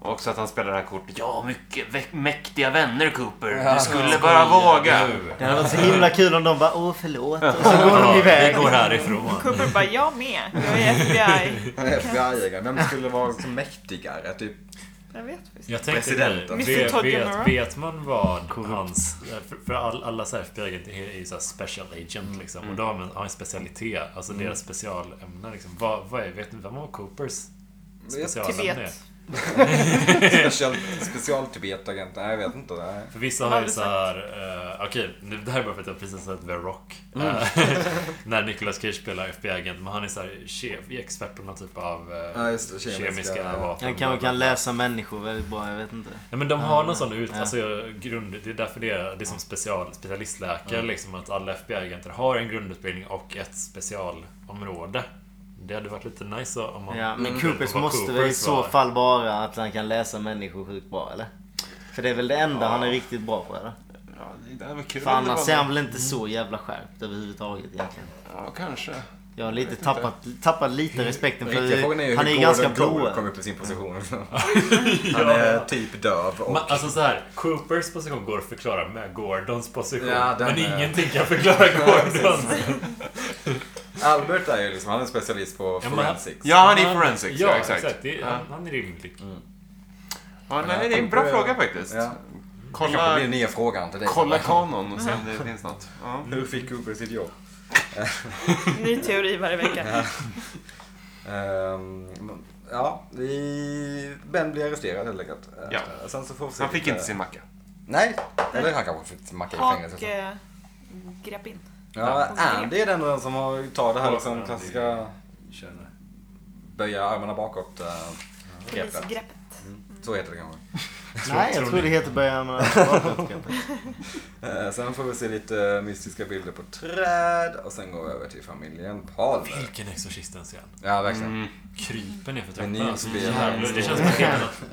Speaker 5: Och också att han spelar det här kortet. Ja, mycket vä- mäktiga vänner Cooper.
Speaker 3: Ja.
Speaker 5: Du skulle bara våga.
Speaker 1: Det hade varit så himla kul om de bara åh förlåt och så går de
Speaker 4: Vi
Speaker 1: iväg.
Speaker 4: går härifrån.
Speaker 2: Cooper bara, jag med. Jag är FBI.
Speaker 3: Han är FBI-ägare. Vem skulle vara så mäktigare? Typ,
Speaker 2: Jag vet faktiskt.
Speaker 4: Jag tänkte
Speaker 3: Presidenten.
Speaker 4: det.
Speaker 2: Mr.
Speaker 4: Vet,
Speaker 2: Todd
Speaker 4: vet,
Speaker 2: General.
Speaker 4: vet man vad hans... För, för all, alla så här FBI-agenter är ju så här special agent liksom. Och då har man har en specialitet. Alltså deras specialämne liksom. Vad, vad är, vet ni vem var Coopers
Speaker 2: Typ
Speaker 4: specialämne är?
Speaker 2: Tibet.
Speaker 3: special, specialtibetagent? Nej, jag vet inte. Nej.
Speaker 4: För vissa har ju så här... eh, Okej, nu- det här är bara för att jag precis har sett The Rock. Eh, när Nicolas Cage spelar FBI-agent. Men han är så här chef, expert på någon typ av eh,
Speaker 3: Ja, just det, kemiska-
Speaker 4: kemiska, vapen.
Speaker 1: Han kanske kan läsa människor väldigt bra, jag vet inte.
Speaker 4: Ja, men de har någon sån ut,
Speaker 1: ja.
Speaker 4: alltså, grund, det är därför det är, det är som special, specialistläkare liksom att alla FBI-agenter har en grundutbildning och ett specialområde. Det hade varit lite nice om man...
Speaker 1: Ja, men
Speaker 4: om
Speaker 1: Coopers
Speaker 4: vad
Speaker 1: måste väl i så
Speaker 4: var.
Speaker 1: fall vara att han kan läsa människor sjukt bra eller? För det är väl det enda han är riktigt bra på eller?
Speaker 5: Ja, det där var kul.
Speaker 1: För
Speaker 5: om det
Speaker 1: annars
Speaker 5: var-
Speaker 1: är han väl inte så jävla skärpt överhuvudtaget egentligen.
Speaker 5: Ja, kanske.
Speaker 1: Jag har lite tappat, tappat lite respekten
Speaker 3: Den
Speaker 1: för
Speaker 3: riktiga frågan är ju
Speaker 1: han är ju
Speaker 3: hur
Speaker 1: ganska
Speaker 3: Gordon Cole kom
Speaker 1: blå.
Speaker 3: upp i sin position. Han är typ döv och...
Speaker 4: Ma, alltså så här, Coopers position går att förklara med Gordons position.
Speaker 3: Ja, den
Speaker 4: men
Speaker 3: är-
Speaker 4: ingenting kan förklara Gordons.
Speaker 3: Albert är ju liksom, han är specialist på
Speaker 4: Ja, men-
Speaker 3: forensics.
Speaker 5: Ja, han är forensics.
Speaker 4: Ja,
Speaker 5: Ja,
Speaker 4: exakt.
Speaker 5: exakt.
Speaker 4: Det är,
Speaker 5: Ja.
Speaker 4: han, han är rimlig.
Speaker 5: Ja, nej, det är en bra fråga faktiskt.
Speaker 3: Ja. Kanske
Speaker 5: Kolla, Mm.
Speaker 3: blir nya frågan till dig.
Speaker 5: kolla kanon och se om det finns något. Ja.
Speaker 3: Hur fick Cooper sitt jobb?
Speaker 2: Ny teori varje vecka.
Speaker 3: Ehm, men- ja, vi... Ben blir arresterad helt enkelt. Eh,
Speaker 5: Ja.
Speaker 3: Sen så får vi se
Speaker 5: Han fick
Speaker 3: lite-
Speaker 5: inte sin macka.
Speaker 3: Nej, eller han kanske fick macka i
Speaker 2: Och
Speaker 3: fängelse.
Speaker 2: eh, grepp in.
Speaker 3: Ja, Andy är den den som har tar det här liksom klassiska
Speaker 4: Känner.
Speaker 3: böja armarna bakåt eh, greppet.
Speaker 2: Polisgreppet.
Speaker 3: Så heter det kanske.
Speaker 1: Nej, jag tror det heter början med bakåt kanske.
Speaker 3: Eh, Sen får vi se lite eh, mystiska bilder på träd och sen går vi över till familjen Palmer.
Speaker 4: Vilken Exorcisten scen.
Speaker 3: Ja, verkligen.
Speaker 1: Mm.
Speaker 5: Mm.
Speaker 4: Kryper ner för
Speaker 3: Men ni
Speaker 4: trappan. Alltså,
Speaker 3: spelar-
Speaker 4: jävlar, det känns som att det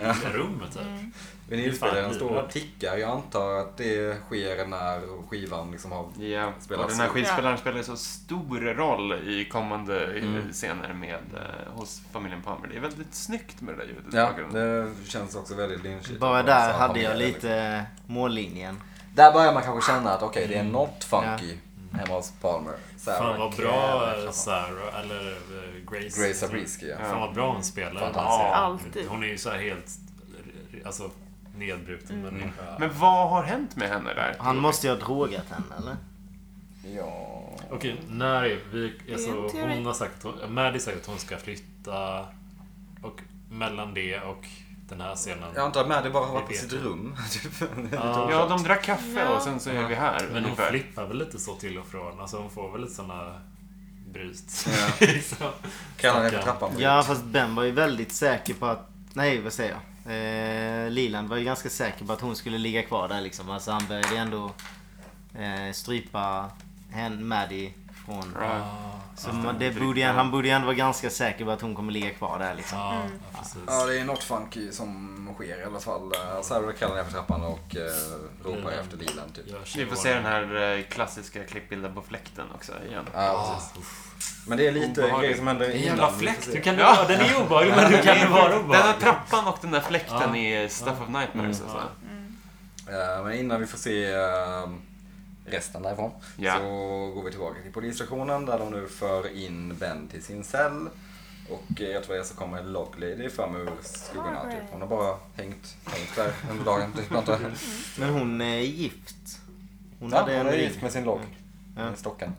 Speaker 4: är ett rum typ.
Speaker 3: Vinylspelaren
Speaker 4: Fan,
Speaker 3: står
Speaker 4: lurar.
Speaker 3: och tickar. Jag antar att det sker när skivan liksom har...
Speaker 5: Ja,
Speaker 3: Spelar
Speaker 5: och den här
Speaker 3: sig.
Speaker 5: skivspelaren spelar så stor roll i kommande
Speaker 4: Mm.
Speaker 5: eh, scener med, eh, hos familjen Palmer. Det är väldigt snyggt med det där ljudet i
Speaker 3: Ja,
Speaker 5: bakgrunden.
Speaker 3: det känns också väldigt lynchigt.
Speaker 1: Bara
Speaker 3: Och
Speaker 1: där
Speaker 3: så
Speaker 1: hade jag
Speaker 3: familjen, liksom.
Speaker 1: lite eh, mållinjen.
Speaker 3: Där börjar man kanske känna att okej,
Speaker 1: Mm.
Speaker 3: det är något funky hemma hos Palmer. Sarah
Speaker 4: Fan vad
Speaker 3: Krämer,
Speaker 4: bra eh,
Speaker 3: kanske.
Speaker 4: Sarah, eller eh, Grace.
Speaker 3: Grace Zabriskie, ja.
Speaker 4: Fan vad bra hon spelar. i den
Speaker 3: Fantastiskt.
Speaker 4: serien.
Speaker 2: Alltid.
Speaker 4: Hon är ju så här helt, alltså nedbruten
Speaker 2: Mm.
Speaker 4: människa.
Speaker 5: Men vad har hänt med henne där?
Speaker 1: Han måste ju ha drogat henne eller?
Speaker 3: Ja.
Speaker 4: Okej, när är vi...
Speaker 2: Det är en
Speaker 4: Alltså,
Speaker 2: teori.
Speaker 4: hon har sagt, Maddie säger att hon ska flytta. Och mellan det och den här scenen.
Speaker 3: Jag antar att Maddy bara har varit på
Speaker 4: Vi vet
Speaker 3: sitt
Speaker 4: ju.
Speaker 3: rum. typ.
Speaker 4: Ja,
Speaker 5: Ja, de drack kaffe
Speaker 2: Ja.
Speaker 5: och sen så är vi här.
Speaker 4: men hon
Speaker 5: ungefär.
Speaker 4: flippar väl lite så till och från. Alltså hon får väl lite såna bryt.
Speaker 3: Ja.
Speaker 4: liksom.
Speaker 3: Kallar henne för
Speaker 4: Stackarn.
Speaker 3: trappan.
Speaker 1: Ja fast Ben var ju väldigt säker på att... Nej vad säger jag? Eh, Liland var ju ganska säker på att hon skulle ligga kvar där liksom. Alltså han började ju ändå eh, strypa hen Maddie från...
Speaker 5: Ja.
Speaker 1: Så man, det borde ju, han borde ju ändå vara ganska säker på att hon kommer ligga kvar där liksom.
Speaker 4: Ja,
Speaker 2: Mm.
Speaker 4: ja, precis.
Speaker 3: Ja, det är något funky som sker i alla fall. Eh, Sarah kallar henne för trappan och eh, ropar
Speaker 4: Lilan.
Speaker 3: efter Lilan typ.
Speaker 4: Jag
Speaker 5: Vi får se den här eh, klassiska klippbilden på fläkten också igen.
Speaker 1: Ah,
Speaker 3: Ja,
Speaker 4: Ja,
Speaker 3: precis. Men det är lite
Speaker 5: Obehagligt.
Speaker 3: grejer som händer
Speaker 4: en
Speaker 3: innan.
Speaker 4: jävla
Speaker 3: vi får
Speaker 4: fläkt. typ.
Speaker 3: se.
Speaker 4: Du kan ja, den är obehaglig men du kan ju vara
Speaker 5: Den här
Speaker 4: obehaglig.
Speaker 5: trappan och den där fläkten
Speaker 4: Ja. Mm.
Speaker 5: är Stuff of Nightmares alltså.
Speaker 3: Eh, Men innan vi får se eh, resten därifrån
Speaker 5: Ja.
Speaker 3: så går vi tillbaka till polisstationen där de nu för in Ben till sin cell. Och eh, jag tror att så kommer en Log Lady fram ur skuggorna. Typ. Hon har bara hängt, hängt där under dagen. Typ, antar jag.
Speaker 1: Men hon är gift. Hon
Speaker 3: ja,
Speaker 1: hade
Speaker 3: hon
Speaker 1: en
Speaker 3: är
Speaker 1: ring.
Speaker 3: gift med sin logg.
Speaker 1: Ja.
Speaker 3: Med stocken.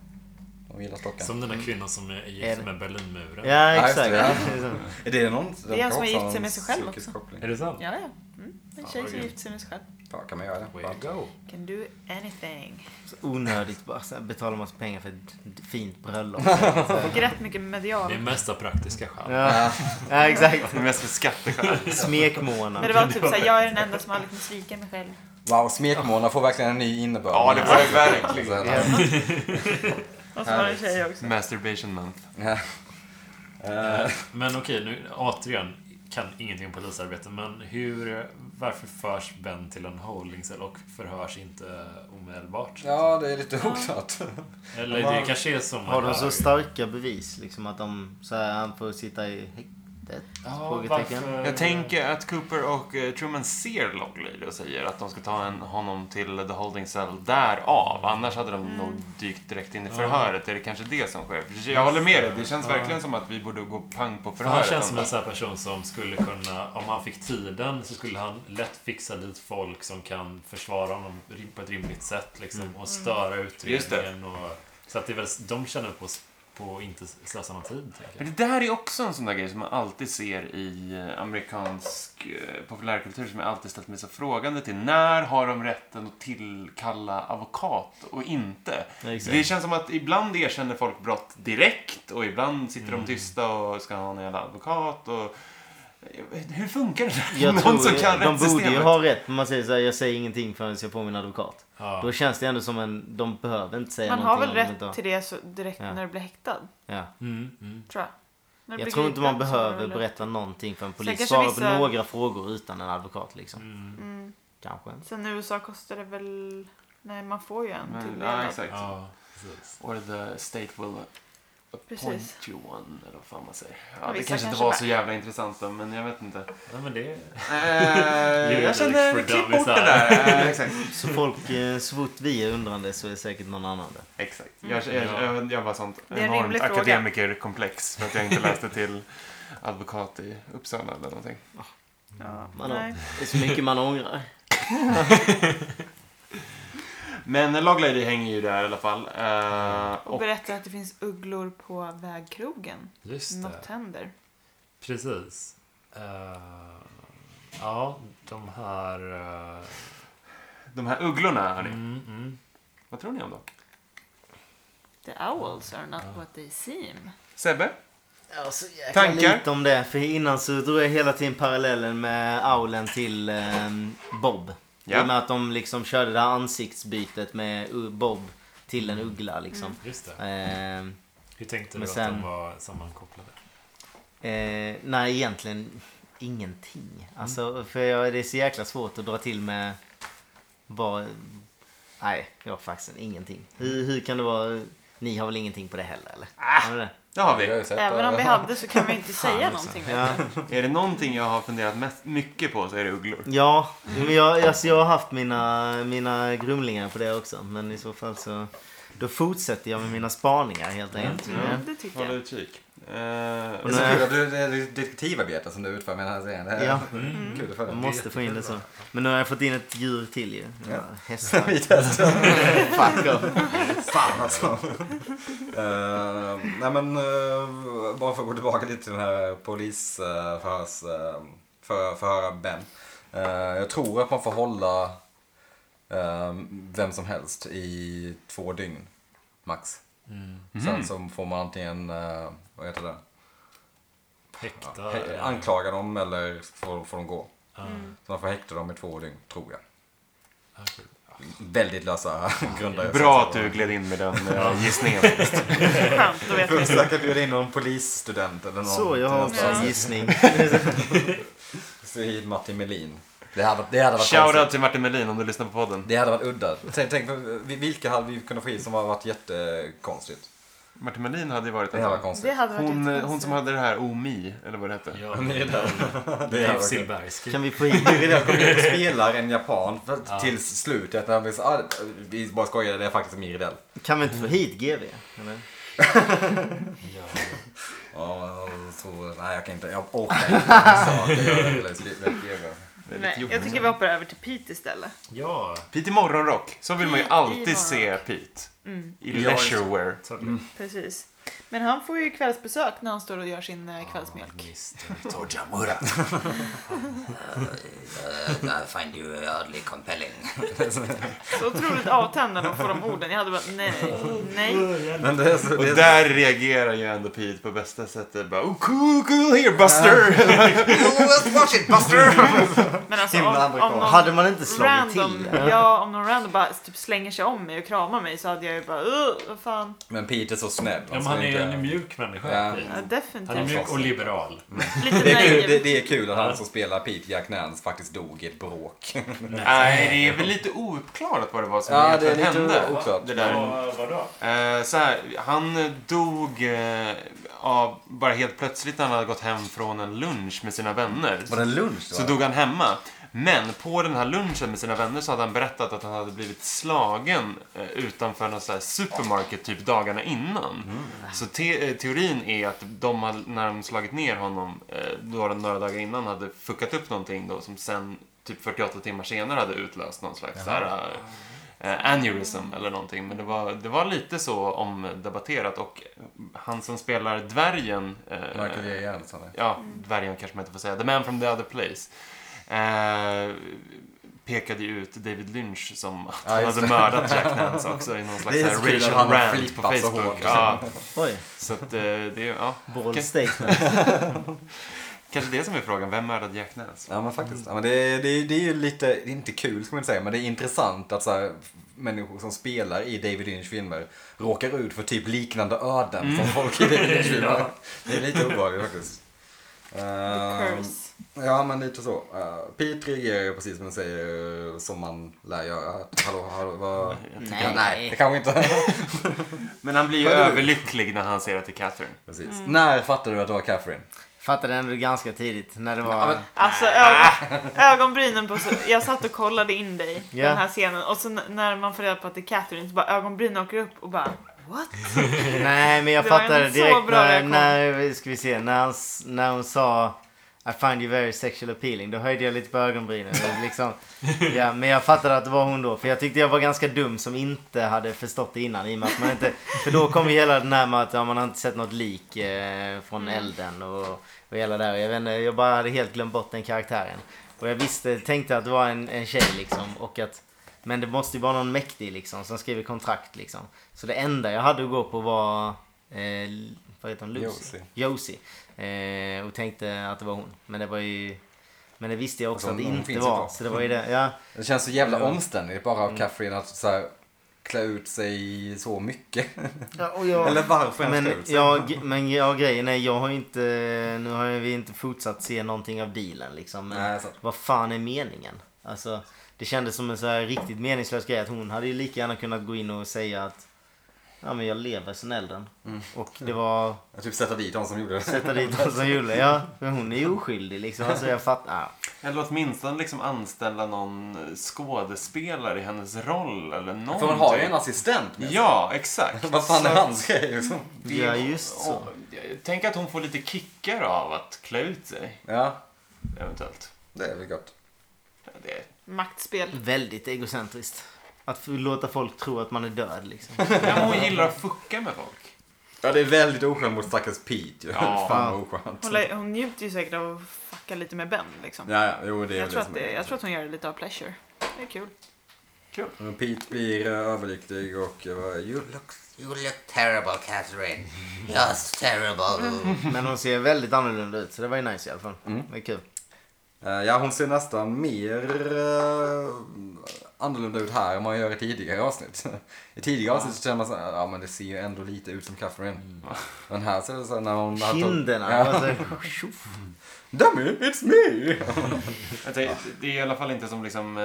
Speaker 3: De gillar stocken.
Speaker 4: Som den där kvinnan som är
Speaker 1: Är
Speaker 4: gift
Speaker 1: det-
Speaker 4: med Berlinmuren.
Speaker 1: Ja
Speaker 3: Ja, just
Speaker 1: exakt.
Speaker 3: det,
Speaker 1: Ja.
Speaker 3: Är det någon?
Speaker 2: Det är han som har gift sig med sig själv
Speaker 3: psykisk
Speaker 4: Är
Speaker 3: koppling.
Speaker 4: det sant?
Speaker 2: Ja, ja. Mm. En tjej som gifter sig med sig själv.
Speaker 3: Ja, kan man göra det?
Speaker 4: Way to go.
Speaker 2: Can do anything.
Speaker 1: Så Onödigt bara. Så här, betala massa pengar för ett fint bröllop.
Speaker 2: Fick rätt mycket
Speaker 4: Det är
Speaker 2: medial.
Speaker 4: mest av praktiska skäl.
Speaker 1: Ja, ja exakt.
Speaker 5: Mest för skatteskäl.
Speaker 2: Men
Speaker 1: Smekmånad.
Speaker 2: det var typ såhär, jag är den enda som aldrig kommer svika mig själv.
Speaker 3: Wow, smekmånad får verkligen en ny innebörd.
Speaker 5: Ja, det får det verkligen.
Speaker 3: verkligen.
Speaker 2: Och så var det en tjej också.
Speaker 5: Masturbation month.
Speaker 4: Men okej, nu återigen. Kan ingenting om polisarbete, men hur... Varför förs Ben till en holdingcell och förhörs inte omedelbart?
Speaker 3: Ja, det är lite oklart.
Speaker 4: Eller det
Speaker 1: Har-
Speaker 4: kanske är som...
Speaker 1: Har de
Speaker 4: man
Speaker 1: så
Speaker 4: hör.
Speaker 1: starka bevis liksom att de så här, han får sitta i häktet?
Speaker 4: Ja,
Speaker 1: Frågetecken.
Speaker 4: varför...
Speaker 5: Jag tänker att Cooper och eh, Truman ser Loglady och säger att de ska ta en, honom till The Holding Cell därav. Annars hade de nog dykt direkt in i förhöret. Är det kanske det som sker? För Jag håller med dig. Det känns
Speaker 4: Ja.
Speaker 5: verkligen som att vi borde gå pang på
Speaker 4: För han
Speaker 5: förhöret.
Speaker 4: känns som en
Speaker 5: ändå.
Speaker 4: sån här person som skulle kunna, om han fick tiden, så skulle han lätt fixa dit folk som kan försvara honom på ett rimligt sätt liksom, och störa
Speaker 5: Mm. Just
Speaker 4: utredningen. Och, så att det är väl, de känner på, på att inte slösa någon tid. Tänker jag.
Speaker 5: Men det där är också en sån där grej som man alltid ser i eh, amerikansk eh, populärkultur som jag alltid ställt mig så frågande till. När har de rätten att tillkalla advokat och inte?
Speaker 1: Ja, exakt.
Speaker 5: Det känns som att ibland erkänner folk brott direkt och ibland sitter
Speaker 1: Mm.
Speaker 5: de tysta och ska ha en jävla advokat. Och... Jag vet- Hur funkar det där?
Speaker 1: Jag tror, de
Speaker 5: rättssystemet?
Speaker 1: borde ju ha rätt. Men man säger så här, jag säger ingenting förrän jag får min advokat. Då
Speaker 4: Ja.
Speaker 1: känns det ändå som en, de behöver inte säga
Speaker 2: Man har
Speaker 1: någonting om
Speaker 2: väl
Speaker 1: de inte
Speaker 2: rätt till det så direkt
Speaker 1: Ja.
Speaker 2: när du blir häktad,
Speaker 1: Ja.
Speaker 4: Mm, mm.
Speaker 2: tror jag. När du
Speaker 1: Jag
Speaker 2: blir
Speaker 1: tror inte man
Speaker 2: gripen så har du
Speaker 1: behöver
Speaker 2: väl-
Speaker 1: berätta någonting för en polis.
Speaker 2: kanske
Speaker 1: Svara
Speaker 2: vissa-
Speaker 1: på några frågor utan en advokat liksom.
Speaker 2: Mm.
Speaker 1: Kanske.
Speaker 2: Sen i USA kostar det väl... Nej, man får ju en till.
Speaker 5: Men, ja,
Speaker 2: redan.
Speaker 5: exakt.
Speaker 4: Ja, precis.
Speaker 5: Or the state will
Speaker 2: Precis.
Speaker 5: appoint you one, eller vad fan man säger.
Speaker 2: Ja,
Speaker 5: Ja, det
Speaker 2: vissa
Speaker 5: kanske inte
Speaker 2: kanske
Speaker 5: var
Speaker 2: bara-
Speaker 5: så jävla intressant då, men jag vet inte.
Speaker 4: Nej, men det...
Speaker 5: Eh, jag känner,
Speaker 4: Juridik för
Speaker 5: klipp bort
Speaker 4: dummisar.
Speaker 5: det där. Eh, Exakt.
Speaker 1: Så folk, eh, så fort vi är undrande så är säkert någon annan där.
Speaker 5: Exakt. Jag, jag, jag, jag var sånt
Speaker 2: Det är en
Speaker 5: enormt
Speaker 2: rimlig fråga.
Speaker 5: akademikerkomplex för att jag inte läste till advokat i Uppsala eller någonting.
Speaker 2: Ja,
Speaker 1: Mm, Man har,
Speaker 2: nej.
Speaker 1: det är så mycket man ångrar.
Speaker 5: Men Log Lady hänger ju där i alla fall. Eh,
Speaker 2: Och
Speaker 5: och
Speaker 2: berättar att det finns ugglor på vägkrogen.
Speaker 4: Just
Speaker 2: Något
Speaker 4: det.
Speaker 2: händer.
Speaker 4: Precis. Eh, ja, de här... eh,
Speaker 5: de här ugglorna, hörni.
Speaker 4: mm, mm.
Speaker 5: Vad tror ni om dem?
Speaker 2: The owls are not what they seem.
Speaker 5: Sebbe?
Speaker 1: Ja, så jäkla
Speaker 5: Tankar?
Speaker 1: lite om det. För innan så drog jag hela tiden parallellen med aulen till eh, Bob.
Speaker 5: Ja.
Speaker 1: I och med att de liksom körde det här ansiktsbytet med U- Bob till en uggla liksom.
Speaker 4: Just det.
Speaker 2: Mm.
Speaker 1: Eh,
Speaker 4: Hur tänkte du
Speaker 1: Men
Speaker 4: att de
Speaker 1: sen-
Speaker 4: var sammankopplade?
Speaker 1: Eh, nej, egentligen ingenting. Alltså, för jag, det är så jäkla svårt att dra till med bara... Nej, jag har faktiskt ingenting. Hur, hur kan det vara... Ni har väl ingenting på det heller, eller? Har ni det?
Speaker 5: Det har
Speaker 3: Vi har
Speaker 5: vi.
Speaker 3: ju sett
Speaker 2: Även om
Speaker 3: det.
Speaker 2: vi hade så kan vi inte säga
Speaker 4: också.
Speaker 2: någonting.
Speaker 1: Ja,
Speaker 5: Är det någonting jag har funderat mest, mycket på så är det ugglor.
Speaker 1: ja men jag, alltså, jag har haft mina, mina grumlingar på det också. Men i så fall så... Då fortsätter jag med mina spaningar helt enkelt.
Speaker 2: Mm, det tycker
Speaker 6: Håll
Speaker 2: jag.
Speaker 6: utkik. Eh,
Speaker 1: Och
Speaker 3: Det är så
Speaker 1: nej.
Speaker 3: kul att du- det är detektivarbete som du utför med den här serien. Det är
Speaker 1: Ja.
Speaker 3: kul att följa.
Speaker 1: Jag
Speaker 5: Mm.
Speaker 1: måste få in det så. Men nu har jag fått in ett djur till ju. Ja. Hästar.
Speaker 3: Vi testar.
Speaker 1: Fuck off.
Speaker 3: Fan alltså. Eh, nej men eh, bara för att gå tillbaka lite till den här polisförhörs... Uh, för, förhöra Ben. Eh, jag tror att man får hålla eh, vem som helst i två dygn. Max. Sen så får man antingen, eh, vad heter det?
Speaker 4: Häktad.
Speaker 3: He- anklaga dem eller får, får de gå. Så man får häkta dem i två dygn, tror jag. Väldigt lösa grunder.
Speaker 5: Bra att du gled in med den eh, gissningen.
Speaker 2: Skönt, då vet vi.
Speaker 3: Först säkert bjuda in någon polisstudent eller någon.
Speaker 1: Så, jag har också en
Speaker 2: Ja.
Speaker 1: gissning.
Speaker 3: Så hit Martin Melin. Det hade, det hade varit
Speaker 5: Shoutout
Speaker 3: konstigt.
Speaker 5: till Martin Melin om du lyssnar på podden.
Speaker 3: Det hade varit udda. Tänk, tänk vi- vilka hade vi kunnat få hit som har varit jättekonstigt?
Speaker 5: Martin Melin hade ju varit
Speaker 3: Det hade varit
Speaker 5: en
Speaker 2: Det
Speaker 3: konstigt.
Speaker 2: hade varit
Speaker 5: hon, eh,
Speaker 2: jättekonstigt.
Speaker 5: hon som hade det här OMI, eller vad det hette.
Speaker 4: Ja,
Speaker 3: Det
Speaker 4: det
Speaker 3: hade
Speaker 4: är
Speaker 3: varit-
Speaker 4: Silberski.
Speaker 1: Kan vi få in...
Speaker 3: Det är det, kommer in och spelar en japan för, till slutet. När han blir så, ah, vi bara skojar, det är faktiskt Miridell.
Speaker 1: Kan vi inte få hit GV? Eller?
Speaker 4: Ja.
Speaker 3: Ja, så, nej jag kan inte, jag orkar inte. saker, eller skriva- skriva.
Speaker 2: Nej, jag tycker vi hoppar över till Pete istället.
Speaker 4: ja.
Speaker 5: Pete i morgonrock. Så vill man ju
Speaker 2: Pete i
Speaker 5: alltid
Speaker 2: morgonrock.
Speaker 5: se Pete.
Speaker 2: Mm,
Speaker 5: I
Speaker 3: Ja, just-
Speaker 5: leisurewear.
Speaker 3: Mm.
Speaker 2: precis. Men han får ju kvällsbesök när han står och gör sin
Speaker 5: Ah,
Speaker 2: eh, kvällsmjölk.
Speaker 4: Mr.
Speaker 3: Tojamura. I Uh, find you oddly compelling.
Speaker 2: Så otroligt avtändande att få de orden. Jag hade bara nej, nej.
Speaker 3: Men det är så,
Speaker 5: Och
Speaker 3: det är så
Speaker 5: där reagerar ju ändå Pete på bästa sättet. Bara, oh, cool, cool here Buster!
Speaker 3: Watch it Buster!
Speaker 2: Men alltså
Speaker 3: Himla
Speaker 2: om, om
Speaker 3: amerikan.
Speaker 2: någon
Speaker 1: Hade man inte slagit
Speaker 2: random,
Speaker 1: till?
Speaker 2: Ja, om någon random bara typ slänger sig om mig och kramar mig så hade jag ju bara "Ugh, vad fan.
Speaker 3: Men Pete är så snäll.
Speaker 4: Ja, men han är en mjuk människa.
Speaker 3: Alltså, Ja.
Speaker 2: Ja,
Speaker 4: Han är
Speaker 2: definitivt.
Speaker 4: mjuk och liberal.
Speaker 2: Lite
Speaker 3: Det är, kul, det,
Speaker 2: naiv.
Speaker 3: det är kul att han som spelar Pete Jack Nance faktiskt dog i ett bråk.
Speaker 5: Nej, det är väl lite ouppklarat vad det var som
Speaker 3: Ja,
Speaker 5: egentligen
Speaker 3: det är lite
Speaker 5: hände.
Speaker 3: oklart.
Speaker 5: Det där.
Speaker 4: vadå?
Speaker 5: Eh, så här, han dog eh, av, bara helt plötsligt när han hade gått hem från en lunch med sina vänner.
Speaker 3: Var det en lunch då?
Speaker 5: Så dog han hemma. Men på den här lunchen med sina vänner så hade han berättat att han hade blivit slagen eh, utanför någon sån här supermarket typ dagarna innan. Så te- eh, teorin är att de hade, när de slagit ner honom eh, då de några dagar innan hade fuckat upp någonting då som sen typ 48 timmar senare hade utlöst någon slags så här, eh, aneurysm eller någonting. Men det var, det var lite så omdebatterat och han som spelar dvärgen eh,
Speaker 3: Michael J. Jensen.
Speaker 5: ja, dvärgen kanske man inte får säga, The Man from the Other Place. Eh, pekade ju ut David Lynch som att
Speaker 3: Ja,
Speaker 5: han
Speaker 3: just
Speaker 5: hade
Speaker 3: det.
Speaker 5: mördat Jack Nance också i någon slags
Speaker 3: Det är
Speaker 5: här
Speaker 3: så kul att
Speaker 5: racial
Speaker 3: han har
Speaker 5: rant på
Speaker 3: flippat så
Speaker 5: Facebook.
Speaker 3: hårt.
Speaker 5: ja,
Speaker 1: Oj,
Speaker 5: så att eh, det är, ja,
Speaker 1: bold
Speaker 5: Okej.
Speaker 1: statement.
Speaker 5: kanske det som är frågan, vem mördade Jack Nance?
Speaker 3: Ja men faktiskt. Mm. Ja, men det, är- det, är- det är ju lite, det är inte kul ska man inte säga, men det är intressant att så här, människor som spelar i David Lynch filmer råkar ut för typ liknande öden som
Speaker 4: Mm.
Speaker 3: folk i David Lynch filmer. Det är lite obehagligt faktiskt.
Speaker 2: The
Speaker 3: Ehm,
Speaker 2: curse.
Speaker 3: ja men lite så. Uh, Pete reagerar ju precis som man säger, som man lär göra. Hallå, hallå, vad?
Speaker 1: Nej.
Speaker 3: Ja, nej, det kanske inte.
Speaker 5: Men han blir ju
Speaker 3: Vad är det?
Speaker 5: överlycklig när han ser att det är Catherine.
Speaker 3: precis. När fattade du att det var Catherine?
Speaker 1: Fattade ändå ganska tidigt när det var...
Speaker 3: men-
Speaker 2: Alltså ögon, ögonbrynen på så, Jag satt och kollade in dig i
Speaker 1: Ja.
Speaker 2: den här scenen och så n- när man får reda på att det är Catherine så bara ögonbrynen åker upp och bara What?
Speaker 1: Nej, men jag
Speaker 2: Det var
Speaker 1: fattade
Speaker 2: en så
Speaker 1: direkt
Speaker 2: bra
Speaker 1: när,
Speaker 2: reaktion.
Speaker 1: när, ska vi se, när, hon, s- när hon sa I find you very sexual appealing. Då höjde jag lite på ögonbrynen. eller Liksom. Ja, men jag fattade att det var hon då. För jag tyckte jag var ganska dum som inte hade förstått det innan. I och med att man inte, för då kom ju hela den här med att ja, man har inte sett något lik eh, från
Speaker 2: Mm.
Speaker 1: elden och, och hela det här. Jag, vet inte, jag bara hade helt glömt bort den karaktären. Och jag visste, tänkte att det var en, en tjej liksom. Och att, men det måste ju vara någon mäktig liksom som skriver kontrakt liksom. Så det enda jag hade att gå på var, eh, vad heter hon? Lucy? Josie. Eh, och tänkte att det var hon. Men det var ju, men det visste jag också
Speaker 3: Alltså,
Speaker 1: att det
Speaker 3: hon
Speaker 1: inte
Speaker 3: finns ju
Speaker 1: var.
Speaker 3: kvar.
Speaker 1: Så det var ju det, ja.
Speaker 3: Det känns så jävla omständigt bara av Catherine att så här, klä ut sig så mycket.
Speaker 1: ja, och jag...
Speaker 3: Eller varför ens klä
Speaker 1: Men,
Speaker 3: ut sig?
Speaker 1: jag, men jag, grejen är, jag har ju inte, nu har vi inte fortsatt se någonting av dealen liksom. Men
Speaker 3: Nej, sant.
Speaker 1: vad fan är meningen? Alltså, det kändes som en så här riktigt meningslös grej att hon hade ju lika gärna kunnat gå in och säga att Ja men jag lever sen elden.
Speaker 3: Mm.
Speaker 1: Och det var
Speaker 3: Jag typ sätta dit de som gjorde det.
Speaker 1: sätta dit någon som gjorde det. Ja, men hon är ju oskyldig liksom. Alltså jag fattar. Ah,
Speaker 5: Eller åtminstone liksom anställa någon skådespelare i hennes roll eller någonting.
Speaker 3: För hon har ju en assistent med sig.
Speaker 5: Ja, exakt.
Speaker 3: Vad fan är hans grej liksom?
Speaker 5: Det-
Speaker 1: Ja, just så.
Speaker 5: och- Tänk att hon får lite kickar av att klä ut sig,
Speaker 3: Ja,
Speaker 5: eventuellt.
Speaker 3: det är väl gott.
Speaker 5: Ja, Det,
Speaker 2: Maktspel.
Speaker 1: Väldigt egocentriskt. Att få- låta folk tro att man är död liksom.
Speaker 5: ja, men hon gillar att fucka med folk.
Speaker 3: Ja, det är väldigt oskönt mot stackars Pete ju.
Speaker 5: Ja.
Speaker 3: fan vad oskönt.
Speaker 2: Hon, lä- hon njuter ju säkert av att fucka lite med Ben liksom.
Speaker 3: Ja, ja, jo det är
Speaker 2: jag,
Speaker 3: väl
Speaker 2: tror
Speaker 3: det
Speaker 2: att
Speaker 3: som
Speaker 2: det,
Speaker 3: är
Speaker 2: jag tror att hon gör det lite av pleasure. Det är kul.
Speaker 3: Men Pete blir eh, överlycklig och eh, bara, you look, you look terrible Catherine. Just terrible.
Speaker 1: Men hon ser väldigt annorlunda ut så det var ju nice i alla fall.
Speaker 3: Mm.
Speaker 1: Det är kul.
Speaker 3: Eh, ja, hon ser nästan mer eh, annorlunda ut här än man gör i tidigare avsnitt. I tidigare avsnitt så känner man så här, ja men det ser ju ändå lite ut som Catherine. Men här ser det så här när hon...
Speaker 1: Kinderna.
Speaker 3: Ja.
Speaker 1: Alltså, tjoff.
Speaker 3: Dummy, it's me!
Speaker 5: Jag tänker, det är i alla fall inte som liksom, eh,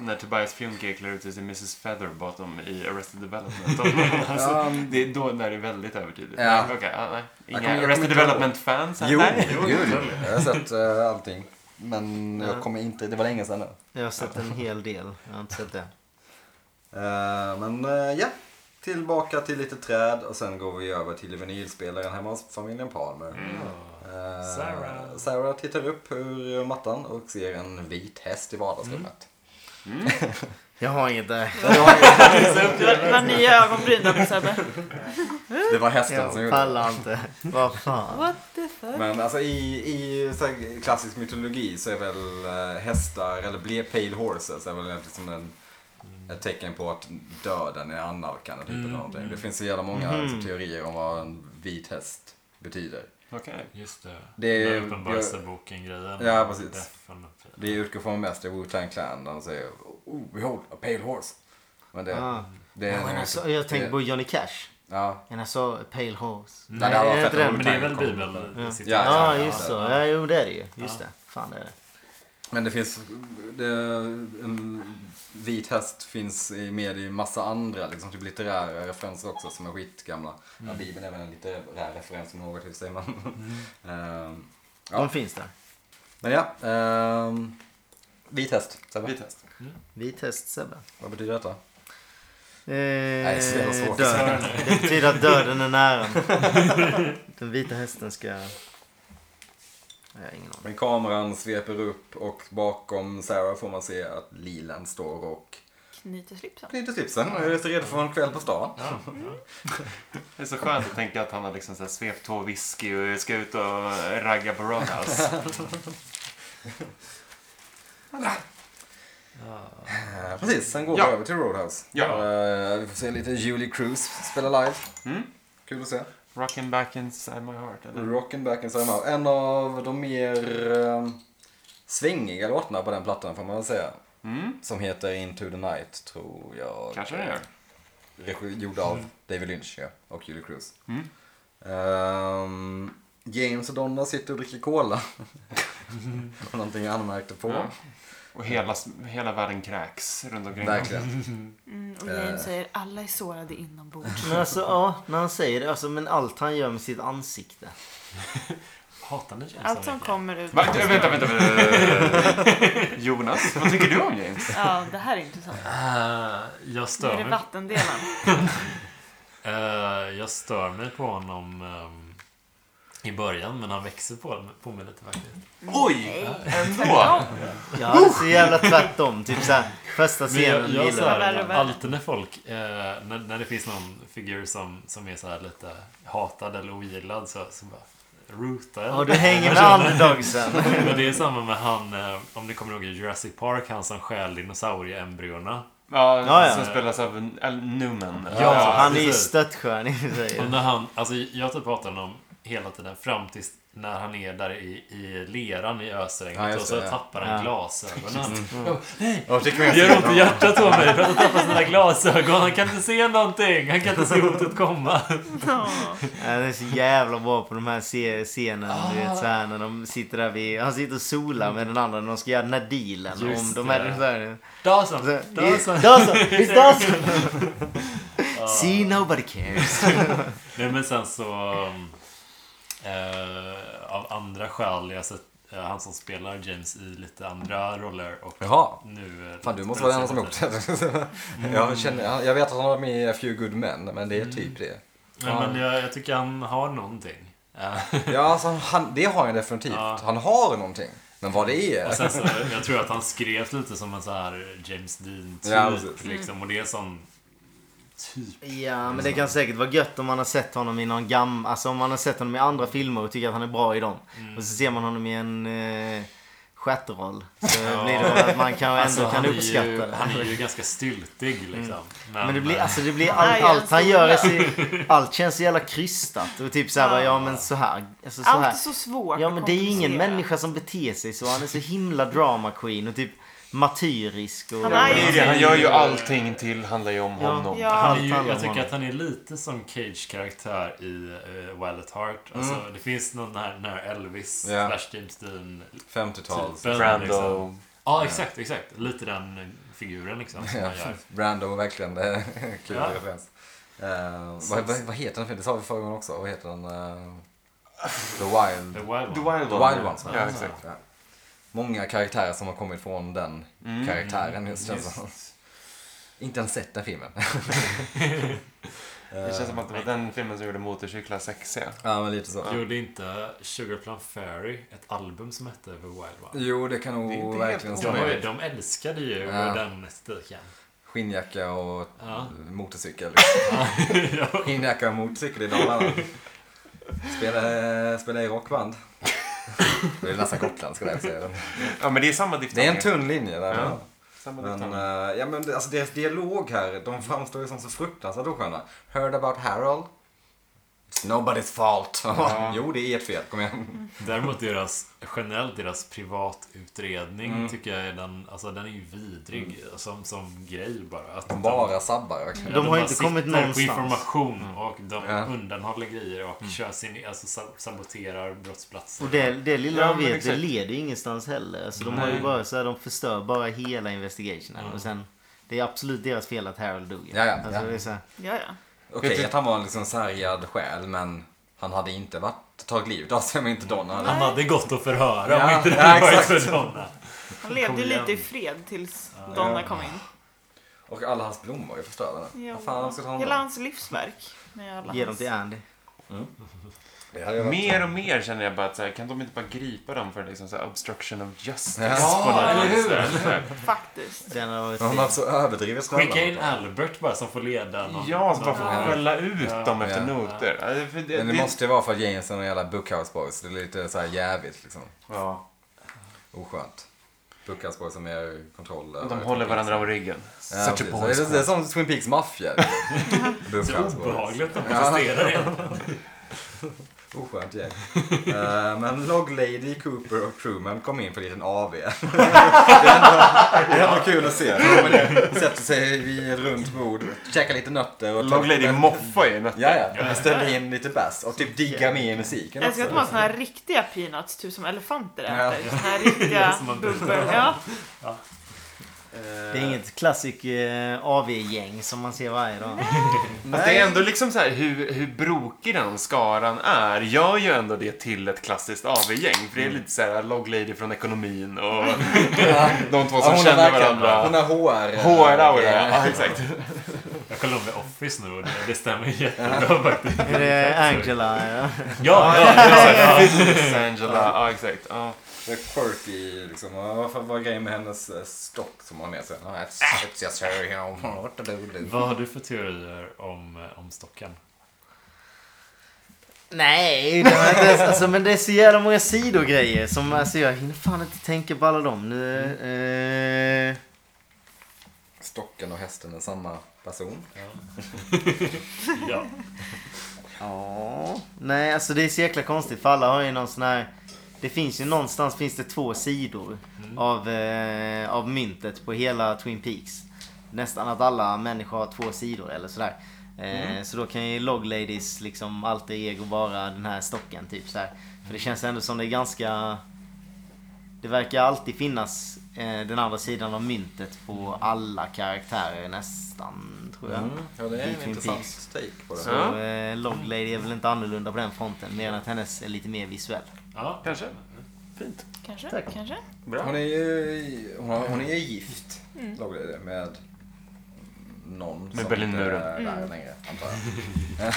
Speaker 5: när Tobias Funke klär ut sig till Mrs Featherbottom i Arrested Development. alltså, det är då när det är väldigt övertydligt.
Speaker 3: Ja.
Speaker 5: Nej, okej, ja, nej. Inga
Speaker 3: Jag kommer- jag
Speaker 5: Arrested
Speaker 3: kommer inte
Speaker 5: Development-fans här?
Speaker 3: Jo,
Speaker 5: Nej.
Speaker 3: gud. Jag har sett eh, allting. Men jag kommer inte, det var länge sedan nu.
Speaker 1: Jag har sett en hel del. Jag har inte sett det.
Speaker 3: Eh, men eh, ja, tillbaka till lite träd och sen går vi över till vinylspelaren hemma hos familjen Palmer. Eh,
Speaker 4: Sarah.
Speaker 3: Sarah tittar upp ur mattan och ser en vit häst i vardagsrummet.
Speaker 1: Jag har inget där.
Speaker 2: Du har, du har nya ögonbryn där på Sebbe.
Speaker 3: Mm. Det var hästen som
Speaker 1: Jag
Speaker 3: gjorde det.
Speaker 1: pallar inte. Vad fan.
Speaker 2: What the fuck?
Speaker 3: Men alltså i, i så här, klassisk mytologi så är väl eh, hästar, eller ble pale horses, är väl egentligen som en, ett tecken på att döden är annalkande. Typ, eller någonting. Det finns så jävla många liksom, teorier om vad en vit häst betyder.
Speaker 5: Okej.
Speaker 4: Just det.
Speaker 3: Det är-
Speaker 4: Den Uppenbarelseboken-grejen.
Speaker 3: Ja, precis.
Speaker 4: Deffen och-
Speaker 3: Det utgår från mest i Wu-Tang Clan där de säger oh, behold, a pale horse. Men det,
Speaker 1: Ah.
Speaker 3: det är...
Speaker 1: Ja, men
Speaker 3: nog-
Speaker 1: alltså, jag tänker på Johnny Cash.
Speaker 3: Ja.
Speaker 1: And I saw a pale horse.
Speaker 3: Nej, det var
Speaker 1: är
Speaker 3: fett
Speaker 1: inte den?
Speaker 4: Men det är väl bibel?
Speaker 1: Ja.
Speaker 3: Ja,
Speaker 1: Ja,
Speaker 3: ja, ja,
Speaker 1: just
Speaker 3: ja.
Speaker 1: så. Ja, jo, det är det ju. Just det. Fan, det är det.
Speaker 3: Men det finns... Det, en vit häst finns i- med i massa andra liksom, typ litterära referenser också som är skitgamla.
Speaker 5: Mm.
Speaker 3: Ja, Bibeln är väl en litterär referens om något i och för sig. Men, Ehm, Ja.
Speaker 1: De finns där.
Speaker 3: men ja. Um, vit häst. Sebbe,
Speaker 5: Vit häst.
Speaker 1: Vit häst, Sebbe.
Speaker 3: Vad betyder detta?
Speaker 1: Eh,
Speaker 3: det är så jävla svårt.
Speaker 1: döden. Det betyder att döden är nära. Den vita hästen ska... Nej, Jag har ingen aning.
Speaker 3: Men kameran sveper upp och bakom Sarah får man se att Lilan står och
Speaker 2: Knyter slipsen.
Speaker 3: knyter slipsen och är så redo för en kväll på stan.
Speaker 5: Det är så skönt att tänka att han har liksom så här svept två whisky och ska ut och ragga på Roadhouse.
Speaker 3: Ja, Eh, precis, sen går
Speaker 5: Ja.
Speaker 3: vi över till Roadhouse.
Speaker 5: Ja.
Speaker 3: Eh, vi får se lite Julie Cruise spela live.
Speaker 5: Mm.
Speaker 3: Kul att se.
Speaker 5: Rockin' back inside my heart. Eller?
Speaker 3: Rockin' back in Sarah Mouth. En av de mer eh, svängiga låtarna på den plattan får man väl säga.
Speaker 5: Mm,
Speaker 3: Som heter Into the Night, tror jag.
Speaker 5: kanske det gör.
Speaker 3: Regi gjord av David Lynch ja, och Julie Cruise.
Speaker 5: Mm.
Speaker 3: Ehm, James och Donna sitter och dricker cola. och någonting jag anmärkte på.
Speaker 5: Ja. Och hela, hela världen kräks runt omkring dem.
Speaker 3: Verkligen.
Speaker 2: Mm, och Jane säger alla är sårade inombords.
Speaker 1: Men alltså, ja, när han säger det. Alltså, men allt han gör med sitt ansikte.
Speaker 4: Hatar ni James
Speaker 2: Allt som
Speaker 4: Amerika?
Speaker 2: kommer ut.
Speaker 5: Va, vänta, vänta, vänta, vänta. Jonas, vad tycker du om James?
Speaker 2: Ja, det här är intressant.
Speaker 4: Ah, jag
Speaker 2: Nu är
Speaker 4: stör
Speaker 2: det
Speaker 4: mig
Speaker 2: vattendelen.
Speaker 4: Eh, jag stör mig på honom ehm, i början, men han växer på, på mig lite faktiskt.
Speaker 5: Oj! Ändå!
Speaker 2: Tvärtom.
Speaker 1: Ja, det är så jävla tvärtom. Typ såhär, första
Speaker 4: Men
Speaker 1: scenen
Speaker 4: jag, jag så
Speaker 1: gillar jag.
Speaker 2: Värre och
Speaker 4: här,
Speaker 2: värre.
Speaker 4: alltid när folk, eh, när, när det finns någon figur som, som är så här lite hatad eller ogillad så, så bara rootar jag.
Speaker 1: Ja, du hänger med underdogsen.
Speaker 4: Men det är samma med han, eh, om ni kommer ihåg i Jurassic Park, han som stjäl dinosaurieembryona.
Speaker 5: Ja,
Speaker 1: Ja, ja.
Speaker 5: som spelas av Al Newman.
Speaker 4: Ja,
Speaker 1: Alltså, Han är ju
Speaker 4: precis.
Speaker 1: stöttskön i och för sig.
Speaker 4: Och när han, alltså jag typ hatar honom hela tiden fram tills när han är där i, i leran i
Speaker 3: Ja,
Speaker 4: ösregnet
Speaker 3: just
Speaker 4: och så
Speaker 3: det, ja.
Speaker 4: tappar han
Speaker 1: Ja.
Speaker 4: glasögonen.
Speaker 3: Jag tycker jag
Speaker 4: Det gör ont i hjärtat på mig för att han tappar sina glasögon. Han kan inte se någonting. Han kan inte se hotet komma.
Speaker 2: Ja.
Speaker 1: Han är så jävla bra på de här se- scenen. Du
Speaker 4: Ah.
Speaker 1: vet så här när de sitter där vid... Han sitter och solar med den andra när de ska göra den här dealen.
Speaker 4: Just
Speaker 1: om de
Speaker 4: det.
Speaker 1: här dinosaurierna.
Speaker 4: Dawson,
Speaker 1: Så-
Speaker 4: Dawson.
Speaker 1: Dawson! It's Dawson! See nobody cares.
Speaker 4: Nej men sen så... um, Eh, av andra skäl jag sett, eh, han som spelar James i lite andra roller och
Speaker 3: Jaha.
Speaker 4: nu... eh,
Speaker 3: Fan, du måste vara den som har gjort det.
Speaker 5: Mm.
Speaker 3: jag, känner, jag vet att han var med i A Few Good Men, men det är typ det.
Speaker 4: Nej, men jag, jag tycker han har någonting. Eh,
Speaker 3: Ja, alltså, han, det har han definitivt.
Speaker 4: Ja.
Speaker 3: Han har någonting. Men vad det
Speaker 4: Och
Speaker 5: Alltså,
Speaker 3: är...
Speaker 4: sen så, jag tror att han skrev lite som en så här James Dean typ,
Speaker 3: Ja, precis.
Speaker 4: liksom. Och det är sån typ.
Speaker 1: Ja, men det kan säkert vara gött om man har sett honom i någon gammal... Alltså om man har sett honom i andra filmer och tycker att han är bra i dem.
Speaker 4: Mm.
Speaker 1: Och så ser man honom i en eh, stjärtroll. Så blir det väl att man kan, ändå kan
Speaker 4: Alltså, han, är
Speaker 1: uppskatta
Speaker 4: ju,
Speaker 1: det.
Speaker 4: han är ju ganska styltig liksom.
Speaker 3: Mm.
Speaker 1: Men det blir,
Speaker 4: eh,
Speaker 1: alltså det blir
Speaker 2: Han
Speaker 1: allt,
Speaker 2: är ju en
Speaker 1: allt han gör är så,
Speaker 2: skola.
Speaker 1: Allt känns så jävla krystat. Och typ såhär, ja, ja men så här. Alltså, så
Speaker 2: Allt är
Speaker 1: här.
Speaker 2: så svårt
Speaker 1: Ja
Speaker 2: och
Speaker 1: men det är ju ingen
Speaker 2: komplicerat.
Speaker 1: människa som beter sig så. Han är så himla drama queen och typ martyrisk. Och,
Speaker 2: Han är ju-
Speaker 5: Det är det, han gör ju allting till, handlar ju om
Speaker 1: Ja.
Speaker 5: honom.
Speaker 2: Ja.
Speaker 4: Han är ju,
Speaker 1: Allt handlar om
Speaker 4: jag tycker
Speaker 1: honom.
Speaker 4: att han är lite som Cage-karaktär i uh, Wild at Heart. Alltså, Det finns någon den här, den här Elvis
Speaker 3: Ja.
Speaker 4: slash James Dean
Speaker 5: typ
Speaker 3: 50-tals.
Speaker 4: typen. Liksom.
Speaker 5: Brando.
Speaker 4: Ja, exakt, exakt. Lite den figuren liksom som han gör.
Speaker 3: Brando var verkligen eh, kul
Speaker 4: Ja.
Speaker 3: referens. Eh, vad, vad, vad heter den? för- Det sa vi förra gången också. Vad heter den? eh, The Wild.
Speaker 4: The Wild
Speaker 5: The
Speaker 4: One.
Speaker 5: Wild
Speaker 3: The
Speaker 5: One.
Speaker 3: Wild Ones.
Speaker 5: Ja, exakt.
Speaker 3: Ja. Många karaktärer som har kommit från den
Speaker 5: Mm.
Speaker 3: karaktären. just känns som. Inte ens sett den filmen.
Speaker 5: Det känns som att det var den filmen som gjorde motorcyklar sexiga.
Speaker 3: ja, men lite så.
Speaker 4: Gjorde inte Sugarplum Fairy ett album som hette The Wild One?
Speaker 3: Jo, det kan nog
Speaker 5: Det är inte
Speaker 3: verkligen
Speaker 5: helt
Speaker 4: De, var ju-
Speaker 3: stämma.
Speaker 4: de älskade ju
Speaker 3: Ja.
Speaker 4: den estetiken.
Speaker 3: Skinnjacka och
Speaker 4: Ja.
Speaker 3: motorcykel. Skinnjacka och motorcykel i Dalarna. Spela, spela i rockband. det är nästan gotländska där. så är det.
Speaker 5: Ja, men det är samma diftong.
Speaker 3: Det är en tunn linje där.
Speaker 5: Ja. Samma
Speaker 3: Men,
Speaker 5: diftong.
Speaker 3: eh, ja, men det- alltså deras dialog här, de framstår ju som så fruktansvärt osköna. Heard about Harold? It's nobody's fault. jo, det är ert fel. Kom igen.
Speaker 4: Däremot deras, generellt deras privatutredning tycker jag är den, alltså den är ju vidrig som, som grej bara. Att
Speaker 3: De bara sabbar. verkligen.
Speaker 1: De har
Speaker 4: bara
Speaker 1: inte kommit
Speaker 4: sitter
Speaker 1: någonstans.
Speaker 4: på information och de
Speaker 3: Ja.
Speaker 4: undanhåller grejer och kör sin, alltså sab- saboterar brottsplatser.
Speaker 1: Och det, det lilla
Speaker 5: Ja,
Speaker 1: de
Speaker 5: men
Speaker 1: vet, det
Speaker 5: exakt.
Speaker 1: leder ju ingenstans heller. Alltså, de, har ju
Speaker 5: Nej.
Speaker 1: bara, så här, de förstör bara hela investigationen. Och sen, det är absolut deras fel att Harold dog.
Speaker 3: Ja, ja,
Speaker 1: alltså,
Speaker 3: ja.
Speaker 1: Det är så här,
Speaker 2: Ja, ja.
Speaker 3: Okej, att han var en liksom sargad själ, men han hade inte varit, tagit livet av sig om inte Donna hade...
Speaker 4: Han hade gått att förhöra om
Speaker 3: Ja,
Speaker 4: inte det
Speaker 3: ja,
Speaker 4: hade varit
Speaker 3: exakt.
Speaker 4: för Donna.
Speaker 2: Han levde ju
Speaker 4: igen.
Speaker 2: lite i fred tills Donna kom in.
Speaker 3: Och alla hans blommor är förstörda nu.
Speaker 2: Ja.
Speaker 3: Vad fan ska ta hand om?
Speaker 2: Hela hans livsverk. Med alla
Speaker 1: ge dem
Speaker 2: hans...
Speaker 1: till Andy.
Speaker 3: Det hade jag varit-
Speaker 5: Mer och mer känner jag bara att så här, kan de inte bara gripa dem för liksom så här obstruction of justice?
Speaker 3: Ja, eller hur?
Speaker 2: Faktiskt.
Speaker 1: Den har varit
Speaker 3: De
Speaker 1: fin.
Speaker 3: har varit så överdrivet
Speaker 4: Skicka in
Speaker 3: snälla.
Speaker 4: Albert bara som får leda någon.
Speaker 5: Ja, så bara
Speaker 4: någon-
Speaker 5: för att skälla ut dem efter
Speaker 3: Ja.
Speaker 5: noter. Ja. Det, det,
Speaker 3: Men det måste ju vara för att James är en jävla Bookhouse Boys. Det är lite så här jävigt liksom.
Speaker 5: ja.
Speaker 3: Oskönt. Bookhouse Boys har mer kontroll.
Speaker 5: De håller varandra om ryggen.
Speaker 3: Ja,
Speaker 5: Such a
Speaker 3: precis.
Speaker 5: boy
Speaker 3: det, är, det är som Twin Peaks maffia.
Speaker 4: Så obehagligt de protesterar egentligen.
Speaker 3: Oskönt gäng. Eh, men Log Lady, Cooper och Truman kom in på en liten AV. det, är ändå, det är ändå kul att se. De är- sätter sig vid ett runt bord, käkar lite nötter och tar-
Speaker 5: Log Lady moffar ju
Speaker 3: Ja, ja. Men ställer in lite bass och typ diggar med i musiken
Speaker 2: Jag älskar att de har såna här riktiga peanuts, typ som elefanter äter. Såna här riktiga
Speaker 4: Som man-
Speaker 2: bubbel. Ja.
Speaker 1: Det är inget klassik eh, AV-gäng som man ser varje dag.
Speaker 5: Fast det är ändå liksom så här hur, hur brokig den skaran är gör ju ändå det till ett klassiskt AV-gäng. För det
Speaker 3: Mm.
Speaker 5: är lite så här Log Lady från ekonomin och de två som
Speaker 3: hon
Speaker 5: känner
Speaker 3: är verkligen- Hon
Speaker 5: varandra.
Speaker 3: har HR. eh,
Speaker 5: HR-aura,
Speaker 3: grejer.
Speaker 5: ja exakt.
Speaker 4: Jag kollar om The Office nu och det, det stämmer jättebra faktiskt.
Speaker 1: Är det Angela? Ja.
Speaker 4: Ja, ja, ja, ja.
Speaker 5: Miss Angela, ja exakt. Ja.
Speaker 3: Det är quirky liksom. Ja, Vad fan var grejen med hennes eh, stock som hon har med sig? Ja, It's it's just her, you know. what to do, do.
Speaker 4: Vad har du för teorier om, eh, om stocken?
Speaker 1: Nej, det var inte, ens- alltså, men det är så jävla många sidogrejer som alltså, jag hinner fan inte tänka på alla dem. Nu, eh,
Speaker 3: Stocken och hästen är samma person.
Speaker 4: Ja.
Speaker 1: Ja. Nej, alltså det är så jäkla konstigt för alla har ju någon sån här... Det finns ju någonstans finns det två sidor av, eh, av myntet på hela Twin Peaks. Nästan att alla människor har två sidor eller sådär. Eh, Så då kan ju Log Ladies liksom alltid ego vara den här stocken typ så här. För det känns ändå som det är ganska... Det verkar alltid finnas eh, den andra sidan av myntet på alla karaktärer nästan tror jag.
Speaker 3: Mm. Ja, det
Speaker 1: I
Speaker 3: är en
Speaker 1: Twin Peaks.
Speaker 3: intressant take på det.
Speaker 1: Så
Speaker 5: Ja.
Speaker 1: eh, Log Lady är väl inte annorlunda på den fronten mer än att hennes är lite mer visuell.
Speaker 4: ja.
Speaker 5: Kanske.
Speaker 4: Fint.
Speaker 2: Kanske?
Speaker 4: Tack.
Speaker 2: Kanske?
Speaker 6: Bra.
Speaker 3: Hon är ju, hon, har- hon är ju gift,
Speaker 2: Mm.
Speaker 3: låg det med någon
Speaker 5: Med Berlinmuren.
Speaker 3: inte är där
Speaker 2: Mm.
Speaker 3: längre, antar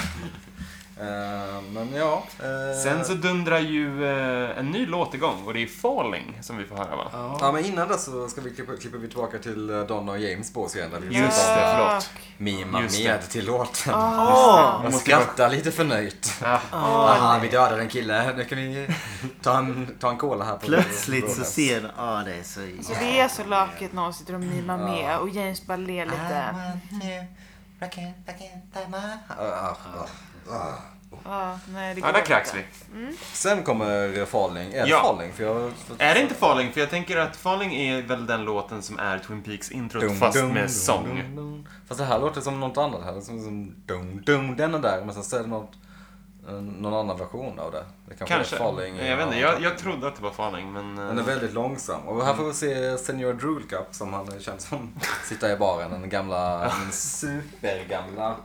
Speaker 3: jag. Eh, Men ja. eh,
Speaker 5: Sen så dundrar ju eh, en ny låt igång och det är Falling som vi får höra va?
Speaker 3: Ja, men innan dess så ska vi klippa, klipper vi tillbaka till eh, Donna och James bås igen. Där vi
Speaker 5: Just det, förlåt.
Speaker 2: Fuck.
Speaker 3: Mima
Speaker 5: Just
Speaker 3: med till låten.
Speaker 1: Ah,
Speaker 2: Åh!
Speaker 3: Jag skrattar lite förnöjt.
Speaker 5: Ja.
Speaker 3: Aha, vi dödade en kille. Nu kan vi ta en, ta en cola här. På
Speaker 1: Plötsligt så
Speaker 3: Rodas.
Speaker 1: ser de... Ja, det är så...
Speaker 2: Så det är så lökigt när hon sitter och mimar med och James bara ler lite.
Speaker 3: Ah, ah, ah, ah.
Speaker 2: Ja, nej, det går
Speaker 5: Ja, där
Speaker 2: inte.
Speaker 5: kracks vi.
Speaker 3: Sen kommer Falling. Är det
Speaker 5: Ja.
Speaker 3: Falling? För jag...
Speaker 5: Är det inte Falling? För jag tänker att Falling är väl den låten som är Twin Peaks introt
Speaker 3: Dum,
Speaker 5: fast
Speaker 3: dum,
Speaker 5: med
Speaker 3: dum,
Speaker 5: sång.
Speaker 3: dum, dum. Fast det här låter som något annat. här. Som, som dum, dum, den är där. Men sen så är det något, eh, någon annan version av det. det kanske.
Speaker 5: Kanske.
Speaker 3: Är Falling.
Speaker 5: jag vet inte, jag, jag trodde att det var Falling men... eh,
Speaker 3: Den är väldigt långsam. Och här får vi se Senior Drool Cup som han känns som sitta i baren. Den gamla, den supergamla.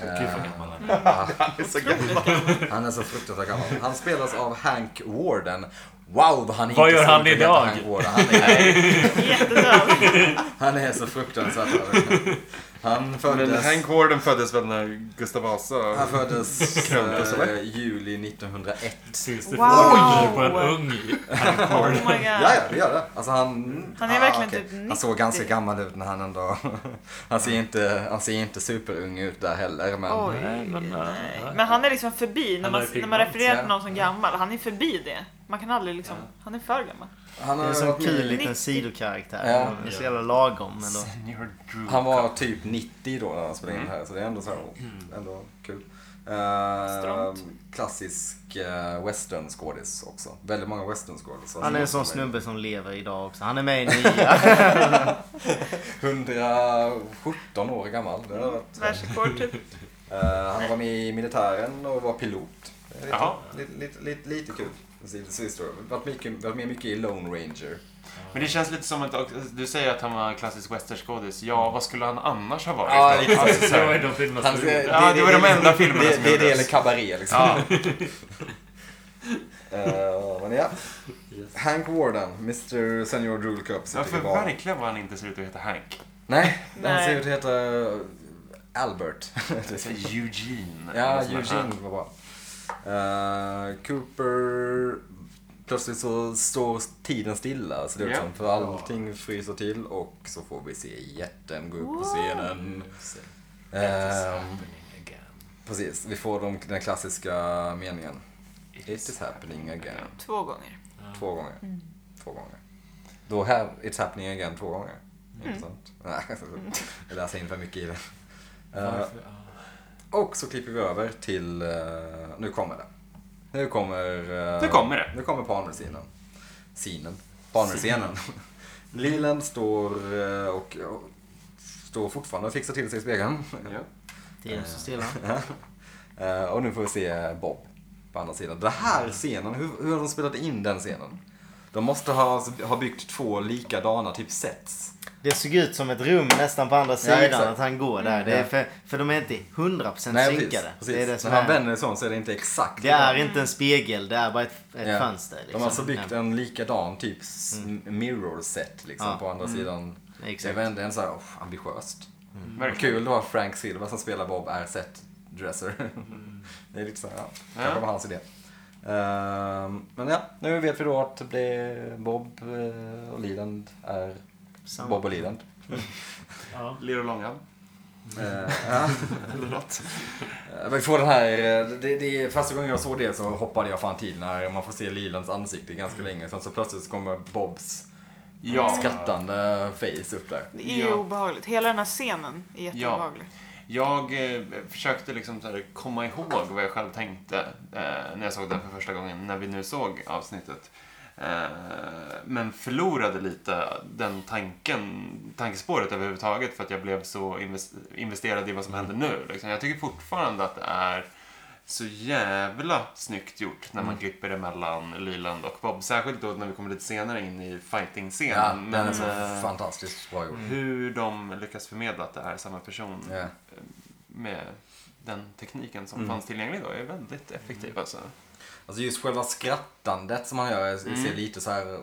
Speaker 4: Gud vad gammal han är.
Speaker 3: Han är så fruktansvärt gammal. Han spelas av Hank Warden. Wow vad han är
Speaker 4: Vad gör
Speaker 3: inte stor
Speaker 4: han
Speaker 3: att heta
Speaker 4: idag?
Speaker 3: Hank Warden. Han, är,
Speaker 2: Jättedöd.
Speaker 3: han är så fruktansvärt överraskad. Han
Speaker 6: Men
Speaker 3: föddes,
Speaker 6: Hank Warden föddes väl när Gustav
Speaker 3: han
Speaker 6: Vasa...
Speaker 3: föddes
Speaker 6: Kröntes,
Speaker 3: eh,
Speaker 6: eller?
Speaker 3: juli 1901.
Speaker 4: Finns det
Speaker 2: Wow.
Speaker 4: fotografier på en ung Hank
Speaker 2: Oh
Speaker 4: Warden?
Speaker 2: my god.
Speaker 3: Ja, ja, det gör det. Alltså han... Ah,
Speaker 2: Han är verkligen
Speaker 3: okej.
Speaker 2: typ 90.
Speaker 3: Han såg ganska gammal ut när han ändå... Han ser inte, han ser inte superung ut där heller, men...
Speaker 2: Oj.
Speaker 4: Nej, men, eh,
Speaker 2: nej.
Speaker 4: ja.
Speaker 2: Men han är liksom förbi. När
Speaker 4: Han
Speaker 2: man,
Speaker 4: har ju
Speaker 2: när man
Speaker 4: pigment,
Speaker 2: refererar
Speaker 3: ja.
Speaker 2: till någon som gammal, han är förbi det. Man kan aldrig liksom, han är för gammal.
Speaker 3: Han
Speaker 1: Det
Speaker 3: har
Speaker 1: är en sån
Speaker 3: varit
Speaker 1: kul
Speaker 3: med-
Speaker 1: liten
Speaker 2: 90.
Speaker 1: sidokaraktär.
Speaker 3: Ja.
Speaker 1: Det är så jävla lagom men då.
Speaker 5: Senior Drew
Speaker 3: Han var
Speaker 5: Cup.
Speaker 3: typ 90 då när han spelade in det här, så det är ändå så här,
Speaker 1: Mm.
Speaker 3: ändå kul. Uh,
Speaker 2: Strongt.
Speaker 3: klassisk eh, western-skådis också. Väldigt många western-skådisar.
Speaker 1: Han är en sån snubbe som lever idag också. Han är med i nya.
Speaker 3: 117 år gammal. Det har varit,
Speaker 2: Världsrekord typ.
Speaker 3: eh, han var med i militären och var pilot. Det är
Speaker 5: Jaha.
Speaker 3: Lite, lite, lite, lite kul. Lite sidospår. Varit, mycket, varit med mycket i Lone Ranger.
Speaker 5: Men det känns lite som att, du säger att han var klassisk westernskådis. Ja, vad skulle han annars ha varit?
Speaker 3: Ja, lite så.
Speaker 5: Alltså, så
Speaker 4: Det var ju
Speaker 5: här,
Speaker 4: de filmerna
Speaker 3: Han-
Speaker 4: som gjorde.
Speaker 5: Ja, det var de enda filmerna
Speaker 3: det,
Speaker 5: som
Speaker 3: det, det
Speaker 5: gjordes.
Speaker 3: eller Cabaret liksom.
Speaker 5: ja,
Speaker 3: Eh, men ja. Hank Warden, Mr Senior Drool Cup
Speaker 5: ja,
Speaker 3: sitter
Speaker 5: för
Speaker 3: i baren.
Speaker 5: verkligen vad han inte ser ut att heta Hank.
Speaker 3: Nej, han
Speaker 2: Nej.
Speaker 3: ser ut att heta Albert.
Speaker 5: Det är så här Eugene.
Speaker 3: ja,
Speaker 5: Eller sån här.
Speaker 3: Eugene var bra. Eh, Cooper... Plötsligt så står tiden stilla, så det är
Speaker 5: Ja.
Speaker 3: som för allting fryser till och så får vi se jätten gå upp på scenen. Ehm, precis, vi får de, den klassiska meningen. It is happening again.
Speaker 2: Två gånger.
Speaker 3: Två gånger. Två gånger. Då här, it's happening again två gånger. Intressant. Nej, jag läser in för mycket i det. Eh,
Speaker 4: Varför? Ja.
Speaker 3: och så klipper vi över till, eh, nu kommer det. Nu kommer... eh,
Speaker 5: Nu kommer det.
Speaker 3: Nu kommer Palmerscenen. Scenen. Palmerscenen. Lilen står eh, och, och står fortfarande och fixar till sig i spegeln.
Speaker 5: Ja.
Speaker 1: Tiden står stilla.
Speaker 3: Eh, och nu får vi se Bob på andra sidan. Den här scenen, hur, hur har de spelat in den scenen? De måste ha, ha byggt två likadana typ sets.
Speaker 1: Det såg ut som ett rum nästan på andra
Speaker 3: Ja,
Speaker 1: sidan
Speaker 3: exakt.
Speaker 1: att han går där. Det är för, för de är inte 100%
Speaker 3: precis.
Speaker 1: synkade.
Speaker 3: precis.
Speaker 1: Det är det som
Speaker 3: När han
Speaker 1: är.
Speaker 3: vänder sig om så är det inte exakt.
Speaker 1: Det är inte en spegel, det är bara ett, ett
Speaker 3: Ja.
Speaker 1: fönster. liksom.
Speaker 3: De har alltså byggt en likadan typ s- mirror set liksom
Speaker 1: Ja.
Speaker 3: på andra sidan.
Speaker 1: Exakt.
Speaker 3: Det är ändå en så här, oh, ambitiöst. Och
Speaker 5: Verkligen.
Speaker 3: kul då Frank Silva som spelar Bob är set dresser. det är lite så här, ja.
Speaker 5: Ja.
Speaker 3: Kanske var hans idé. Ehm, men ja, nu vet vi då att det Bob eh, och Liland är
Speaker 1: Samma.
Speaker 3: Bob och Liland.
Speaker 4: Ja.
Speaker 5: Little Longan.
Speaker 3: Eh, ja.
Speaker 5: Eller något.
Speaker 3: Eh, Vi får den här, eh, det, det är första gången jag såg det så hoppade jag fan till när man får se Lilands ansikte ganska länge. Sen så plötsligt så kommer Bobs
Speaker 5: Ja.
Speaker 3: skrattande face upp där.
Speaker 2: Det är ju
Speaker 5: Ja.
Speaker 2: obehagligt. Hela den här scenen är jätteobehaglig.
Speaker 5: Jag eh, försökte liksom så här komma ihåg vad jag själv tänkte eh, när jag såg den för första gången, när vi nu såg avsnittet. Eh, men förlorade lite den tanken, tankespåret överhuvudtaget för att jag blev så invest- investerad i vad som händer nu. Liksom. Jag tycker fortfarande att det är så jävla snyggt gjort när man
Speaker 3: Mm.
Speaker 5: klipper emellan Leland och Bob. Särskilt då när vi kommer lite senare in i fighting-scenen.
Speaker 3: Ja, den är
Speaker 5: men
Speaker 3: så
Speaker 5: eh,
Speaker 3: fantastiskt bra gjord.
Speaker 5: hur de lyckas förmedla att det är samma person
Speaker 3: Ja.
Speaker 6: Mm.
Speaker 2: Mm.
Speaker 5: med den tekniken som fanns tillgänglig då är väldigt effektiv alltså.
Speaker 3: Alltså just själva skrattandet som han gör är- ser
Speaker 5: Mm.
Speaker 3: lite så här eh,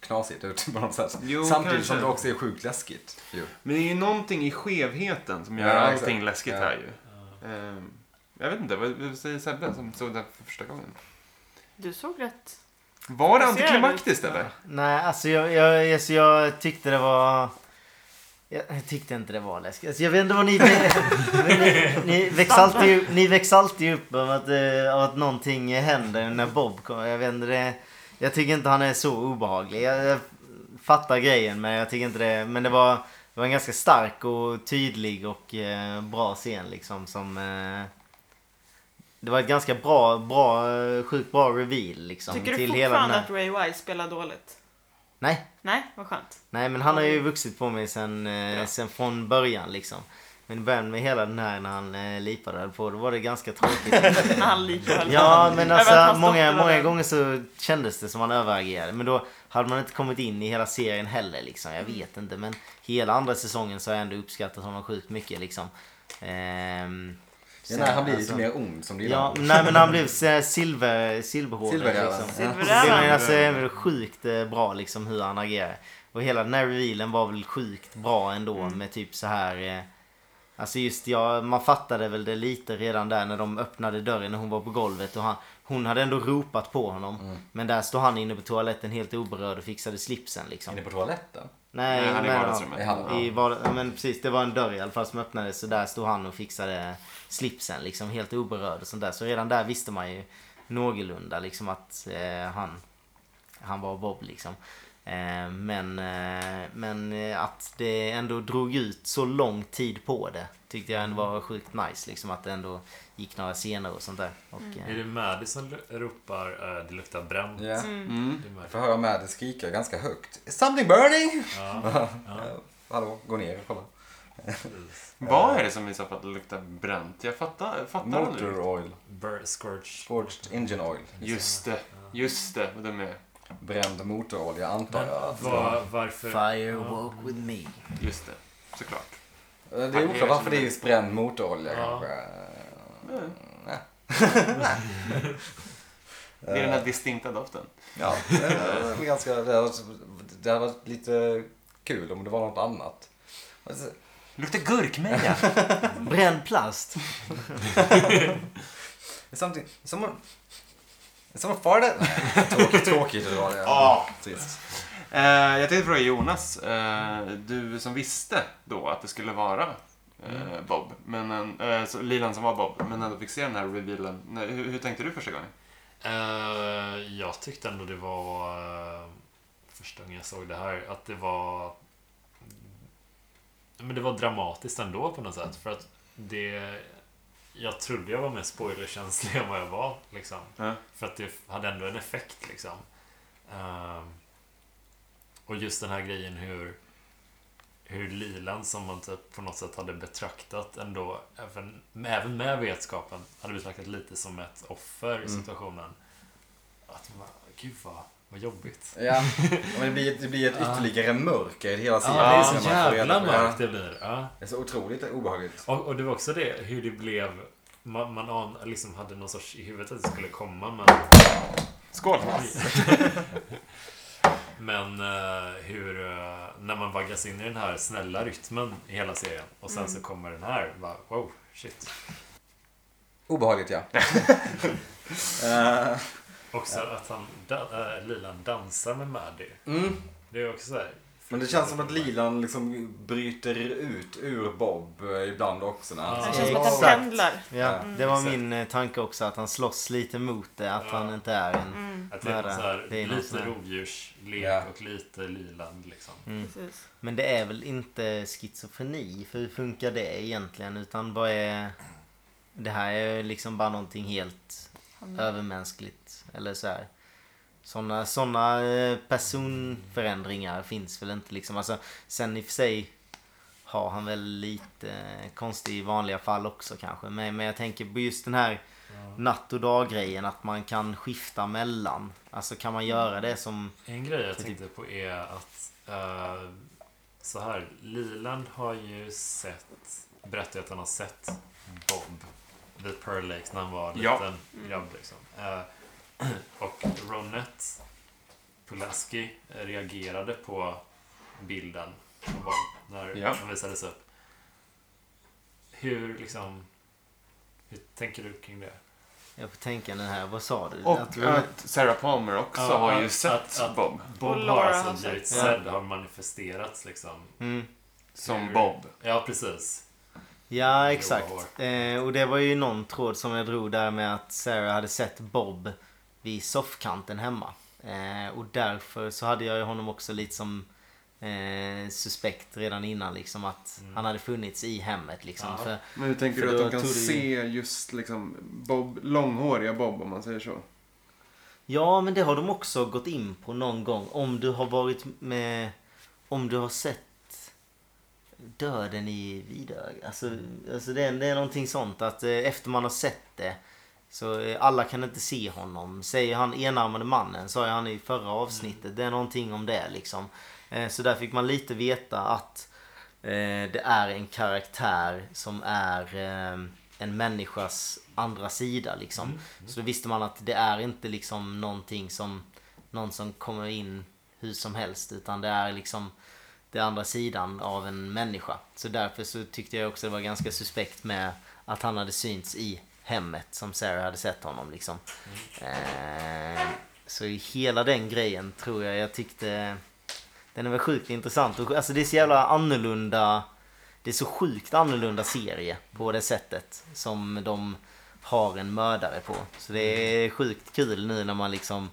Speaker 3: knasigt ut på något sätt.
Speaker 6: Jo,
Speaker 3: Samtidigt
Speaker 6: kanske.
Speaker 3: som det också är sjukt läskigt. ju.
Speaker 6: Men det är ju någonting i skevheten som gör
Speaker 3: Ja,
Speaker 6: allting
Speaker 3: exakt.
Speaker 6: läskigt
Speaker 3: Ja.
Speaker 6: här ju. Ehm, jag vet inte, vad, vad säger Sebbe som såg det här för första gången?
Speaker 2: Du såg rätt.
Speaker 6: Var det
Speaker 2: Jag ser
Speaker 6: antiklimaktiskt eller?
Speaker 1: Nej, alltså jag, jag, alltså jag tyckte det var... Jag tyckte inte det var läskigt. Alltså jag vet inte vad ni... ni, ni, ni väcks alltid ju- ni väcks alltid upp av att, eh, av att någonting händer när Bob kommer. Jag vet inte det, Jag tycker inte han är så obehaglig. Jag, jag fattar grejen men jag tycker inte det... Men det var, det var en ganska stark och tydlig och eh, bra scen liksom som... Eh, det var ett ganska bra, bra, eh, sjukt bra reveal liksom.
Speaker 2: Tycker du
Speaker 1: till hela den
Speaker 2: fortfarande
Speaker 1: här...
Speaker 2: att Ray Wise spelar dåligt?
Speaker 1: Nej,
Speaker 2: Nej, vad skönt.
Speaker 1: Nej men han har ju vuxit på mig sen, eh,
Speaker 2: Ja.
Speaker 1: sen från början liksom. Men i början med hela den här när han eh, lipade och höll på, då var det ganska tråkigt.
Speaker 2: När han likar
Speaker 1: ja men
Speaker 2: Även
Speaker 1: alltså
Speaker 2: fast
Speaker 1: många,
Speaker 2: dottern var
Speaker 1: många
Speaker 2: där.
Speaker 1: gånger så kändes det som han överagerade. Men då hade man inte kommit in i hela serien heller liksom.
Speaker 3: Mm.
Speaker 1: Jag vet inte men hela andra säsongen så har jag ändå uppskattat honom sjukt mycket liksom. Ehm,
Speaker 3: Ja,
Speaker 1: sen,
Speaker 3: nej, han blir
Speaker 1: alltså-
Speaker 3: lite mer ond som det
Speaker 1: Ja,
Speaker 3: gillar.
Speaker 1: nej men han blev eh, silver, silverhårig
Speaker 3: Silverräven.
Speaker 1: liksom.
Speaker 3: Ja.
Speaker 1: Det
Speaker 2: Silverräven.
Speaker 1: är alltså även sjukt eh, bra liksom hur han agerar. Och hela den här revealen var väl sjukt bra ändå
Speaker 3: Mm.
Speaker 1: med typ så här... eh, Alltså just jag, man fattade väl det lite redan där när de öppnade dörren när hon var på golvet och han, hon hade ändå ropat på honom.
Speaker 3: Mm.
Speaker 1: Men där stod han inne på toaletten helt oberörd och fixade slipsen liksom.
Speaker 3: Inne på toaletten?
Speaker 1: Nej,
Speaker 5: Nej, han är i
Speaker 1: men-
Speaker 5: vardagsrummet.
Speaker 3: I hallen.
Speaker 1: i var, ja, men precis, det var en dörr i alla fall som öppnades så där stod han och fixade slipsen liksom helt oberörd och sånt där. Så redan där visste man ju någorlunda liksom att eh, han, han var Bob liksom. Eh, men eh, men eh, att det ändå drog ut så lång tid på det tyckte jag ändå var sjukt nice liksom att det ändå gick några scener och sånt där. Och,
Speaker 5: Mm.
Speaker 1: eh,
Speaker 4: Är det Maddy som lu- ropar eh, det luktar bränt?
Speaker 3: Ja.
Speaker 6: Mm.
Speaker 4: Det är
Speaker 3: Jag
Speaker 4: Maddy.
Speaker 3: får höra Maddy skrika ganska högt. "Is Something burning!
Speaker 4: Ja,
Speaker 3: Eh, Hallå, gå ner och kolla.
Speaker 4: precis.
Speaker 5: Vad är det som i så fall luktar bränt? Jag fattar, fattar det nu.
Speaker 3: Motor oil.
Speaker 4: Bur- scorch.
Speaker 3: Forged engine oil.
Speaker 5: Just det, just det. Vad dum jag är.
Speaker 3: Bränd motorolja antar
Speaker 4: Men,
Speaker 3: jag. att-
Speaker 4: vad- varför?
Speaker 1: Fire walk with me.
Speaker 5: Just det, såklart.
Speaker 3: Eh, Det är oklart varför det är just bränd motorolja
Speaker 4: Ja.
Speaker 3: kanske.
Speaker 5: Mm.
Speaker 3: Nej.
Speaker 5: Det är den här distinkta doften.
Speaker 3: Ja, det var ganska, det hade varit- det hade varit lite kul om det var något annat. Alltså,
Speaker 5: Luktar gurkmeja!
Speaker 1: Bränd plast.
Speaker 3: Something, someone, someone farted? Nej, Tråkigt, tråkigt det var det.
Speaker 5: Ja.
Speaker 3: Trist.
Speaker 5: Eh, jag tänkte fråga Jonas, eh, du som visste då att det skulle vara eh,
Speaker 6: Mm.
Speaker 5: Bob, men, eh, så, Lilan som var Bob, men ändå fick se den här revealen. Nej, hur, hur tänkte du första gången?
Speaker 4: Eh, jag tyckte ändå det var eh, första gången jag såg det här att det var men det var dramatiskt ändå på något sätt för att det jag trodde jag var mer spoilerkänslig än vad jag var liksom.
Speaker 5: Ja.
Speaker 4: För att det hade ändå en effekt liksom. Ehm, och just den här grejen hur hur Lilan som man typ på något sätt hade betraktat ändå, även, även med vetskapen, hade betraktat lite som ett offer
Speaker 3: Mm.
Speaker 4: i situationen. Att man, gud vad, vad jobbigt.
Speaker 3: Ja, men det blir, det blir ett
Speaker 4: Ja.
Speaker 3: ytterligare mörker i hela
Speaker 4: Ja,
Speaker 3: serien.
Speaker 4: det är
Speaker 3: när
Speaker 4: så
Speaker 3: man får reda
Speaker 4: jävla
Speaker 3: på det.
Speaker 4: mörkt det blir. Ja.
Speaker 3: Det är så otroligt obehagligt.
Speaker 4: Och, och det var också det, hur det blev, man, man an, liksom hade någon sorts i huvudet att det skulle komma men
Speaker 5: Skål!
Speaker 4: Men eh, hur, eh, när man vaggas in i den här snälla rytmen i hela serien och sen så kommer den här, bara, wow, shit.
Speaker 3: Obehagligt ja. Eh,
Speaker 4: Också att han, da, eh, Lilan dansar med Maddy.
Speaker 3: mm.
Speaker 4: Det är också så här.
Speaker 3: Men det känns som att Lilan liksom bryter ut ur Bob eh, ibland också. När han
Speaker 4: Ja.
Speaker 2: Det
Speaker 3: står
Speaker 2: känns som
Speaker 3: och-
Speaker 2: att han
Speaker 1: Exakt.
Speaker 2: pendlar.
Speaker 1: Ja,
Speaker 3: Mm.
Speaker 1: det var
Speaker 4: Exakt.
Speaker 1: min eh, tanke också att han slåss lite mot det, att
Speaker 4: Ja.
Speaker 1: han inte är en...
Speaker 2: Mm,
Speaker 4: Att det är, någon så här,
Speaker 1: Det är någon sån
Speaker 4: lite
Speaker 1: här-
Speaker 4: rovdjurslek
Speaker 3: Ja.
Speaker 4: och lite Lilan liksom.
Speaker 2: precis.
Speaker 1: Men det är väl inte schizofreni? För hur funkar det egentligen? Utan vad är... Det här är liksom bara någonting helt
Speaker 2: Han-
Speaker 1: övermänskligt. Eller så här. Såna, såna eh, personförändringar finns väl inte liksom. Alltså, sen i och för sig har han väl lite eh, konstig i vanliga fall också kanske. Men, men jag tänker på just den här natt och dag grejen. Att man kan skifta mellan. Alltså kan man göra det som...
Speaker 4: En grej jag
Speaker 1: Så typ-
Speaker 4: tänkte på är att eh, så här, Liland har ju sett, berättat att han har sett Bob The Pearl Lakes när han var liten
Speaker 5: Ja.
Speaker 2: Mm.
Speaker 4: grabb. Liksom. Eh, och Ronette Pulaski reagerade på bilden som var när
Speaker 5: Ja.
Speaker 4: den visades upp. Hur liksom... Hur tänker du kring det?
Speaker 1: Jag får tänka den här, vad sa du?
Speaker 6: Och
Speaker 1: Att-
Speaker 6: att Sarah Palmer också
Speaker 4: Ja,
Speaker 6: har ju
Speaker 4: att-
Speaker 6: sett
Speaker 4: att- att-
Speaker 6: Bob
Speaker 4: Bob har
Speaker 2: Laura har
Speaker 4: alltså
Speaker 2: sagt-
Speaker 4: blivit
Speaker 1: Ja.
Speaker 4: sedd, har manifesterats liksom.
Speaker 1: Mm.
Speaker 6: som
Speaker 4: Hur-
Speaker 6: Bob.
Speaker 4: Ja, precis.
Speaker 1: Ja,
Speaker 4: Grova
Speaker 1: exakt. Eh, och det var ju någon tråd som jag drog där med att Sarah hade sett Bob vid soffkanten hemma. Eh, och därför så hade jag ju honom också lite som eh, suspekt redan innan liksom att han hade funnits i hemmet liksom.
Speaker 4: Ja.
Speaker 1: För,
Speaker 6: Men hur tänker
Speaker 1: För
Speaker 6: du att
Speaker 1: då
Speaker 6: de kan
Speaker 1: tog det ju-
Speaker 6: se just liksom Bob, långhåriga Bob om man säger så?
Speaker 1: ja, men det har de också gått in på någon gång. Om du har varit med... Om du har sett döden i vidögat. Alltså, alltså det, är, det är någonting sånt att eh, efter man har sett det så eh, alla kan inte se honom. Säger han enarmade mannen, sa jag han i förra avsnittet. Det är någonting om det liksom. Eh, så där fick man lite veta att eh, det är en karaktär som är eh, en människas andra sida liksom. Så då visste man att det är inte liksom någonting som någon som kommer in hur som helst utan det är liksom den andra sidan av en människa. Så därför så tyckte jag också det var ganska suspekt med att han hade synts i hemmet som Sarah hade sett honom liksom. Eh, så i hela den grejen tror jag jag tyckte den är väl sjukt intressant. Och, alltså det är så jävla annorlunda. Det är så sjukt annorlunda serie på det sättet som de har en mördare på. Så det är sjukt kul nu när man liksom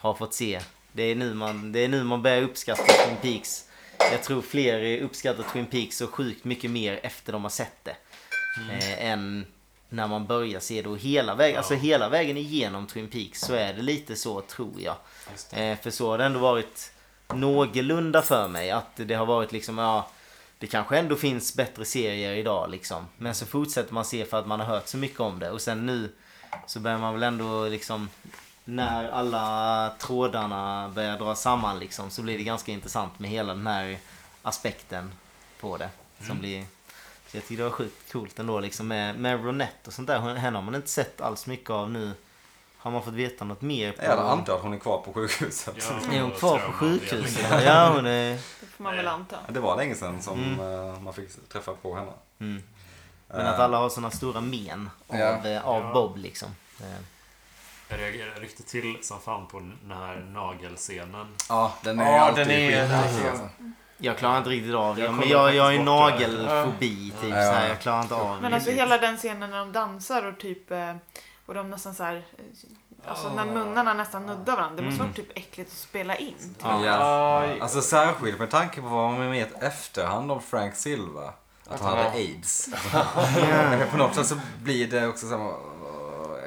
Speaker 1: har fått se. Det är nu man, det är nu man börjar uppskatta Twin Peaks. Jag tror fler uppskattar Twin Peaks så sjukt mycket mer efter de har sett det. Eh, än när man börjar se det. Och hela, väg, alltså hela vägen igenom Twin Peaks så är det lite så tror jag.
Speaker 4: Just
Speaker 1: Eh, för så har det ändå varit någorlunda för mig. Att det har varit liksom, ja, det kanske ändå finns bättre serier idag liksom. Men så fortsätter man se för att man har hört så mycket om det. Och sen nu så börjar man väl ändå liksom, när alla trådarna börjar dra samman liksom, så blir det ganska intressant med hela den här aspekten på det. Som blir, så jag tycker det var sjukt coolt ändå liksom med, med Ronette och sånt där. Hon- Henne har man inte sett alls mycket av nu. Har man fått veta något mer? På...
Speaker 3: Jag antar att hon är kvar på sjukhuset.
Speaker 4: Ja,
Speaker 1: Är hon
Speaker 4: och
Speaker 1: kvar på
Speaker 4: traumaavdelning.
Speaker 1: sjukhuset? Ja, hon är...
Speaker 2: Det får man väl anta.
Speaker 3: Det var länge sedan som
Speaker 2: Mm.
Speaker 3: eh, man fick träffa på henne.
Speaker 1: Mm. Men att alla har såna stora men av,
Speaker 3: Ja.
Speaker 1: eh, av
Speaker 4: Ja.
Speaker 1: Bob liksom. Eh,
Speaker 4: Jag reagerade riktigt till som fan på den här nagelscenen.
Speaker 3: Eh, Ja, den är
Speaker 6: Ja,
Speaker 3: alltid
Speaker 6: den är-
Speaker 3: skitläskig,
Speaker 6: alltså.
Speaker 1: Jag klarar inte riktigt av det.
Speaker 4: Jag
Speaker 1: Men
Speaker 4: kollar
Speaker 1: jag, jag har ju
Speaker 4: faktiskt bort det.
Speaker 1: nagelfobi typ så
Speaker 3: Ja.
Speaker 1: här. Jag klarar inte av
Speaker 2: Men
Speaker 1: det.
Speaker 2: alltså hela den scenen när de dansar och typ eh, och de nästan så här eh, Alltså när munnarna nästan nuddar varandra. Det måste
Speaker 1: Mm.
Speaker 2: varit typ äckligt att spela in.
Speaker 1: Ja.
Speaker 3: Ja. Alltså särskilt med tanke på vad man vet efterhand om Frank Silva. Att han hade aids. Men på något sätt så blir det också samma...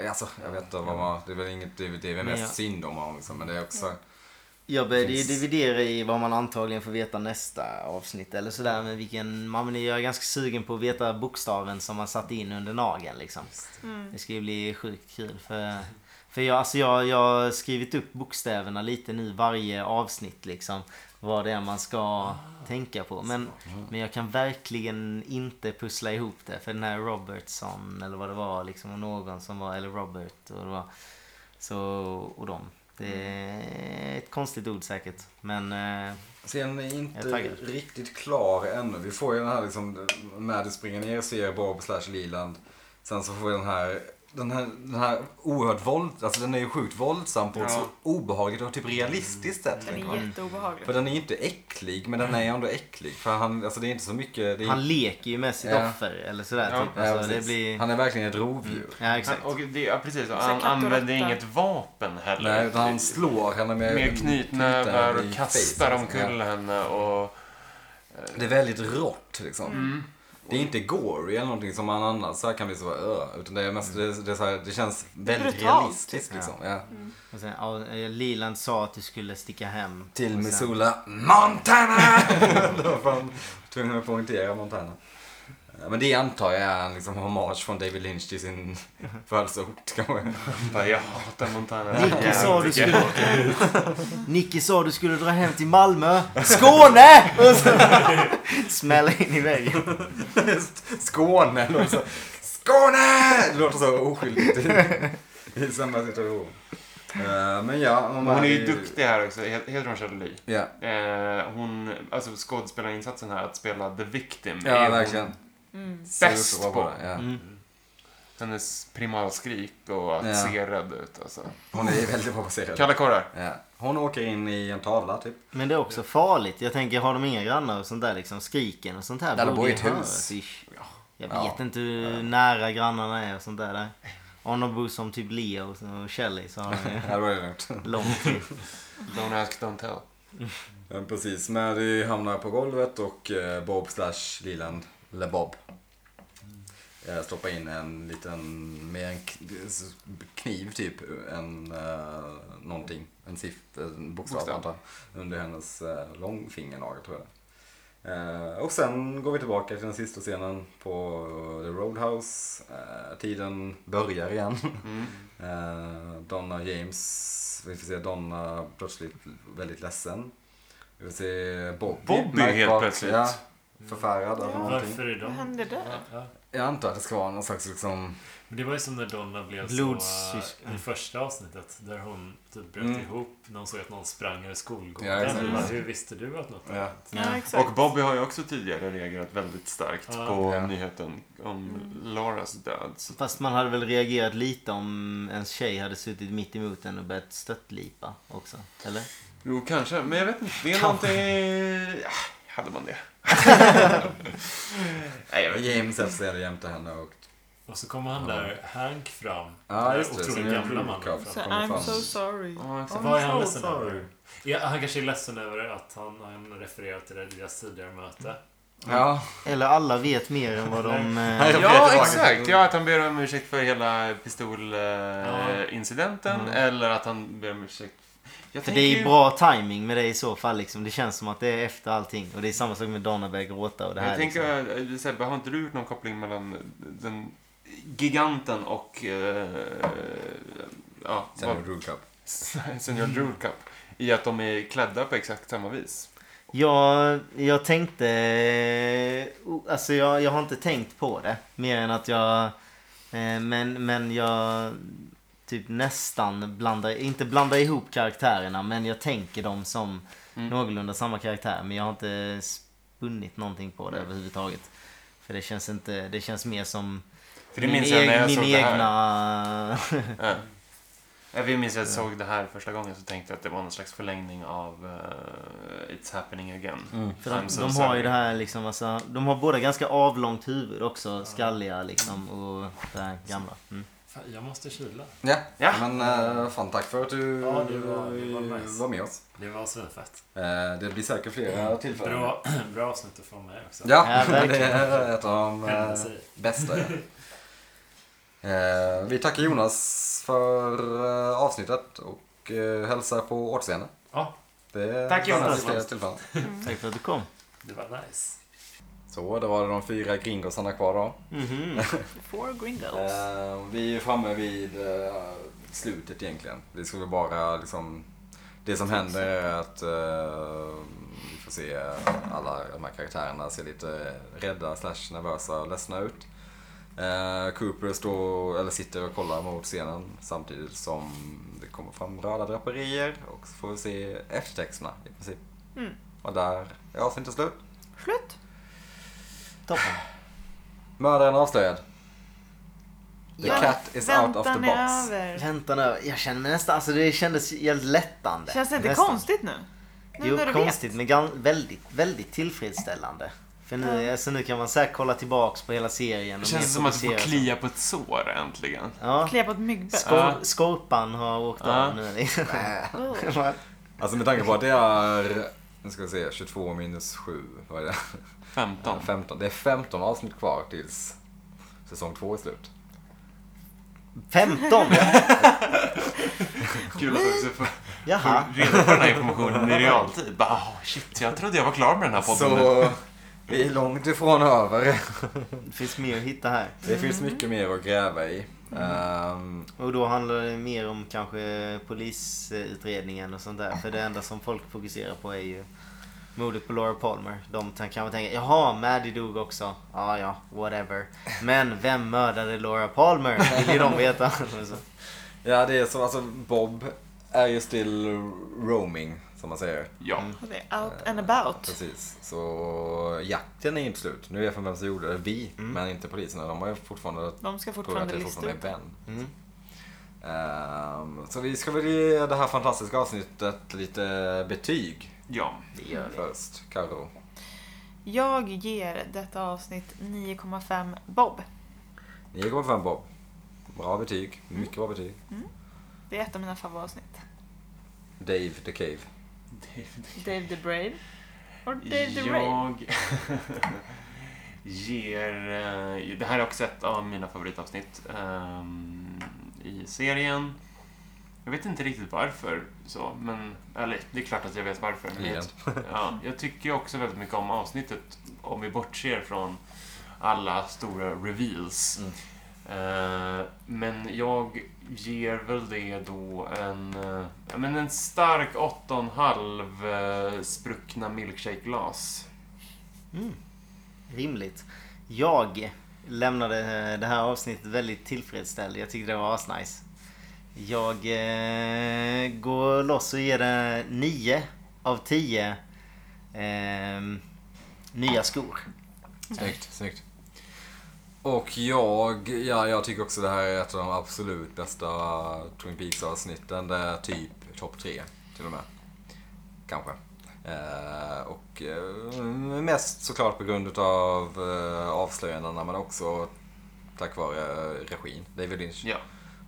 Speaker 3: Alltså, jag vet inte vad man... Det är väl inget det är väl- det är väl mest
Speaker 1: Ja.
Speaker 3: synd om honom liksom, men det är också...
Speaker 1: Jag började ju
Speaker 3: Finns-
Speaker 1: dividera i vad man antagligen får veta nästa avsnitt eller sådär. Men vilken... Man, men jag är ganska sugen på att veta bokstaven som man satte in under nageln liksom.
Speaker 2: Mm.
Speaker 1: Det ska ju bli sjukt kul för... För jag, alltså jag, jag har skrivit upp bokstäverna lite nu varje avsnitt liksom. Vad det är man ska tänka på. Men, men jag kan verkligen inte pussla ihop det. För den här Robertson eller vad det var liksom. Och någon som var, eller Robert och det var. Så, och dem. Det
Speaker 3: Mm.
Speaker 1: är ett konstigt ord säkert. Men eh,
Speaker 3: Sen är
Speaker 1: Jag är
Speaker 3: inte
Speaker 1: taggad.
Speaker 3: riktigt klar ännu. Vi får ju den här liksom, Maddie springer ner, ser Bob slash Liland. Sen så får vi den här, den här, den här oerhört våld, alltså den är ju sjukt våldsam på ett
Speaker 6: Ja.
Speaker 3: så
Speaker 6: Mm.
Speaker 3: obehagligt och typ realistiskt sätt.
Speaker 2: Den
Speaker 3: tänker man.
Speaker 2: är jätteobehaglig.
Speaker 3: För den är inte äcklig, men den är ändå äcklig. För han, alltså det är inte så mycket, det är,
Speaker 1: han leker ju med sitt
Speaker 3: Ja.
Speaker 1: offer eller sådär.
Speaker 6: Ja,
Speaker 1: typ.
Speaker 3: Ja,
Speaker 1: alltså, det
Speaker 3: precis.
Speaker 1: blir...
Speaker 3: han är verkligen ett rovdjur.
Speaker 1: Ja exakt.
Speaker 6: Och det, ja, precis. Och
Speaker 2: Så
Speaker 6: Han
Speaker 2: katt och
Speaker 6: använder
Speaker 2: råtta.
Speaker 6: inget vapen
Speaker 1: Mm.
Speaker 6: heller.
Speaker 3: Nej, utan han slår henne med,
Speaker 6: Med knytnävar
Speaker 3: i
Speaker 6: och kastar
Speaker 3: facet, liksom.
Speaker 5: alltså.
Speaker 6: omkull henne och...
Speaker 3: Ja. Det är väldigt rått liksom.
Speaker 5: Mm.
Speaker 3: Det är inte gory eller någonting som man annars så här kan bli så ö, utan det är mest, det, det, är så här, det känns väldigt
Speaker 2: brutalt,
Speaker 3: realistiskt liksom. Ja.
Speaker 1: Och sen, ja, Liland sa att du skulle sticka hem.
Speaker 3: Till
Speaker 1: Och sen-
Speaker 3: Missoula, Montana! Då var han tvungen att poängtera Montana. Ja, Men det antar jag är en liksom hommage från David Lynch till sin födelseort kanske.
Speaker 6: Bara, jag hatar Montana.
Speaker 1: Nicky sa, du
Speaker 6: Jävligt.
Speaker 1: skulle... Nicky sa du skulle dra hem till Malmö. Skåne! Och sen- Smälla in i väggen.
Speaker 3: Skåne eller så. Skå- Skåne! Det låter så oskyldigt i samma situation. Eh, men ja, om
Speaker 5: Hon är ju duktig här också. He- Heter hon Shirley Lee?
Speaker 3: Ja,
Speaker 5: Eh, hon, alltså skådespelarinsatsen här, att spela The Victim,
Speaker 3: ja
Speaker 5: är
Speaker 3: verkligen.
Speaker 5: hon
Speaker 2: Mm.
Speaker 5: bäst
Speaker 3: Så bra
Speaker 5: på.
Speaker 3: det, ja.
Speaker 5: Mm. Hennes primalskrik och att
Speaker 3: Ja.
Speaker 5: se rädd ut. Alltså.
Speaker 3: Hon är väldigt bra på serier.
Speaker 5: Kalla kårar.
Speaker 3: Ja. Hon åker in i en tavla typ.
Speaker 1: Men det är också farligt. Jag tänker, har de inga grannar och sånt där liksom? Skriken och sånt där.
Speaker 3: Där
Speaker 1: borde
Speaker 3: de bor i
Speaker 1: ju
Speaker 3: ett hus.
Speaker 1: höras. Ish. Jag
Speaker 3: Ja.
Speaker 1: vet inte hur nära grannarna är och sånt där. där. Om de bor som typ Leo och Shelley så har de ju
Speaker 3: Ja, det var det lugnt.
Speaker 1: långt till.
Speaker 5: Don't ask, don't tell.
Speaker 3: Ja, Precis, Mary hamnar på golvet och eh, Bob slash Leland, eller Bob,
Speaker 5: Mm.
Speaker 3: eh, stoppar in en liten, med en k- s- kniv typ, en eh, någonting, en sift, en bokstav,
Speaker 5: Bokstav.
Speaker 3: antar jag, under hennes eh, långfingernagel tror jag. Eh, och sen går vi tillbaka till den sista scenen på The Roadhouse. Eh, tiden börjar igen.
Speaker 5: Mm.
Speaker 3: Eh, Donna James, vi får se Donna plötsligt väldigt ledsen. Vi får se Bobby.
Speaker 5: Bobby helt
Speaker 3: märkbart,
Speaker 5: plötsligt.
Speaker 3: Ja, förfärad över
Speaker 2: Ja.
Speaker 3: någonting.
Speaker 4: Varför är de...
Speaker 2: Vad hände där?
Speaker 4: Ja, ja.
Speaker 3: Jag antar att det ska vara någon slags liksom...
Speaker 4: Men det var ju som när Donna blev
Speaker 1: Blodssysk-
Speaker 4: så... I första avsnittet där hon typ bröt
Speaker 3: Mm.
Speaker 4: ihop när hon såg att någon sprang över skolgången.
Speaker 3: Ja, exakt.
Speaker 4: Hon bara, Hur visste du att något hade
Speaker 3: Ja.
Speaker 4: hänt?
Speaker 2: Ja,
Speaker 5: Och
Speaker 2: exakt.
Speaker 5: Bobby har ju också tidigare reagerat väldigt starkt
Speaker 4: Ja.
Speaker 5: på
Speaker 3: Ja.
Speaker 5: nyheten om
Speaker 1: Mm.
Speaker 5: Lauras död. Så
Speaker 1: Fast man hade väl reagerat lite om ens tjej hade suttit mitt emot en och börjat stöttlipa också. Eller?
Speaker 5: Jo, kanske. Men jag vet inte. Det är någonting... Ja, hade man det? Nej, jag vet inte.
Speaker 3: James efterträder jämte henne och...
Speaker 4: Och så kommer han där, Hank fram.
Speaker 3: Ja,
Speaker 4: Den
Speaker 3: just det.
Speaker 4: Otroligt
Speaker 3: Som en
Speaker 4: gamla mannen.
Speaker 3: brudkar.
Speaker 2: Så,
Speaker 3: kommer
Speaker 2: I'm
Speaker 3: fram.
Speaker 2: so sorry.
Speaker 5: Ja, exakt.
Speaker 4: Vad är han
Speaker 2: so
Speaker 4: ledsen
Speaker 2: sorry.
Speaker 4: över? Ja, han kanske är ledsen över att han, han refererar till det deras tidigare möte.
Speaker 5: Mm.
Speaker 3: Ja,
Speaker 1: Eller alla vet mer än vad de...
Speaker 3: Nej,
Speaker 1: Eh,
Speaker 3: jag-
Speaker 5: Ja,
Speaker 3: tillbaka.
Speaker 5: exakt. Ja, att han ber om ursäkt för hela pistolincidenten. Eller att han ber om ursäkt... Jag
Speaker 1: för det
Speaker 5: tänker
Speaker 1: är
Speaker 5: ju-
Speaker 1: bra timing med det i så fall liksom. Det känns som att det är efter allting. Och det är samma sak med Donna börjar gråta och det här
Speaker 5: Jag tänker,
Speaker 1: liksom.
Speaker 5: eh, Sebbe, har inte du gjort någon koppling mellan den giganten och... Eh, ja,
Speaker 3: sen är det brudkar.
Speaker 5: vad- Senior Drool Cup? I att de är klädda på exakt samma vis.
Speaker 1: Jag, jag tänkte... oh, Alltså jag, jag har inte tänkt på det. Mer än att jag... eh, Men, men jag... Typ nästan blandar... Inte blandar ihop karaktärerna men jag tänker dem som
Speaker 5: Mm.
Speaker 1: någorlunda samma karaktär. Men jag har inte spunnit någonting på det överhuvudtaget. För det känns inte... Det känns mer som...
Speaker 5: För det
Speaker 1: min e-
Speaker 5: minns jag när jag
Speaker 1: min
Speaker 5: såg det här.
Speaker 1: egna...
Speaker 5: Ja. Jag minns att jag såg det här första gången så tänkte jag att det var någon slags förlängning av eh, It's happening again.
Speaker 1: Mm. För de,
Speaker 5: I'm so
Speaker 1: de har
Speaker 5: sorry.
Speaker 1: ju det här liksom, alltså, de har båda ganska avlångt huvud också, skalliga liksom och det här gamla. Mm.
Speaker 4: Fan, jag måste kyla.
Speaker 3: Ja,
Speaker 5: Ja.
Speaker 3: men eh, fan tack för att du
Speaker 4: Ja, det var- det var nice.
Speaker 3: var med oss.
Speaker 4: Det var svinfett.
Speaker 3: Eh, det blir säkert flera tillfällen.
Speaker 4: Bra, bra avsnitt att få med också.
Speaker 3: Ja,
Speaker 1: Ja, verkligen.
Speaker 3: det är ett av de
Speaker 4: Hända
Speaker 3: eh,
Speaker 4: sig.
Speaker 3: bästa. Ja. Eh, vi tackar Jonas för eh, avsnittet och eh, hälsar på återseende.
Speaker 4: Ja,
Speaker 3: Det
Speaker 5: Tack, Jonas.
Speaker 3: stannar vid flera tillfällen.
Speaker 1: Tack för att du kom.
Speaker 4: det var nice.
Speaker 3: Så, då var det de fyra gringosarna kvar då.
Speaker 1: Mhm.
Speaker 2: Four gringos.
Speaker 3: Eh, vi är ju framme vid eh, slutet egentligen. Vi skulle bara liksom... Det
Speaker 2: Typ
Speaker 3: som händer är att eh, vi får se alla de här karaktärerna ser lite rädda, slash nervösa och ledsna ut. Eh, Cooper står, eller sitter och kollar mot scenen samtidigt som det kommer fram röda draperier och så får vi se eftertexterna i princip.
Speaker 2: Mm.
Speaker 3: Och där är avsnittet slut.
Speaker 2: Slut.
Speaker 1: Toppen.
Speaker 3: Mördaren avslöjad. The
Speaker 2: Ja,
Speaker 3: cat is out of the
Speaker 2: Väntan
Speaker 3: box.
Speaker 2: är över.
Speaker 1: Vänta nu, jag känner mig nästan, alltså det kändes helt lättande.
Speaker 2: Känns det inte
Speaker 1: Nästan.
Speaker 2: konstigt nu? Nu
Speaker 1: Jo,
Speaker 2: när du
Speaker 1: konstigt men gan- väldigt, väldigt tillfredsställande. För nu, alltså, nu kan man så här kolla tillbaks på hela serien.
Speaker 5: Det
Speaker 1: och
Speaker 5: känns
Speaker 1: mer
Speaker 5: som att du får
Speaker 1: fokusera.
Speaker 5: klia på ett sår äntligen.
Speaker 1: Ja.
Speaker 2: vet. Klä på ett myggbett.
Speaker 1: Skor-
Speaker 5: Ja.
Speaker 1: Skorpan har åkt
Speaker 5: Ja.
Speaker 1: av nu. liksom.
Speaker 2: Oh.
Speaker 3: Alltså med tanke på att det är, nu ska vi se, 22 minus 7, vad är det?
Speaker 5: 15.
Speaker 3: 15. Det är 15 avsnitt kvar tills säsong 2 är slut.
Speaker 1: 15!
Speaker 5: Kul att också få
Speaker 1: Jaha.
Speaker 5: reda på den här informationen i realtid. Bara, oh, shit, jag trodde jag var klar med den här podden. nu.
Speaker 3: Så vi är långt ifrån över.
Speaker 1: Det finns mer att hitta här.
Speaker 3: Det finns mycket mer att gräva i. Ehm,
Speaker 1: Och då handlar det mer om kanske polisutredningen och sånt där. För det enda som folk fokuserar på är ju mordet på Laura Palmer. De t- kanske tänker, jaha, Maddie dog också. Ja, ja, whatever. Men vem mördade Laura Palmer? Vill ju de veta. Så.
Speaker 3: Ja, det är som, alltså Bob är ju still roaming, som man säger.
Speaker 5: Ja.
Speaker 2: Och det är out and about.
Speaker 3: Precis, så jakten är inte slut. Nu vet man vem som gjorde det. Vi, men inte poliserna. De har ju Mm. fortfarande
Speaker 2: De ska
Speaker 3: tror att
Speaker 2: fortfarande
Speaker 3: det
Speaker 2: lista
Speaker 3: fortfarande är
Speaker 2: ut.
Speaker 3: Ben.
Speaker 1: Mm.
Speaker 3: Ehm, så vi ska väl ge det här fantastiska avsnittet lite betyg
Speaker 5: Ja.
Speaker 1: Det gör vi.
Speaker 3: först, Karo.
Speaker 2: Jag ger detta avsnitt 9,5 Bob.
Speaker 3: 9,5 Bob. Bra betyg. Mycket bra betyg.
Speaker 2: Det är ett av mina favoritavsnitt.
Speaker 3: Dave the Cave.
Speaker 2: Dave the Brave. Och Dave the Brave.
Speaker 5: Jag ger... eh, Det här är också ett av mina favoritavsnitt ehm, i serien. Jag vet inte riktigt varför, så, men... Eller, det är klart att jag vet varför. Men jag,
Speaker 3: Igen.
Speaker 5: ja, jag tycker ju också väldigt mycket om avsnittet om vi bortser från alla stora reveals.
Speaker 3: Mm.
Speaker 5: Eh, men jag ger väl det då en, eh, ja, men en stark 8,5 uh, spruckna milkshake-glas.
Speaker 1: Mm. Rimligt. Jag lämnade eh, det här avsnittet väldigt tillfredsställd. Jag tyckte det var asnice. Jag eh, går loss och ger det 9 av 10 ehm, nya skor.
Speaker 3: Snyggt, snyggt. Och jag, ja, jag tycker också det här är ett av de absolut bästa Twin Peaks-avsnitten. Det är typ topp tre till och med. Kanske. Eh, och eh, mest såklart på grund av eh, avslöjandena men också tack vare eh, regin. David Lynch.
Speaker 5: Ja.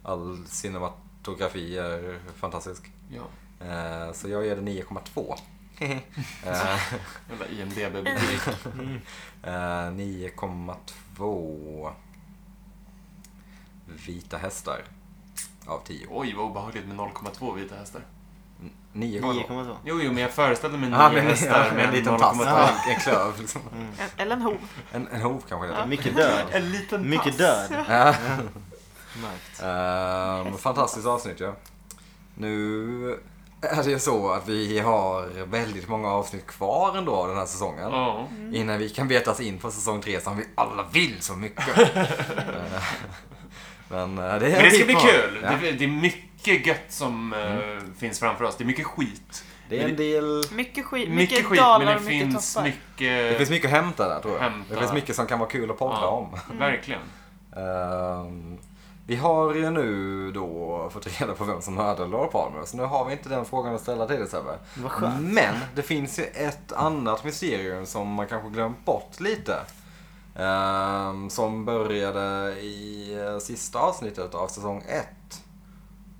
Speaker 3: All cinematografi är fantastisk.
Speaker 5: ja.
Speaker 3: Eh, så jag ger det 9,2. eh,
Speaker 5: Eller IMDB-betyg.
Speaker 3: Eh, 9,2 vita hästar av 10.
Speaker 5: Oj, vad obehagligt med 0,2 vita hästar.
Speaker 3: 9,2.
Speaker 1: 9,2.
Speaker 5: Jo, jo, men jag föreställde mig 9
Speaker 3: Ja, men
Speaker 5: hästar,
Speaker 3: en
Speaker 5: men
Speaker 3: liten tass.
Speaker 5: 0,2.
Speaker 3: En klöv liksom.
Speaker 2: En- Eller en hov.
Speaker 3: En, en hov kanske det
Speaker 1: Ja,
Speaker 3: är.
Speaker 1: Mycket död.
Speaker 5: En liten
Speaker 1: Mycket
Speaker 5: tass.
Speaker 1: död.
Speaker 3: Ja.
Speaker 1: Märkt.
Speaker 3: Ehm, fantastiskt avsnitt ja. Nu är det ju så att vi har väldigt många avsnitt kvar ändå av den här säsongen.
Speaker 5: Ja.
Speaker 3: Innan vi kan betas in på säsong tre som vi alla vill så mycket. Eh, Men, eh, det, är
Speaker 5: Men det ska
Speaker 3: en bit
Speaker 5: bli
Speaker 3: kvar.
Speaker 5: kul!
Speaker 3: Ja. Mm.
Speaker 5: Det, det är mycket gött som eh, finns framför oss. Det är mycket skit.
Speaker 3: Det är en del
Speaker 2: Mycket skit, mycket,
Speaker 5: Mycket skit, men
Speaker 2: dalar
Speaker 5: det
Speaker 2: och mycket
Speaker 5: finns
Speaker 2: toppar.
Speaker 5: mycket...
Speaker 3: Det finns mycket att hämta där tror jag.
Speaker 5: Hämta.
Speaker 3: Det finns mycket som kan vara kul att podda
Speaker 5: Ja.
Speaker 3: om.
Speaker 5: Verkligen.
Speaker 3: Ehm, vi har ju nu då fått reda på vem som mördade Laura Palmer. Så nu har vi inte den frågan att ställa till dig Sebbe.
Speaker 1: Vad skönt.
Speaker 3: Men det finns ju ett annat mysterium som man kanske glömt bort lite. Ehm, som började i eh, sista avsnittet av säsong 1.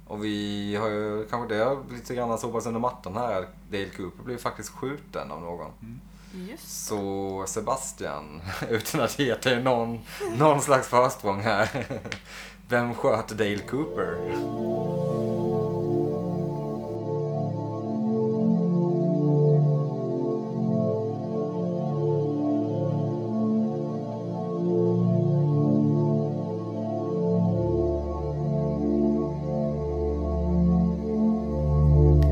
Speaker 3: Och vi har ju kanske det har lite grann sopats under mattan här. Dale Cooper blev faktiskt skjuten av någon.
Speaker 2: Just.
Speaker 3: Så Sebastian, utan att ge dig någon, någon slags försprång här. Vem sköt Dale Cooper?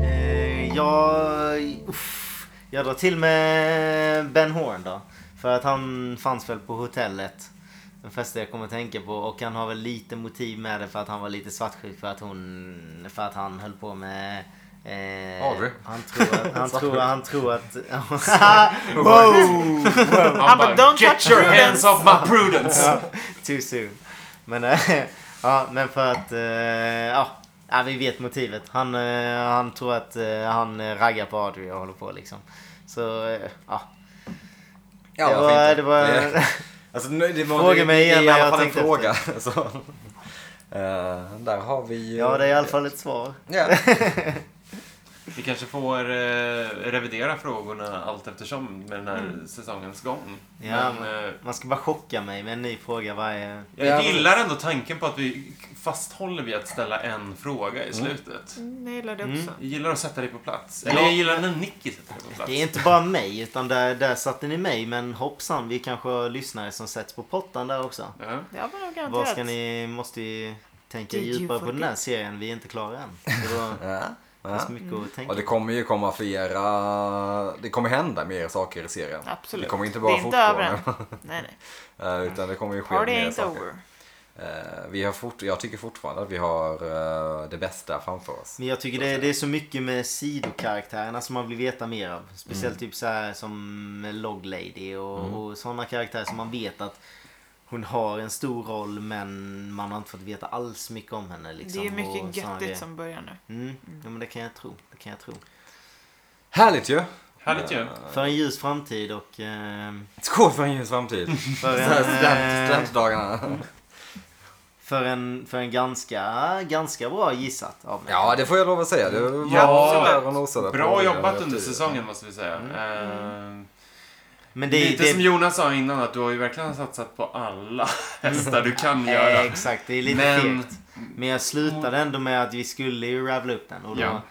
Speaker 1: Eh, jag... Uff, jag drar till med Ben Horn då. För att han fanns väl på hotellet. Den första jag kommer att tänka på. Och han har väl lite motiv med det för att han var lite svartsjuk för att hon... För att han höll på med... Eh,
Speaker 3: Audrey.
Speaker 1: Han tror att... Han tror, han tror att... wow!
Speaker 5: Han
Speaker 2: bara, "Don't
Speaker 5: Get
Speaker 2: touch
Speaker 5: your
Speaker 2: prudence."
Speaker 5: hands off my prudence!
Speaker 1: Too soon. Men, eh, ja, men för att... eh, Ja, ja, vi vet motivet. Han, eh, han tror att eh, han eh, raggar på Audrey och håller på liksom. Så, eh, ja.
Speaker 3: Ja,
Speaker 1: det,
Speaker 3: varför
Speaker 1: var,
Speaker 3: inte?
Speaker 1: det var...
Speaker 3: Det- alltså, nu- det var-
Speaker 1: Fråga
Speaker 3: det-
Speaker 1: mig
Speaker 3: det är
Speaker 1: igen
Speaker 3: i
Speaker 1: när
Speaker 3: alla
Speaker 1: jag
Speaker 3: fall en
Speaker 1: tänkte
Speaker 3: fråga. Så, eh, där har vi ju...
Speaker 1: Ja, det är i alla fall ett svar.
Speaker 3: Ja.
Speaker 5: Vi kanske får eh, revidera frågorna allt eftersom med den här
Speaker 2: Mm.
Speaker 5: säsongens gång.
Speaker 1: Ja,
Speaker 5: Men, eh,
Speaker 1: Man ska bara chocka mig med en ny fråga varje...
Speaker 5: jag gillar ändå tanken på att vi fasthåller vid att ställa en fråga i slutet.
Speaker 2: Mm, jag gillar det
Speaker 1: Mm.
Speaker 2: också.
Speaker 5: Jag gillar att sätta dig på plats.
Speaker 1: Ja.
Speaker 5: Eller jag gillar när Nicky sätter dig på plats.
Speaker 1: Det är inte bara mig, utan där, där satte ni mig. Men hoppsan, vi kanske har lyssnare som sätts på pottan där också.
Speaker 5: Ja.
Speaker 2: Det har man nog garanterat.
Speaker 1: Vad ska ni... Måste ju tänka
Speaker 2: Did you
Speaker 1: djupare på den här
Speaker 2: forget?
Speaker 1: serien. Vi är inte klara än. Det var...
Speaker 3: Ja.
Speaker 1: Det finns mycket att tänka
Speaker 3: Och det kommer ju komma flera... Det kommer hända mer saker i serien.
Speaker 2: Absolut.
Speaker 3: Det kommer inte bara
Speaker 2: Det är inte över än. Nej, nej.
Speaker 3: Eh, Utan det kommer ju ske
Speaker 2: Party
Speaker 3: mer
Speaker 2: ain't
Speaker 3: saker.
Speaker 2: over.
Speaker 3: Eh, Vi har fort, jag tycker fortfarande att vi har eh, det bästa framför oss.
Speaker 1: Men jag tycker det, det är så mycket med sidokaraktärerna som man vill veta mer av. Speciellt typ så här som Log Lady och, och sådana karaktärer som man vet att hon har en stor roll men man har inte fått veta alls mycket om henne. Liksom,
Speaker 2: det är
Speaker 1: och
Speaker 2: mycket
Speaker 1: såna grejer.
Speaker 2: göttigt som börjar nu.
Speaker 1: Mm. Ja, men det kan jag tro. Det kan jag tro.
Speaker 3: Härligt ju!
Speaker 5: Härligt ju.
Speaker 1: För en ljus framtid och... Eh, för
Speaker 3: Skål för en ljus framtid!
Speaker 5: Mm.
Speaker 1: för
Speaker 3: Så
Speaker 1: en,
Speaker 3: här
Speaker 1: eh,
Speaker 3: Student, studentdagarna.
Speaker 1: för en, för en ganska, ganska bra gissat av mig.
Speaker 3: Ja, det får jag lov att säga. Du var
Speaker 5: Ja,
Speaker 3: där och nosade på
Speaker 5: Bra
Speaker 3: det.
Speaker 5: jobbat under säsongen måste vi säga. Eh,
Speaker 1: men det,
Speaker 5: Lite
Speaker 1: det,
Speaker 5: som Jonas sa innan att du har ju verkligen satsat på alla hästar du kan
Speaker 1: Eh,
Speaker 5: göra.
Speaker 1: Exakt, det är lite
Speaker 5: Men-
Speaker 1: fegt. Men jag slutade ändå med att vi skulle ju ravla upp den. Och då,
Speaker 5: Ja.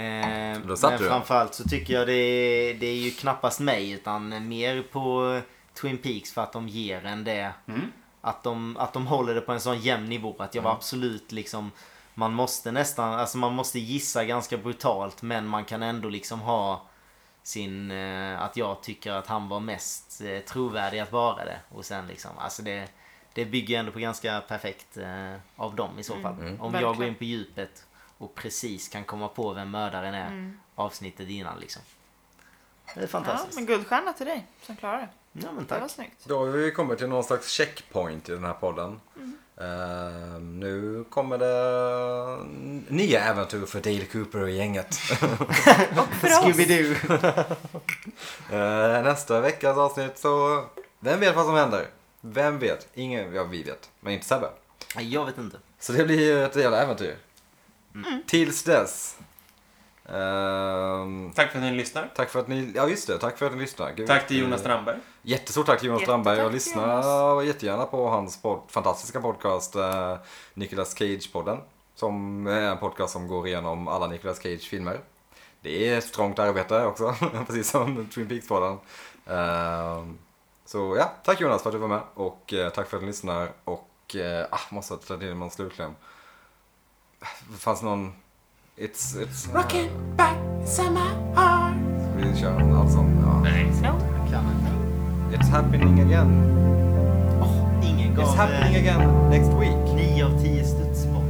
Speaker 1: eh,
Speaker 3: Då satt
Speaker 1: men
Speaker 3: du den.
Speaker 1: framförallt så tycker jag det är, det är ju knappast mig utan mer på Twin Peaks för att de ger en det.
Speaker 5: Mm.
Speaker 1: Att, de, att de håller det på en sån jämn nivå. Att jag var absolut liksom man måste nästan, alltså man måste gissa ganska brutalt men man kan ändå liksom ha sin, eh, att jag tycker att han var mest eh, trovärdig att vara det. Och sen liksom, alltså det, det bygger ändå på ganska perfekt eh, av dem i så
Speaker 3: Mm.
Speaker 1: fall. Om jag går
Speaker 2: verkligen.
Speaker 1: in på djupet och precis kan komma på vem mördaren är avsnittet innan liksom. Det är
Speaker 2: Mm. Ja,
Speaker 1: fantastiskt. Ja,
Speaker 2: men guldstjärna till dig som klarar det.
Speaker 1: men,
Speaker 2: Det var
Speaker 1: tack.
Speaker 2: snyggt.
Speaker 3: Då har vi kommit till någon slags checkpoint i den här podden. Eh, nu kommer det nya äventyr för Dale Cooper och gänget.
Speaker 2: För oss.
Speaker 1: Scooby-Doo.
Speaker 3: Eh, nästa veckas avsnitt så... Vem vet vad som händer? Vem vet? Ingen, ja vi vet. Men inte Sebbe.
Speaker 1: Nej, Jag vet inte.
Speaker 3: Så det blir ju ett jävla äventyr. Tills dess. Ehm,
Speaker 5: Tack för att ni lyssnar.
Speaker 3: tack för att ni, ja just det, tack för att ni lyssnar. Gud,
Speaker 5: Tack till
Speaker 3: eh,
Speaker 5: Jonas Strandberg.
Speaker 3: Jättestort tack till Jonas Strandberg. Jag
Speaker 2: Jättetack,
Speaker 3: lyssnar jättegärna på hans pod, fantastiska podcast eh, Nicolas Cage-podden. Som är en podcast som går igenom alla Nicolas Cage-filmer. Det är ett strångt arbete också, precis som Twin Peaks-podden. Eh, så ja, tack Jonas för att du var med och eh, tack för att du lyssnar. Och eh, ah, måste ta till någon slutkläm. Det fanns någon... It's... it's uh,
Speaker 7: Rocking back summer heart.
Speaker 3: vi kör en allsång. Ja.
Speaker 1: Kan inte.
Speaker 3: It's happening again.
Speaker 1: Ingen gav
Speaker 3: It's happening
Speaker 1: eh,
Speaker 3: again next week.
Speaker 1: nio av tio studsboll.